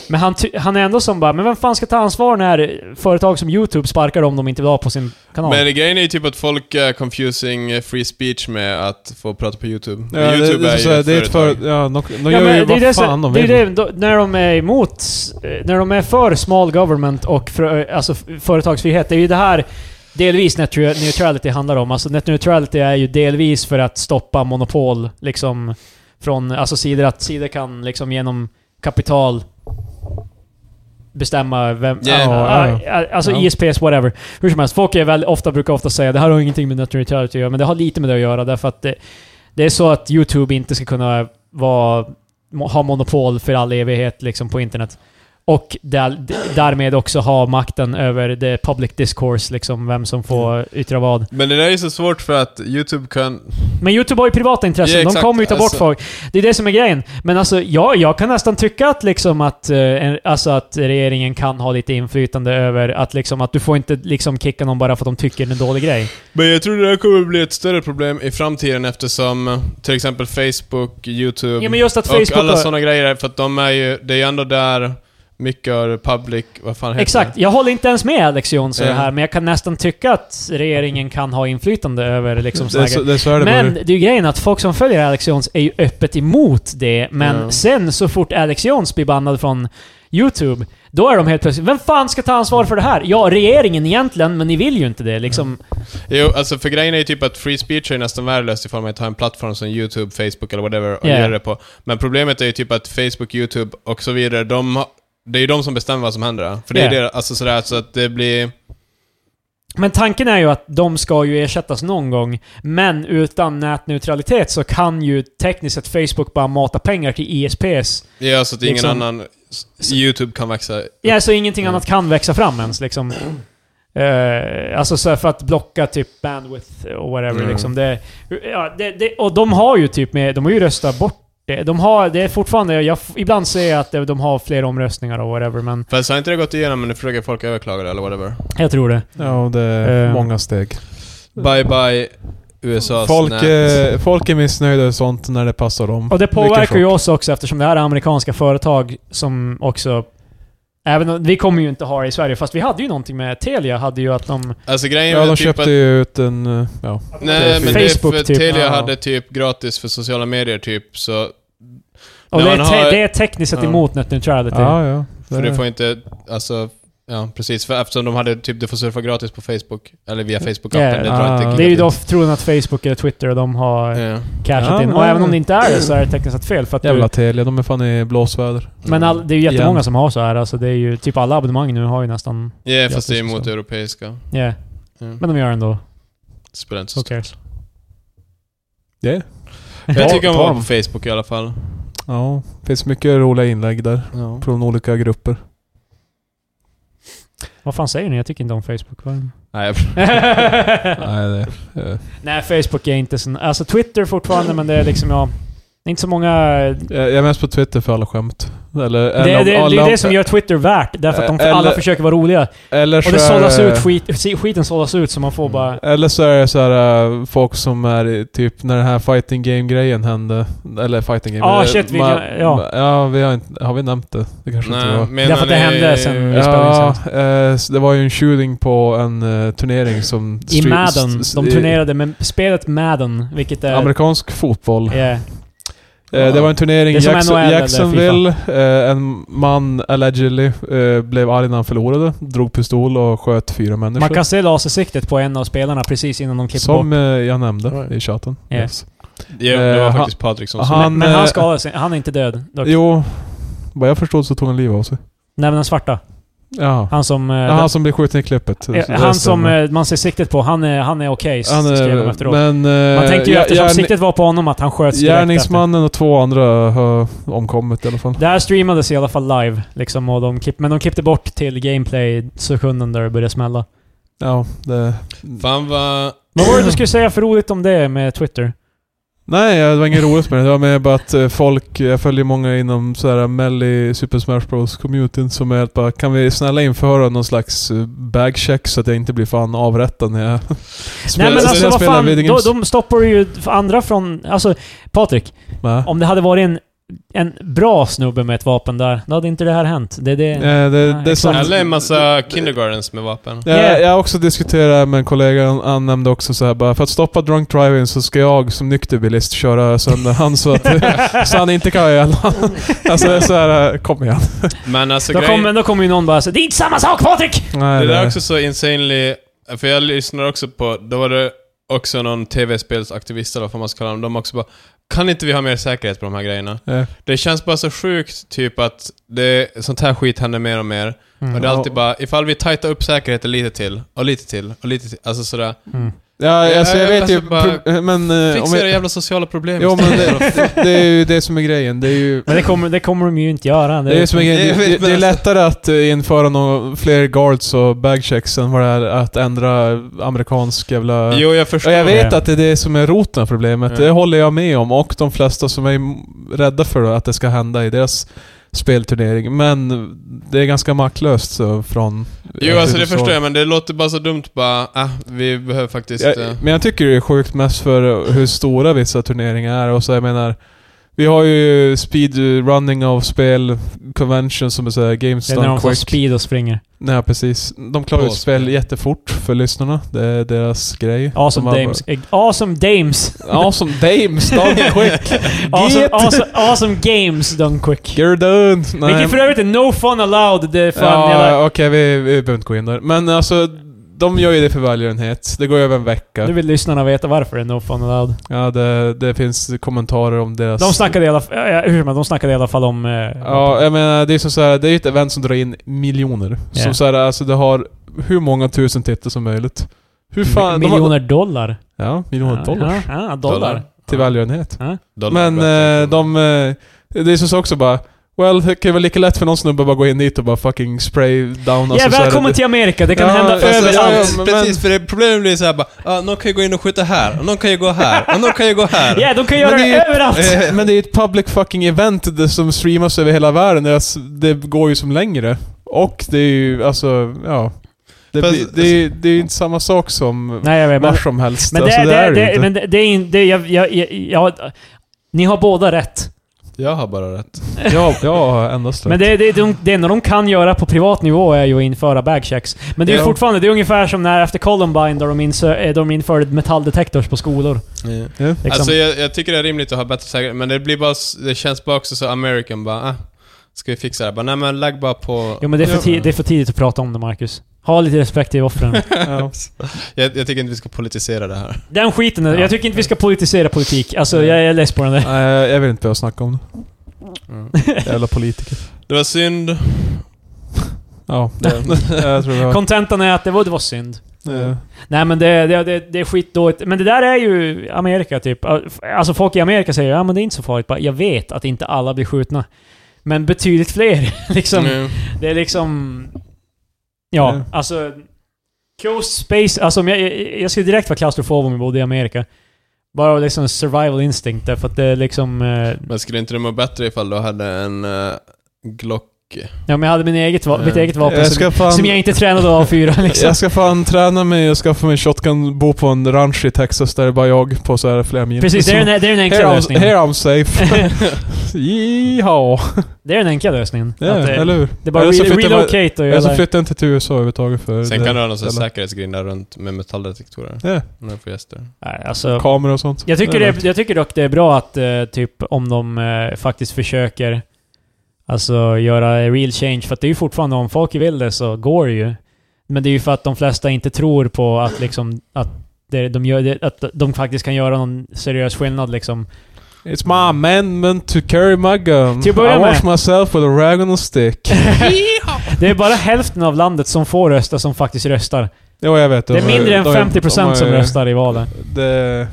A: Men han, ty- han är ändå som bara, men vem fan ska ta ansvar när företag som YouTube sparkar om de inte vill ha på sin kanal?
B: Men grejen är ju typ att folk är confusing eh, free speech med att få prata på YouTube.
C: Ja,
B: Men YouTube
C: det, det,
B: är
C: så här,
B: ju
C: det är
B: ett
C: ett för,
B: företag.
C: ja, de, de
A: Ja,
C: gör
A: men det
C: ju
A: är
C: vad
A: det som-
C: fan de
A: det är
C: vill.
A: det, då, när de är emot, eh, när de är för small government och för, eh, alltså, f- företagsfrihet, det är ju det här delvis net neutrality handlar om. Alltså net neutrality är ju delvis för att stoppa monopol, liksom från, alltså sidor, att sidor kan liksom genom kapital bestämma vem...
B: Ja,
A: Ah,
C: ja,
A: ah, Alltså
C: Ja.
A: ISPs, whatever. Hur som helst, folk är väl, ofta, brukar ofta säga det här har ingenting med net neutrality att göra, men det har lite med det att göra därför att det, det är så att YouTube inte ska kunna vara, mo- ha monopol för all evighet liksom, på internet. Och där, d- därmed också ha makten över the public discourse, liksom, vem som får yttra vad.
B: Men det där är ju så svårt för att YouTube kan...
A: Men YouTube har ju privata intressen,
B: Ja,
A: de
B: exakt.
A: kommer ju ta bort
B: Alltså-
A: folk. Det är det som är grejen. Men alltså, ja, jag kan nästan tycka att, liksom att, eh, en- alltså att regeringen kan ha lite inflytande över att, liksom, att du får inte liksom kicka någon bara för att de tycker det är en dålig grej.
B: Men jag tror det där kommer bli ett större problem i framtiden eftersom eh, till exempel Facebook, YouTube
A: Ja, men just att Facebook
B: och alla
A: har-
B: sådana grejer är för att de är ju, det är ju ändå där mycket av det public, vad fan heter
A: Exakt.
B: det?
A: Jag håller inte ens med Alex Jones i det
B: Ja.
A: här, men jag kan nästan tycka att regeringen kan ha inflytande över liksom
C: det, är
A: såna
C: så,
A: grejer.
C: det är så är det
A: Men
C: bara.
A: det är ju grejen att folk som följer Alex Jones är ju öppet emot det, men
B: Ja.
A: sen så fort Alex Jones blir bannad från YouTube, då är de helt plötsligt Vem fan ska ta ansvar för det här? Ja, regeringen egentligen, men ni vill ju inte det liksom.
B: Jo, alltså för grejen är ju typ att free speech är nästan värdelöst ifall man inte har en plattform som YouTube, Facebook eller whatever och
A: Ja.
B: gör det på. Men problemet är ju typ att Facebook, YouTube och så vidare, de, har- det är ju de som bestämmer vad som händer. För det är
A: Ja.
B: det, alltså sådär, så att det blir...
A: Men tanken är ju att de ska ju ersättas någon gång, men utan nätneutralitet så kan ju tekniskt sett Facebook bara mata pengar till E ISPs.
B: Ja, så alltså att ingen
A: Liksom-
B: annan... YouTube kan växa.
A: Ja, så ingenting
B: Mm.
A: annat kan växa fram ens liksom. Eh, alltså så här för att blocka typ bandwidth och whatever
B: Mm.
A: liksom. Det, ja, det, det, och de har ju typ med, de har ju röstat bort det. De har, det är fortfarande, jag, f- ibland ser jag att det- de har fler omröstningar och whatever, men
B: Fast har inte det gått igenom men nu försöker folk överklaga det eller whatever?
A: jag tror det.
C: Ja, och det är
A: Eh.
C: många steg.
B: Bye bye USAs
C: Folk,
B: nät.
C: eh, folk är missnöjda och sånt när det passar dem.
A: Och det
C: Vilken
A: påverkar ju
C: chock.
A: oss också eftersom det här är amerikanska företag som också... Även om, vi kommer ju inte ha det i Sverige, fast vi hade ju någonting med Telia, hade ju att de...
B: Alltså grejen
C: Ja,
B: är
C: de
B: väl typ
C: köpte
B: att...
C: ju ut en... eh, Ja.
B: Nej men
A: Facebook
B: det är för
A: typ.
B: Telia
C: Ja.
B: hade typ gratis för sociala medier typ så...
A: Och
B: Nej,
A: det, är
B: man
A: te,
B: har-
A: det är tekniskt sett
B: Ja.
A: emot net neutrality.
C: Ja, ja.
B: För
C: Det-
B: du får inte, alltså... Ja precis, för eftersom de hade typ du får surfa gratis på Facebook. Eller via Facebook-appen,
A: Ja.
B: det tror jag
C: Ah.
B: inte
A: Det är ju då
B: gratis.
A: tron att Facebook eller Twitter och de har
B: Ja.
A: cashat
C: Ja,
A: in. Och
C: men-
A: även om det inte är det så är det tekniskt sett fel. För att
C: Jävla
A: du,
C: Telia, de är fan i blåsväder.
A: men all, det är ju
C: Igen.
A: jättemånga som har så här. Alltså det är ju typ alla abonnemang nu har ju nästan...
B: Ja, fast det är emot
A: så.
B: europeiska.
A: Ja.
B: Ja.
A: liksom. Men de gör det ändå.
B: Det spelar inte så
A: Who
B: stor
A: cares?
C: Yeah.
B: Jag tycker om
C: Ta
B: att vara
C: dem.
B: på Facebook i alla fall.
C: Ja, finns mycket roliga inlägg där.
B: Ja.
C: Från olika grupper.
A: Vad fan säger ni? Jag tycker inte om Facebook. Vad är det?
B: Nej, jag...
C: Nej, det, eh,
A: Nej, Facebook är inte sån... Alltså Twitter fortfarande, men det är liksom ja... det är Inte så många...
C: jag jag är mest på Twitter för alla skämt. Eller,
A: Det, det, det är ju det som gör Twitter värt, därför att de,
C: Eller-
A: alla försöker vara roliga.
C: Eller
A: Och
C: så är
A: det sållas
C: det-
A: ut, skit, skiten sållas ut så man får bara...
C: Eller så är det så här eh, folk som är i- typ när den här fighting game-grejen hände. Eller fighting game.
A: Ah,
C: eh,
A: shit, vi
C: ma-
A: kan- ja.
C: Ja, vi har inte... Har vi nämnt det? Det kanske inte
B: Nej,
C: var.
B: menar
A: Därför att det
B: ni-
A: hände sen- vi spelade in
C: Ja, eh, så det var ju en shooting på en eh, turnering som...
A: I
C: stre-
A: Madden.
C: st-
A: De
C: i-
A: turnerade med spelet Madden, vilket är...
C: Amerikansk fotboll.
A: Yeah.
C: Eh, det var en turnering
A: Det är
C: i
A: som
C: Jackson,
A: NHL eller
C: Jacksonville. Eh, en man, allegedly, eh, blev arg när han förlorade. Drog pistol och sköt fyra människor.
A: Man kan se lasersiktet på en av spelarna precis innan de klipper
C: som
A: bort.
C: eh, jag nämnde
B: Right.
C: i chatten.
A: Ja.
C: Yes.
B: Ja, det var
C: Eh,
B: faktiskt Patrik som sa
C: aha.
A: men, men
C: eh,
A: han skadade sig. Han är inte död. Dock. Nej,
C: Jo, vad jag förstod så tog han livet av sig.
A: men den svarta.
C: Ja.
A: Han som... eh,
C: Ja, han som blev skjuten i klippet.
A: den,
C: Så
A: eh,
C: det
A: han som
C: stämmer.
A: eh, man ser siktet på, han är, han är okej,
C: Han, eh,
A: skrev de efteråt.
C: men... eh,
A: man tänkte ju
C: gär-
A: eftersom
C: gärning-
A: siktet var på honom att han sköts direkt efter.
C: Gärningsmannen och två andra har omkommit i alla fall.
A: Det här streamades i alla fall live, liksom, och de klipp, men de klippte bort till gameplay sekunden där det började smälla.
C: Ja, det...
B: Fan vad...
A: Vad var det du skulle säga för roligt om det med Twitter?
C: Nej, det var inget roligt med det. Det var mer bara att eh, folk, jag följer många inom så här Melly Super Smash Bros communityn som är helt bara Kan vi snälla införa någon slags eh, bagcheck så att jag inte blir fan avrättad när jag spelar,
A: Nej men
C: när
A: alltså
C: jag
A: vad
C: spelar
A: fan,
C: video
A: de,
C: games.
A: de stoppar ju andra från... Alltså, Patrik.
C: Nej.
A: Om det hade varit en, en bra snubbe med ett vapen där, då hade inte det här hänt. Det är det...
C: Eh, det, det,
A: Nej,
C: är som,
A: exakt.
B: Eller en massa kindergartens med vapen.
C: jag, jag har också diskuterat med en kollega, han- han nämnde också så här bara För att stoppa drunk driving så ska jag som nykter bilist köra sönder han så att så han inte kan ihjäl honom. Alltså det är så här, eh, kom igen.
B: Men alltså
A: Då
B: grejen...
A: kommer då kommer ju någon bara säga Det är inte samma sak Patrik!
C: Nej,
B: Det där
C: nej.
B: är också så insanely... För jag lyssnade också på... Då var det också någon tv-spelsaktivist eller vad fan man ska kalla dem. De också bara... Kan inte vi ha mer säkerhet på de här grejerna?
C: Eh,
B: Det känns bara så sjukt typ att det, sånt här skit händer mer och mer.
C: Mm.
A: Mm.
B: Och det är alltid bara, ifall vi tightar upp säkerheten lite till, och lite till, och lite till. Alltså sådär.
A: Mm.
C: Ja, alltså jag
B: jag
C: vet ju...
B: läser bara-
C: pro- Men... eh, om
B: Fixa
C: jag-
B: era jävla sociala problem
C: Jo men
B: istället.
C: det, det är ju det som är grejen. Det är ju...
A: Men det kommer, det kommer de ju inte göra.
C: Det är, ju som en grej,
B: Det-
C: det, det, det är lättare att eh, införa några fler guards och bagchecks än vad det är att ändra amerikansk jävla...
B: Jo, jag förstår.
C: och jag vet
A: Ja.
C: att det är det som är roten av problemet.
B: Ja.
C: Det håller jag med om. Och de flesta som är rädda för att det ska hända i deras spelturnering. Men det är ganska maktlöst så från...
B: Jo, alltså det förstår jag, men det låter bara så dumt bara, ah, vi behöver faktiskt...
C: Jag,
B: eh,
C: men jag tycker det är sjukt mest för hur stora vissa turneringar är och så jag menar Vi har ju speedrunning av spel, convention som är såhär
A: Det är när de
C: GameStop
A: får
C: Quick.
A: speed och springer.
C: Nej precis. De klarar ut
B: På
C: spel
B: spel.
C: jättefort för lyssnarna. Det är deras grej.
A: Awesome Dames. Eh, Awesome Dames!
C: Awesome Dames, Dunk Quick!
A: Awesome,
C: Get.
A: awesome, awesome Games done quick.
C: You're done! Nej.
A: Vilket för övrigt är no fun allowed. Det är fan jävla...
C: Ja, okej vi, vi behöver inte gå in där. Men alltså, de gör ju det för välgörenhet. Det går över en vecka.
A: Nu vill lyssnarna veta varför det är no fun allowed.
C: Ja, det, det finns kommentarer om deras...
A: De snackade i alla fall... Ja, hur som helst, de snackade i alla fall om... eh,
C: Ja, jag menar det är som så här, det är ju ett event som drar in miljoner.
A: Ja.
C: Som så här, alltså det har hur många tusen tittare som möjligt. Hur fan... de har-
A: miljoner dollar.
C: ja, miljoner dollar.
A: Ja, ja,
B: Dollar.
A: dollar.
C: Till välgörenhet.
B: dollar
C: Men
B: bättre.
C: eh, de... eh, Det är som så också bara... Well, det kan vara lika lätt för någon snubbe att bara gå in dit och bara fucking spray down
A: Ja,
C: så här,
A: välkommen
C: det-
A: till Amerika. Det kan
C: Ja,
A: hända
C: alltså,
A: överallt.
C: ja, ja,
B: Precis,
C: men-
B: Precis, för det problemet blir såhär bara, ah, någon kan ju gå in och skjuta här, och någon kan ju gå här, och någon kan ju gå här.
A: Ja, de kan
C: Men
A: göra
C: det
A: det,
C: är ju-
A: överallt!
C: Eh, Men det är ett public fucking event det som streamas över hela världen. Det, är s- det går ju som längre. Och det är ju alltså, ja. Det,
B: Fast-
C: blir, det, är, det är ju inte samma sak som
A: Nej, jag vet. Men,
C: var som helst.
A: men det,
C: alltså,
A: det,
C: är
A: det,
C: ju
A: det,
C: inte.
A: men det, det är in- det, jag, jag, jag, jag, Ni har båda rätt.
B: Jag har bara rätt.
C: Ja, jag har endast
A: Men det, det, det, det enda de kan göra på privat nivå är ju att införa bagchecks. Men det är ju
C: Ja.
A: fortfarande, det är ungefär som när efter Columbine där de, insö, eh, de införde metalldetektors på skolor. Liksom.
B: Alltså jag, jag tycker det är rimligt att ha bättre säkerhet, men det blir bara, s- det känns bara också så American bara, ah, ska vi fixa det här? Bara, nej men lägg bara på...
A: jo men det är, för
C: Ja.
A: ti- det är för tidigt att prata om det Marcus. Ha lite respekt till offren.
C: Ja.
B: Jag, jag tycker inte vi ska politisera det här.
A: Den skiten, är-
C: Ja.
A: jag tycker inte vi ska politisera politik. Alltså jag är less på den där.
C: Nej, jag vill inte behöva snacka om det. Mm. Jävla politiker.
B: Det var synd.
A: Liksom-
C: Ja, jag tror det var...
A: Kontentan är att det var, det var synd.
C: Eh,
A: Nej men det, det, det, det är skitdåligt. Men det där är ju Amerika typ. Alltså folk i Amerika säger ja men det är inte så farligt. Bara, Jag vet att inte alla blir skjutna. Men betydligt fler. liksom.
B: Mm.
A: Det är liksom... Ja,
C: Mm.
A: alltså... Coast space... Alltså om jag, jag, jag skulle direkt vara klaustrofob om jag bodde i Amerika. Bara av liksom survival instinct därför att det är liksom... Eh,
B: Men skulle inte det må bättre ifall du hade en eh, Glock?
A: ja men jag hade min eget, va- mitt
B: Eh,
A: eget vapen
C: Mm. jag
A: som,
C: ska fan-
A: som jag inte tränade av fyra liksom.
C: Jag ska fan träna mig och skaffa mig en shotgun, bo på en ranch i Texas där det är bara jag på så här flera mil.
A: Precis, det är den, det är den
C: here,
A: enkla
C: I'm,
A: lösningen.
C: here I'm safe. Jiha!
A: Det är den enkla lösningen.
C: Ja,
A: Att, eh,
C: eller hur?
A: det är bara
C: Eller så
A: re-
C: flyttar man-
A: relocate och
C: Eller så
A: göra...
C: flyttar jag inte till USA överhuvudtaget för...
B: Sen
C: det-
B: kan du ha någon sån här
C: eller-
B: säkerhetsgrind där runt med metalldetektorer.
C: Ja,
B: När du får gäster.
A: Nej, alltså...
C: kameror och sånt.
A: Jag tycker,
C: Ja,
A: det, jag tycker dock det är bra att eh, typ om de eh, faktiskt försöker alltså göra real change. För att det är ju fortfarande, om folk vill det så går det ju. Men det är ju för att de flesta inte tror på att liksom att det, de, gör det, att de faktiskt kan göra någon seriös skillnad liksom.
C: It's my amendment to carry my gun.
A: Till att börja
C: I wash
A: med.
C: myself with a rag on a stick.
A: Det är bara hälften av landet som får rösta som faktiskt röstar.
C: ja, jag vet.
A: Det är
C: de har-
A: mindre än
C: de har-
A: 50%
C: de
A: som
C: har-
A: röstar i valet.
C: Det,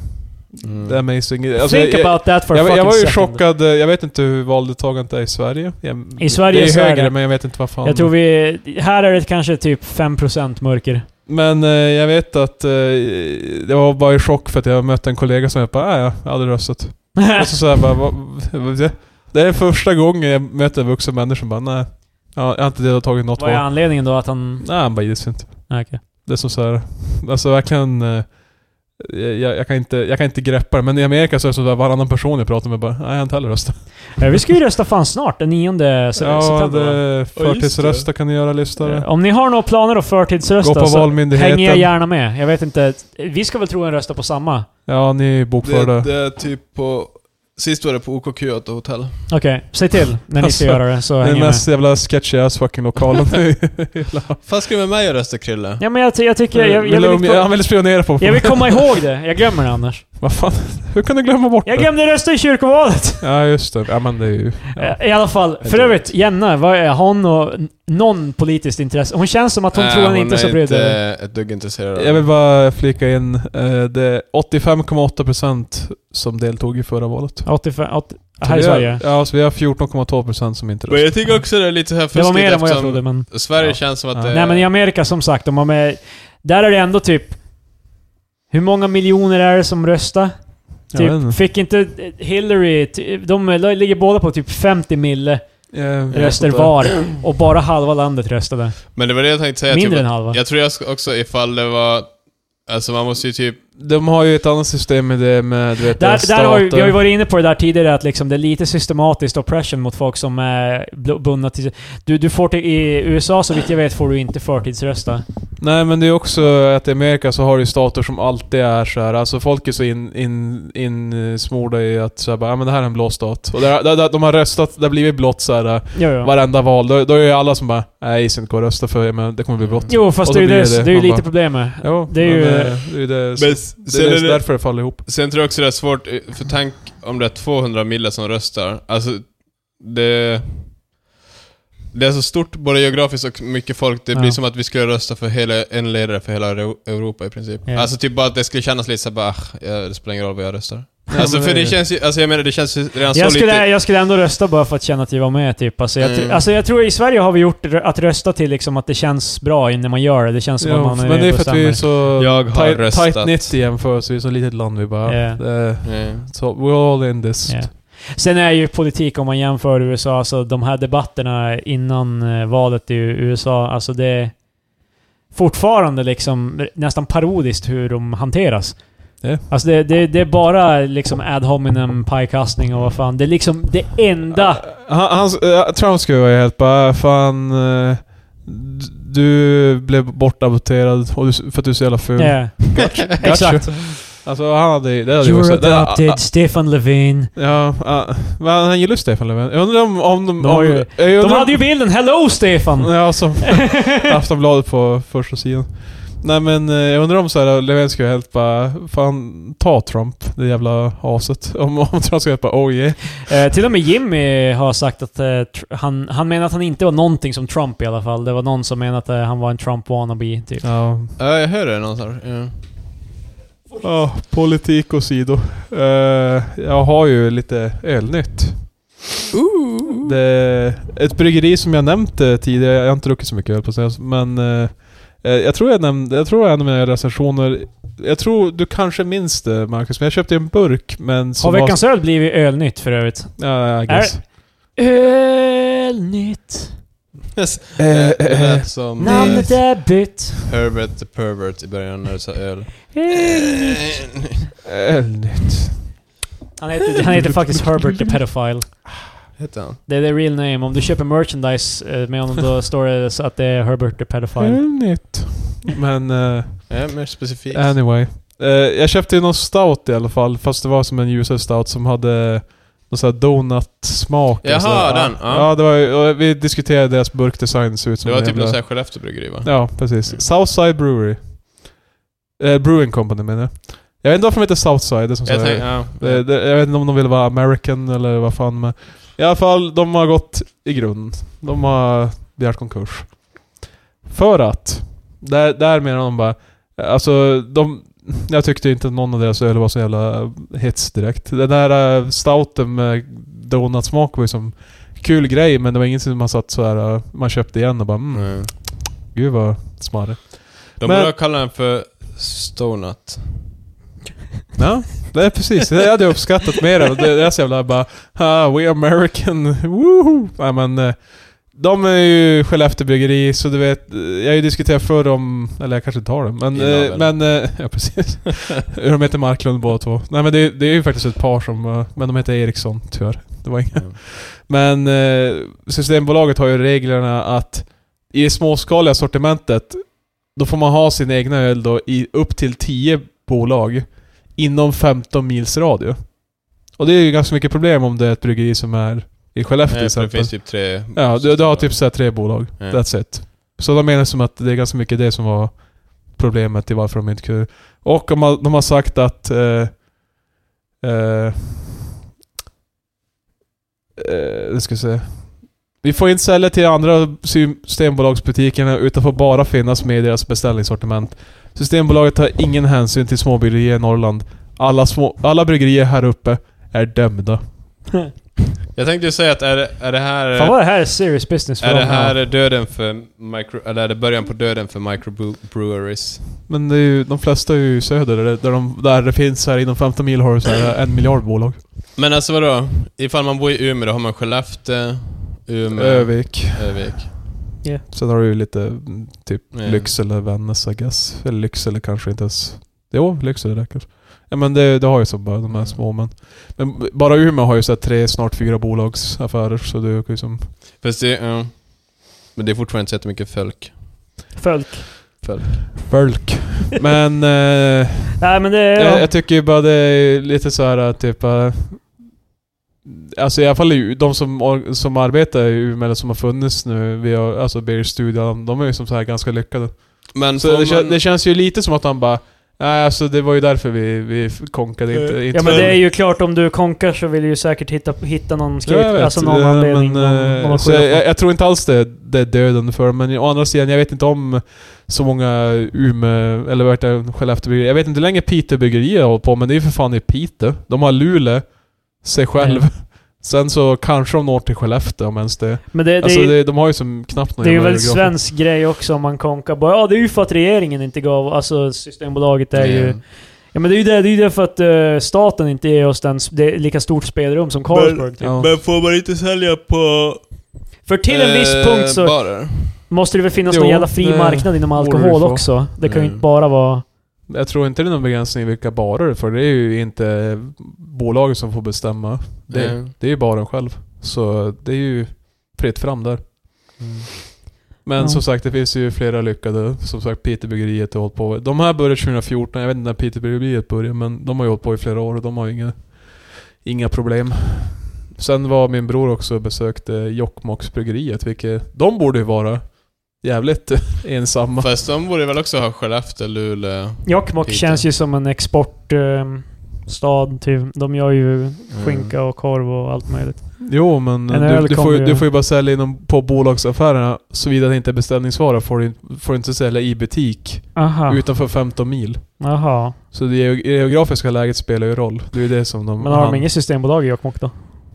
B: Mm.
C: det är amazing. Alltså,
A: Think
C: jag,
A: about that for a
C: jag,
A: fucking
C: jag var ju
A: second.
C: chockad. eh, Jag vet inte hur valdeltagandet är i Sverige. Jag,
A: I Sverige
C: det
A: så
C: är
A: är
C: högre,
A: det-
C: men jag vet inte vad fan...
A: Jag tror vi... Här är det kanske typ 5% mörker.
C: Men eh, jag vet att... Eh, jag var bara i chock för att jag mötte en kollega som jag bara, "Ah, ja, jag har aldrig röstat.
A: Ah.
C: Och så sa jag bara, "Va- vad- det- Det är första gången jag möter en vuxen människa som bara, nej. Jag jag har inte deltagit i något
A: Vad är
C: val.
A: anledningen då att han...
C: Nej, han bara gills inte.
A: Ah, okej.
C: Det är som så här, alltså verkligen... eh, Jag, jag, kan inte, jag kan inte greppa det, men i Amerika så är det så att varannan person jag pratar med bara, nej jag har inte heller röstat.
A: Eh, Vi ska ju rösta fan snart, den 9 se-
C: Ja,
A: september. va?
C: det,
B: Ja, just det.
C: förtidsrösta kan ni göra, lyssnare.
A: Eh, Om ni har några planer att förtidsrösta
C: Gå på
A: så
C: Valmyndigheten.
A: Alltså, hänger jag gärna med. Jag vet inte, vi ska väl troligen rösta på samma?
C: Ja, ni är bokförda.
B: Det, det är typ på... Sist var det på OKQ att det hotell.
A: Okej, säg till när ni ska
C: Alltså,
A: göra det så
C: Den
A: hänger jag med.
C: mest jävla sketchy ass fucking lokalen i hela...
B: Fan ska du med mig och rösta Krille?
A: Ja men jag, ty- jag tycker, jag, jag,
C: Vill
A: vill,
C: de- Han ville spionera på
A: jag vill komma ihåg det. Jag glömmer det annars.
C: Vad fan? Hur kan du glömma bort
A: Jag
C: det?
A: glömde rösta i kyrkovalet!
C: Ja, just det. Ja, men det är ju... Ja.
A: Eh, I alla fall, för
B: vet.
A: övrigt, Jenna, vad är hon och n- någon politiskt intresse? Hon känns som att hon tror hon är inte är så brydd. över-
B: Äh, inte ett dugg intresserad av
C: Jag vill
B: det.
C: bara flika in, eh, det är 85,8% som deltog i förra valet.
A: 85, 80,
C: Så
A: här i
C: vi har-
A: Sverige.
C: Ja, så vi har 14,2% som inte
B: Men jag tycker också det är lite så här
A: Det var
B: fuskigt
A: mer än vad jag
B: eftersom eh,
A: trodde men...
B: Sverige
C: Ja.
B: känns som att
C: Ja.
B: det...
A: Nej men i Amerika som sagt, de har med... Där är det ändå typ... Hur många miljoner är det som röstar?
C: Jag
A: Typ,
C: vet inte.
A: fick inte eh, Hillary... ty- De ligger båda på typ 50 mille
C: Eh,
A: röster
C: sånt där.
A: var. Och bara halva landet röstade.
B: Men det var det jag tänkte säga.
A: Mindre
B: typ,
A: än
B: att-
A: halva.
B: Jag tror jag ska- också ifall det var... Alltså man måste ju typ...
C: De har ju ett annat system med det med, du vet,
A: Där, där har vi, vi har ju
C: stater.
A: varit inne på det där tidigare, att liksom det är lite systematiskt oppression mot folk som är bl- bundna till... Du, du får till, I USA, så vitt jag vet, får du inte förtidsrösta.
C: Nej men det är också att i Amerika så har du ju stater som alltid är så här. alltså folk är så in, in, in smorda i att så här, bara, ja men det här är en blå stat. Och där, där, där, de har röstat, det har blivit blått så här
A: Jo, jo.
C: varenda val. Då, då är ju alla som bara, nej jag ska inte gå och rösta för men det kommer bli blått.
A: Mm. Jo, fast det är
C: Och så
A: ju det,
C: blir det.
A: det är ju
C: Man
A: lite
C: bara-
A: problemet.
C: Jo,
A: Det är
C: men,
A: ju-
C: eh, det är ju det,
B: Men
C: som-
B: s-
C: det,
B: sen
C: är
B: är det-
C: därför det faller ihop.
B: Sen tror jag också det är svårt, eh, för tänk om det är 200 mille som röstar. Alltså, det... Det är så stort, både geografiskt och mycket folk. Det
A: Ja.
B: blir som att vi skulle rösta för hela, en ledare för hela Euro- Europa i princip.
A: Ja.
B: Alltså typ bara att det skulle kännas lite såhär bara, "Ach, ja, det spelar ingen roll vad jag röstar.
C: men
B: Alltså för
C: det är
B: det
C: ju-
B: känns ju, alltså jag menar det känns ju redan
A: Jag
B: så
A: skulle,
B: lite...
A: jag skulle ändå rösta bara för att känna att vi var med typ. Alltså jag, tr-
B: Mm.
A: alltså jag tror i Sverige har vi gjort r- att rösta till liksom att det känns bra när man gör det. Det känns som
C: Jo,
A: att man är
C: men det är
A: redo
C: för att vi är
A: bestämmer.
C: så
B: Jag har
C: tight-
B: röstat.
C: tight-knit i jämförelse, vi är så litet land. Vi bara,
A: Ja.
C: eh,
B: Ja.
C: so we're all in this.
A: Ja. Sen är ju politik, om man jämför USA, alltså de här debatterna innan eh, valet i USA, alltså det är fortfarande liksom nästan parodiskt hur de hanteras.
C: Ja.
A: Alltså det, det, det är bara liksom ad hominem, pajkastning och vad fan. Det är liksom det enda...
C: Han, han, jag tror han skulle vara helt bara, fan... eh, d- Du blev bortadopterad och du, för att du är så jävla ful.
A: Yeah.
C: Gotcha.
A: Exakt.
C: Alltså han hade det hade
A: You were
C: också- det-
A: adopted,
C: ah,
A: Stefan Levin.
C: ah, Ja, ah, men han gillar ju Stefan Löfven. Jag undrar om... om de,
A: De har
C: om,
A: ju-
C: jag undrar
A: De
C: om-
A: hade ju bilden 'Hello Stefan'
C: Ja, som Aftonbladet på första sidan. Nej men eh, jag undrar om så här, Lewinsky har helt bara... Fan, ta Trump, det jävla aset. Om, om Trump skulle helt bara oh yeah.
A: Eh, till och med Jimmy har sagt att eh, tr- han, han menar att han inte var någonting som Trump i alla fall. Det var någon som menade att eh, han var en Trump wannabe, typ.
C: Ja.
B: Ja, jag hör det någonstans. Ja.
C: Ja, politik åsido. Eh, jag har ju lite ölnytt. Det är ett bryggeri som jag nämnt eh, tidigare, jag har inte druckit så mycket öl på senaste, men eh, eh, jag tror jag nämnde, jag tror en av mina recensioner, jag tror du kanske minns det Marcus, men jag köpte en burk men
A: Har
C: som
A: veckans öl blivit ölnytt för övrigt?
C: var... Ja, I guess.
A: Ölnytt.
B: Yes.
C: Eh,
B: Eh,
C: eh,
B: Det
C: eh.
B: lät som
A: Namnet är bytt.
B: Herbert the Pervert i början när du sa öl. Eh,
A: Ölnytt.
C: eh, Ölnytt.
A: Han heter, han heter faktiskt Herbert the Pedophile.
B: Hette han?
A: Det är the real name. Om du köper merchandise eh, med honom då står det så att det är Herbert the Pedophile.
C: Ölnytt. Men... eh,
B: Ja, mer specifikt.
C: Anyway. Eh, jag köpte ju någon stout i alla fall, fast det var som en ljusare stout som hade någon sån här donut-smak. och
B: Jaha,
C: sådär.
B: den,
C: Ja,
B: ja.
C: det var ju, och vi diskuterade deras burkdesign, det ser ut som
B: Det var
C: en
B: typ
C: jävla-
B: något Mm. sånt Skellefteå bryggeri va?
C: Ja, precis. Southside Brewery. Eh, Brewing Company menar jag. Jag vet inte varför de heter Southside, det är som
B: Jag
C: så här-
B: tänkte, ja.
C: det, Eh, det, jag vet inte om de vill vara American eller vad fan men... I alla fall, de har gått i grund. De har begärt konkurs. För att... Där, där menar de bara... Alltså, de... Jag tyckte inte att någon av deras öl var så jävla hets direkt. Den där eh, stouten med donutsmak var ju som... Kul grej, men det var inget som man satt så här eh, Man köpte igen och bara mm,
B: Mm.
C: gud vad smarrig. Men-
B: De borde ha kallat den för Stonut.
C: Ja, det är precis. Det hade jag uppskattat mer. Det det är så jävla bara ah, “We American, woohoo!” Nej men... eh, De är ju Skellefteåbryggeri, så du vet... eh, Jag har ju diskuterat förr om... Eller jag kanske tar dem. Men...
B: Inavel.
C: eh, men eh, ja, precis. de heter Marklund båda två. Nej men det, det är ju faktiskt ett par som... eh, Men de heter Eriksson, tyvärr. Det var inga.
B: Mm.
C: Men eh, Systembolaget har ju reglerna att i det småskaliga sortimentet då får man ha sin egna öl då i upp till 10 bolag inom 15 mils radie. Och det är ju ganska mycket problem om det är ett bryggeri som är i Skellefteå till
B: Nej, för det
C: exempel.
B: finns typ tre...
C: Ja, du, du har typ såhär tre bolag.
B: Ja.
C: That's it. Så de menar som att det är ganska mycket det som var problemet till varför de inte kunde... Och de har, de har sagt att... Eh, eh, eh, nu ska vi se. Vi får inte sälja till andra systembolagsbutikerna utan får bara finnas med i deras beställningssortiment. Systembolaget tar ingen hänsyn till småbryggerier i Norrland. Alla, små, alla bryggerier här uppe är dömda.
B: Jag tänkte ju säga att är det, är det här...
A: Fan vad det här är serious business för
B: Är det
A: dem.
B: här döden för micro... Eller är det början på döden för microbreweries?
C: Men det är ju, de flesta är ju söder, där, där, de, där det finns här inom 15 mil har du så här en miljard bolag.
B: Men alltså vadå? Ifall man bor i Umeå, då har man Skellefteå, Umeå,
C: Övik.
B: Övik.
C: Sen har du ju lite mm, typ
B: Ja.
C: Lycksele, Vännäs I guess. Eller Lycksele kanske inte ens... Jo, Lycksele räcker. Ja men det, det har ju så bara de här
B: Mm.
C: små men... Men b- bara Umeå har ju så här tre, snart fyra bolagsaffärer så det är ju som...
B: Fast det... Ja. Men det är fortfarande inte så jättemycket folk.
A: Folk.
B: folk.
C: Fölk. men... Eh,
A: Nej men det är...
C: Jag, jag tycker ju bara det är lite så här typ... eh, Alltså i alla fall ju- de som, or- som arbetar i Umeå, eller som har funnits nu, vi har, alltså Beer Studio, de är ju som så här ganska lyckade.
B: Men
C: Så
B: får
C: det, kän-
B: man-
C: det känns ju lite som att han bara Nej alltså det var ju därför vi, vi konkade inte... inte
A: ja men det är ju klart om du konkar så vill du ju säkert hitta, hitta någon skate,
C: jag vet,
A: alltså någon
C: eh,
A: anledning. någon,
C: Men,
A: någon
C: eh,
A: att
C: så
A: skylla
C: jag,
A: på.
C: jag tror inte alls det, det är döden för men å andra sidan, jag vet inte om så många Umeå, eller vad heter det, Skellefteåbryggerier. Jag vet inte hur länge Piteåbryggerier har hållit på, men det är ju för fan i Piteå. De har Luleå, sig själv.
A: Eh,
C: Sen så kanske de når till Skellefteå om ens det.
A: men det, det,
C: alltså
A: är-
C: det, de har ju som knappt någon
A: det är ju
C: jävla
A: väl
C: geograf.
A: svensk grej också om man konkar bara ja det är ju för att regeringen inte gav, alltså Systembolaget är ju... Ja men det är ju det, det är ju det för att eh, staten inte ger oss den, s- det är lika stort spelrum som Carlsberg. Typ.
C: Ja.
B: Men får man inte sälja på...
A: För till en viss
B: eh,
A: punkt så
B: Barer?
A: måste det väl finnas
C: Jo,
A: någon jävla fri
C: det
A: marknad inom
C: borde
A: alkohol
C: det få.
A: också. Det kan ju
B: Mm.
A: inte bara vara...
C: Jag tror inte det är någon begränsning i vilka barer, för det är ju inte bolaget som får bestämma. Det,
B: Mm.
C: det är ju baren själv. Så det är ju fritt fram där. Men
A: Ja.
C: som sagt, det finns ju flera lyckade. Som sagt, Piteåbryggeriet har hållit på. De här började 2014, jag vet inte när Piteåbryggeriet började, men de har ju hållit på i flera år och de har ju inga, inga problem. Sen var min bror också och besökte Jokkmokksbryggeriet, vilket de borde ju vara jävligt ensamma.
B: Fast de borde väl också ha Skellefteå, Luleå.
C: Typ
A: Jokkmokk
B: Lite.
A: känns ju som en exportstad. typ. De gör
C: Mm.
A: ju skinka och korv och allt möjligt.
C: Jo, men
A: En öl
C: du, du,
A: kommer
C: får, ju-
A: ju-
C: du får ju bara sälja inom, på bolagsaffärerna såvida det inte är beställningsvara. Får du, får du inte sälja i butik
A: Aha.
C: utanför 15 mil.
A: Aha.
C: Så det geo- geografiska läget spelar ju roll. Det är ju det som de...
A: Men har
C: han-
A: de inget systembolag i Jokkmokk då?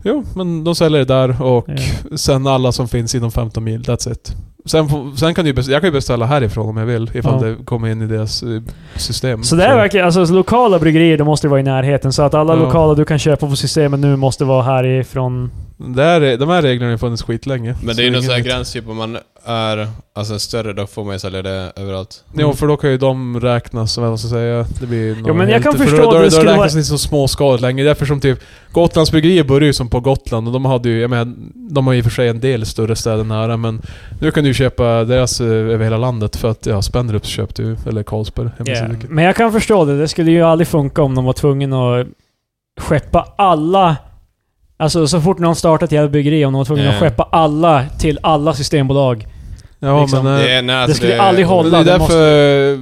C: Jo, men de säljer det där och
A: Ja.
C: sen alla som finns inom 15 mil. That's it. Sen, får- sen kan du, ju bes- jag kan ju beställa härifrån om jag vill, ifall
A: Ja.
C: det kommer in i deras eh, system.
A: Så det är verkligen, alltså så lokala bryggerier, de måste ju vara i närheten. Så att alla
C: Mm. Ja.
A: lokala du kan köpa på systemet nu måste vara härifrån.
C: det här, de här reglerna har ju funnits skitlänge. Så
B: Men det är ju
C: inget
B: någon sån här
C: nytt.
B: gräns, typ om man är alltså, en större, då får man ju sälja det överallt.
C: Jo, för då kan ju de räknas, som jag ska säga. Det blir någon
A: Mm. men jag
C: helt-
A: kan
C: för
A: förstå
C: då,
A: att
C: då,
A: det
C: då,
A: skulle
C: räknas
A: vara-
C: det inte som småskaligt längre. Därför som typ... Gotlandsbryggerier började ju som på Gotland och de hade ju... Jag menar, de har ju i och för sig en del större städer nära men... Nu kan du ju köpa deras eh, över hela landet för att ja, Spendrups köpte ju, eller Carlsberg. Jag minns
A: Ja.
C: inte vilket.
A: Men jag kan förstå det. Det skulle ju aldrig funka om de var tvungna att skeppa alla... Alltså så fort någon startat ett jävla bryggeri, om de var tvungna
B: Ja.
A: att skeppa alla till alla systembolag.
C: Ja,
A: Liksom,
C: men... eh,
B: Det, är- nej,
A: det skulle jag aldrig hålla.
C: Men det är
A: det
C: därför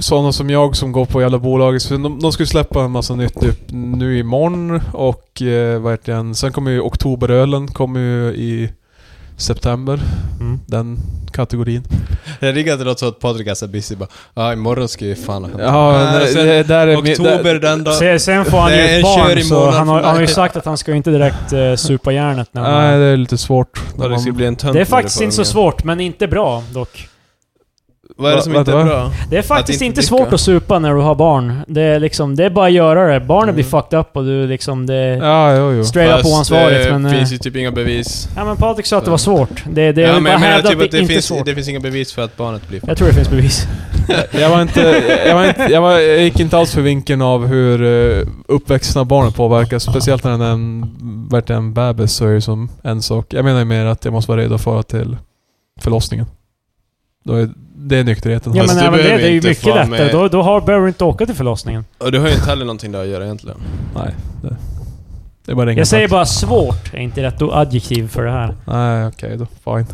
C: sådana som jag som går på jävla bolaget, för de, de ska ju släppa en massa nytt typ, nu imorgon och eh, vad heter den? Sen kommer ju oktoberölen, kommer ju i september,
A: Mm.
C: den kategorin.
B: Jag riggar att det låter så att Patrik är så busy bara ah, imorgon ska ju fan ha
C: Ja,
B: hänt."
C: nej,
B: sen
C: det där är... mi-
B: Oktober
C: där,
B: den dagen.
A: Sen, sen får han ju
B: Det är
A: ett
B: en kör
A: barn,
B: i
A: så
B: månaden
A: han har,
B: för
A: han har ju
B: mig.
A: sagt att han ska ju inte direkt eh, supa järnet. När han,
C: Nej, det är lite svårt.
B: Ja, det ska bli en tönt
A: det är
B: när
A: faktiskt
B: får
A: inte så
B: unge.
A: svårt, men inte bra dock.
B: Vad är det som
C: Va-
B: inte är
C: vänta,
B: bra?
A: Det är faktiskt
B: inte
A: inte
B: dricka.
A: svårt att supa när du har barn. Det är, liksom, det är bara att göra det. Barnen
B: Mm.
A: blir fucked up och du liksom... Det är
C: Ja, jo, jo.
A: straight up
B: Fast
A: oansvarigt, men...
B: Det
A: eh,
B: finns ju typ inga bevis.
A: Ja men Patrik sa att det var svårt. Det, det,
B: ja,
A: jag vill
B: men
A: bara
B: jag menar
A: hävda
B: typ
A: att det,
B: det
A: inte är
B: finns,
A: svårt.
B: det finns inga bevis för att barnet blir
A: Jag tror det finns bevis.
C: Jag var inte... Jag, var inte jag, var, jag gick inte alls för vinkeln av hur eh, uppväxten av barnen påverkas. Speciellt när den är en, vart en bebis så är det som en sak. Jag menar ju mer att jag måste vara redo för att till förlossningen. Då är, det är nykterheten.
A: Ja
B: Fast
A: men
B: du
A: även det,
B: behöver
A: det är ju
B: inte
A: mycket
B: fan
A: lättare.
B: med-
A: Då, då har, behöver du inte åka till förlossningen.
B: Och du har ju inte heller någonting där att göra egentligen.
C: Nej, det, det är bara ingen
A: Jag säger bara svårt är inte rätt adjektiv för det här.
C: Nej, okej då. Fine.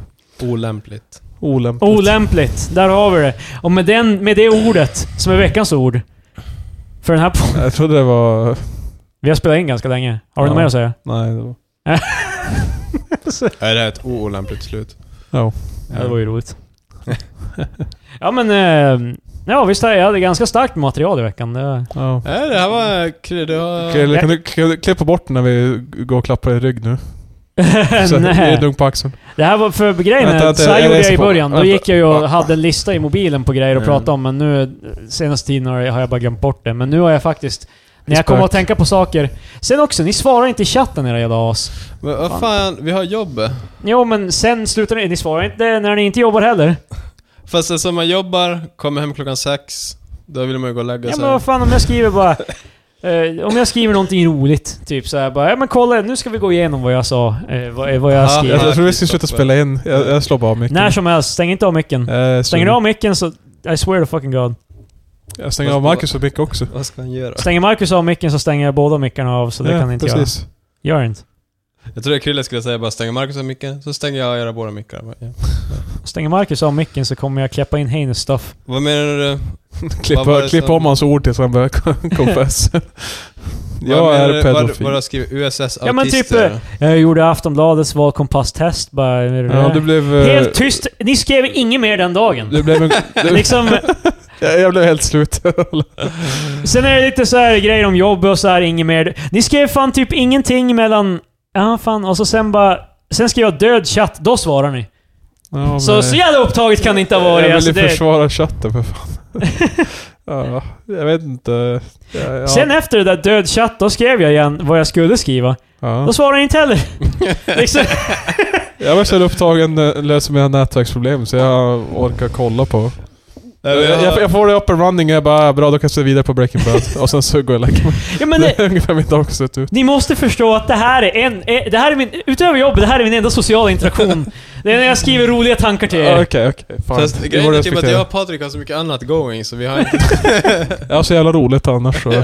B: Olämpligt.
C: Olämpligt.
A: Olämpligt, där har vi det. Och med, den, med det ordet, som är veckans ord. För den här po-
C: jag trodde det var...
A: Vi har spelat in ganska länge. Har du
C: Ja.
A: något mer att säga?
C: Nej, det var...
B: Är det här ett oolämpligt slut?
C: Ja.
A: Ja, det var ju roligt. ja men... Eh, ja visst, jag hade ganska starkt material i veckan. Det,
C: ja.
B: Nej, det här var... kul, Det
C: Okej,
B: var...
C: eller Kan du, kan du klippa bort den när vi går och klappar i rygg nu? Så, ge en
A: Nej.
C: dunk på axeln.
A: Det här var för grejen
C: Vänta,
A: är,
C: vänta,
A: så här
C: jag
A: gjorde
C: läser
A: jag i
C: på.
A: början. Då
C: Vänta.
A: gick jag ju och
C: Ja.
A: hade en lista i mobilen på grejer att
B: Mm.
A: prata om, men nu senaste tiden har jag har jag bara glömt bort det. Men nu har jag faktiskt... När jag kommer att tänka på saker... Sen också, ni svarar inte i chatten era jävla as.
B: Men vad fan, vi har jobb.
A: Jo men sen slutar ni... Ni svarar inte när ni inte jobbar heller.
B: Fast alltså man jobbar, kommer hem klockan sex, då vill man ju gå och lägga
A: Ja
B: sig.
A: men vad fan om jag skriver bara... eh, om jag skriver någonting roligt, typ så här bara ja, men kolla nu ska vi gå igenom vad jag sa, eh, vad, vad jag
B: Ja,
A: skrev.
C: Jag, jag tror vi ska
B: Kristoffer.
C: sluta spela in. Jag, jag slår bara av micken.
A: När som helst, stäng inte av micken.
C: Eh,
A: Stänger du av micken så... I swear to fucking God.
C: Jag stänger av Marcus och Mick också.
B: Vad ska han göra?
A: Stänger Marcus av micken så stänger jag båda mickarna av, så det
C: Ja,
A: kan inte
C: precis.
A: jag. Gör inte.
B: Jag tror att Krille skulle säga bara stänger Marcus av micken, så stänger jag era båda mickar. Bara, Ja.
A: Stänger Marcus av micken så kommer jag klappa in heinous stuff.
B: Vad menar du? Vad var
C: Klippa,
B: det
C: klippa
B: som-
C: om hans ord tills han börjar confess.
B: Vad
C: jag
B: menar
C: är
B: du? Vad,
C: pedofil.
B: vad har jag skrivit? USS
A: Ja, men typ,
B: autister?
A: eh, Jag gjorde Aftonbladets valkompasstest bara.
C: ja, du blev... eh,
A: Helt tyst. Ni skrev inget mer den dagen.
C: Du blev en, du,
A: Liksom,
C: jag, jag blev helt slut.
A: sen är det lite så här grejer om jobb och så här, inget mer. Ni skrev fan typ ingenting mellan... Ja, fan. Och så sen bara... Sen skrev jag död chatt, då svarar ni.
C: Ja,
A: Så,
C: men-
A: så jävla upptaget kan det inte ha varit.
C: Jag
A: alltså,
C: ville
A: det...
C: försvara chatten för fan. ja, jag vet inte. Ja, ja.
A: Sen efter det där död chatt, då skrev jag igen vad jag skulle skriva. Då
C: ja.
A: svarar ni inte heller. liksom.
C: Jag var så upptagen eh, lösa mina nätverksproblem så jag orkar kolla på. Eh,
B: Nej,
C: Jag,
B: men jag-
C: jag, jag får det up and running och jag bara "Ah, bra då kastar jag vidare på Breaking Bad. och sen så går jag och lägger mig.
A: Ja, men
C: det
A: det,
C: är ungefär mitt dag sett ut.
A: ni måste förstå att det här är en... eh, Det här är min, utöver jobbet, det här är min enda sociala interaktion. Det är när jag skriver roliga tankar till
C: Ja,
A: er.
C: Ah, Okej, okej. Fan.
B: Fast
C: Det
B: grejen
C: borde
B: är typ att
C: respektera.
B: jag och Patrik har så mycket annat going, så vi har inte...
C: Jag har så jävla roligt annars. Så.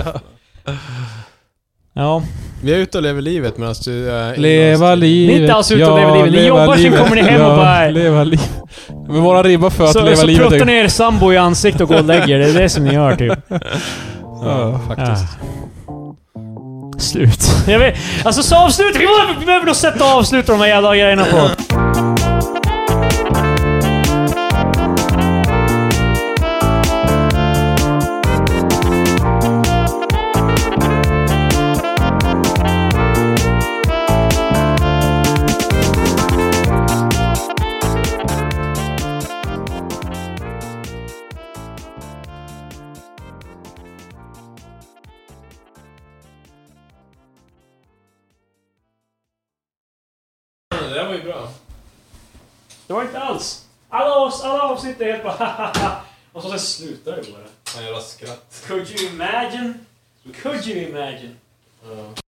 A: Ja.
B: Vi är ute och lever livet medan du eh, är
C: Leva livet.
A: Ni är inte alls ute och lever livet. Ni jobbar, sen kommer ni hem och bara-
C: Leva livet. Men våra ribba för att
A: Så,
C: leva
A: så
C: livet
A: pruttar
C: är...
A: ni er sambo i ansiktet och går och lägger er. Det är det som ni gör typ.
C: Ja,
B: Faktiskt.
A: Ah. Slut. Jag vet, alltså så avslutar vi! behöver- Vi behöver nog sätta och avsluta de här jävla grejerna på.
B: Det där var ju bra.
A: Det var inte alls. Alla, avs alla avsnitt är helt bara hahaha. Och så sen slutar det bara.
B: Fan jävla skratt.
A: Could you imagine? Could you imagine?
B: Ja.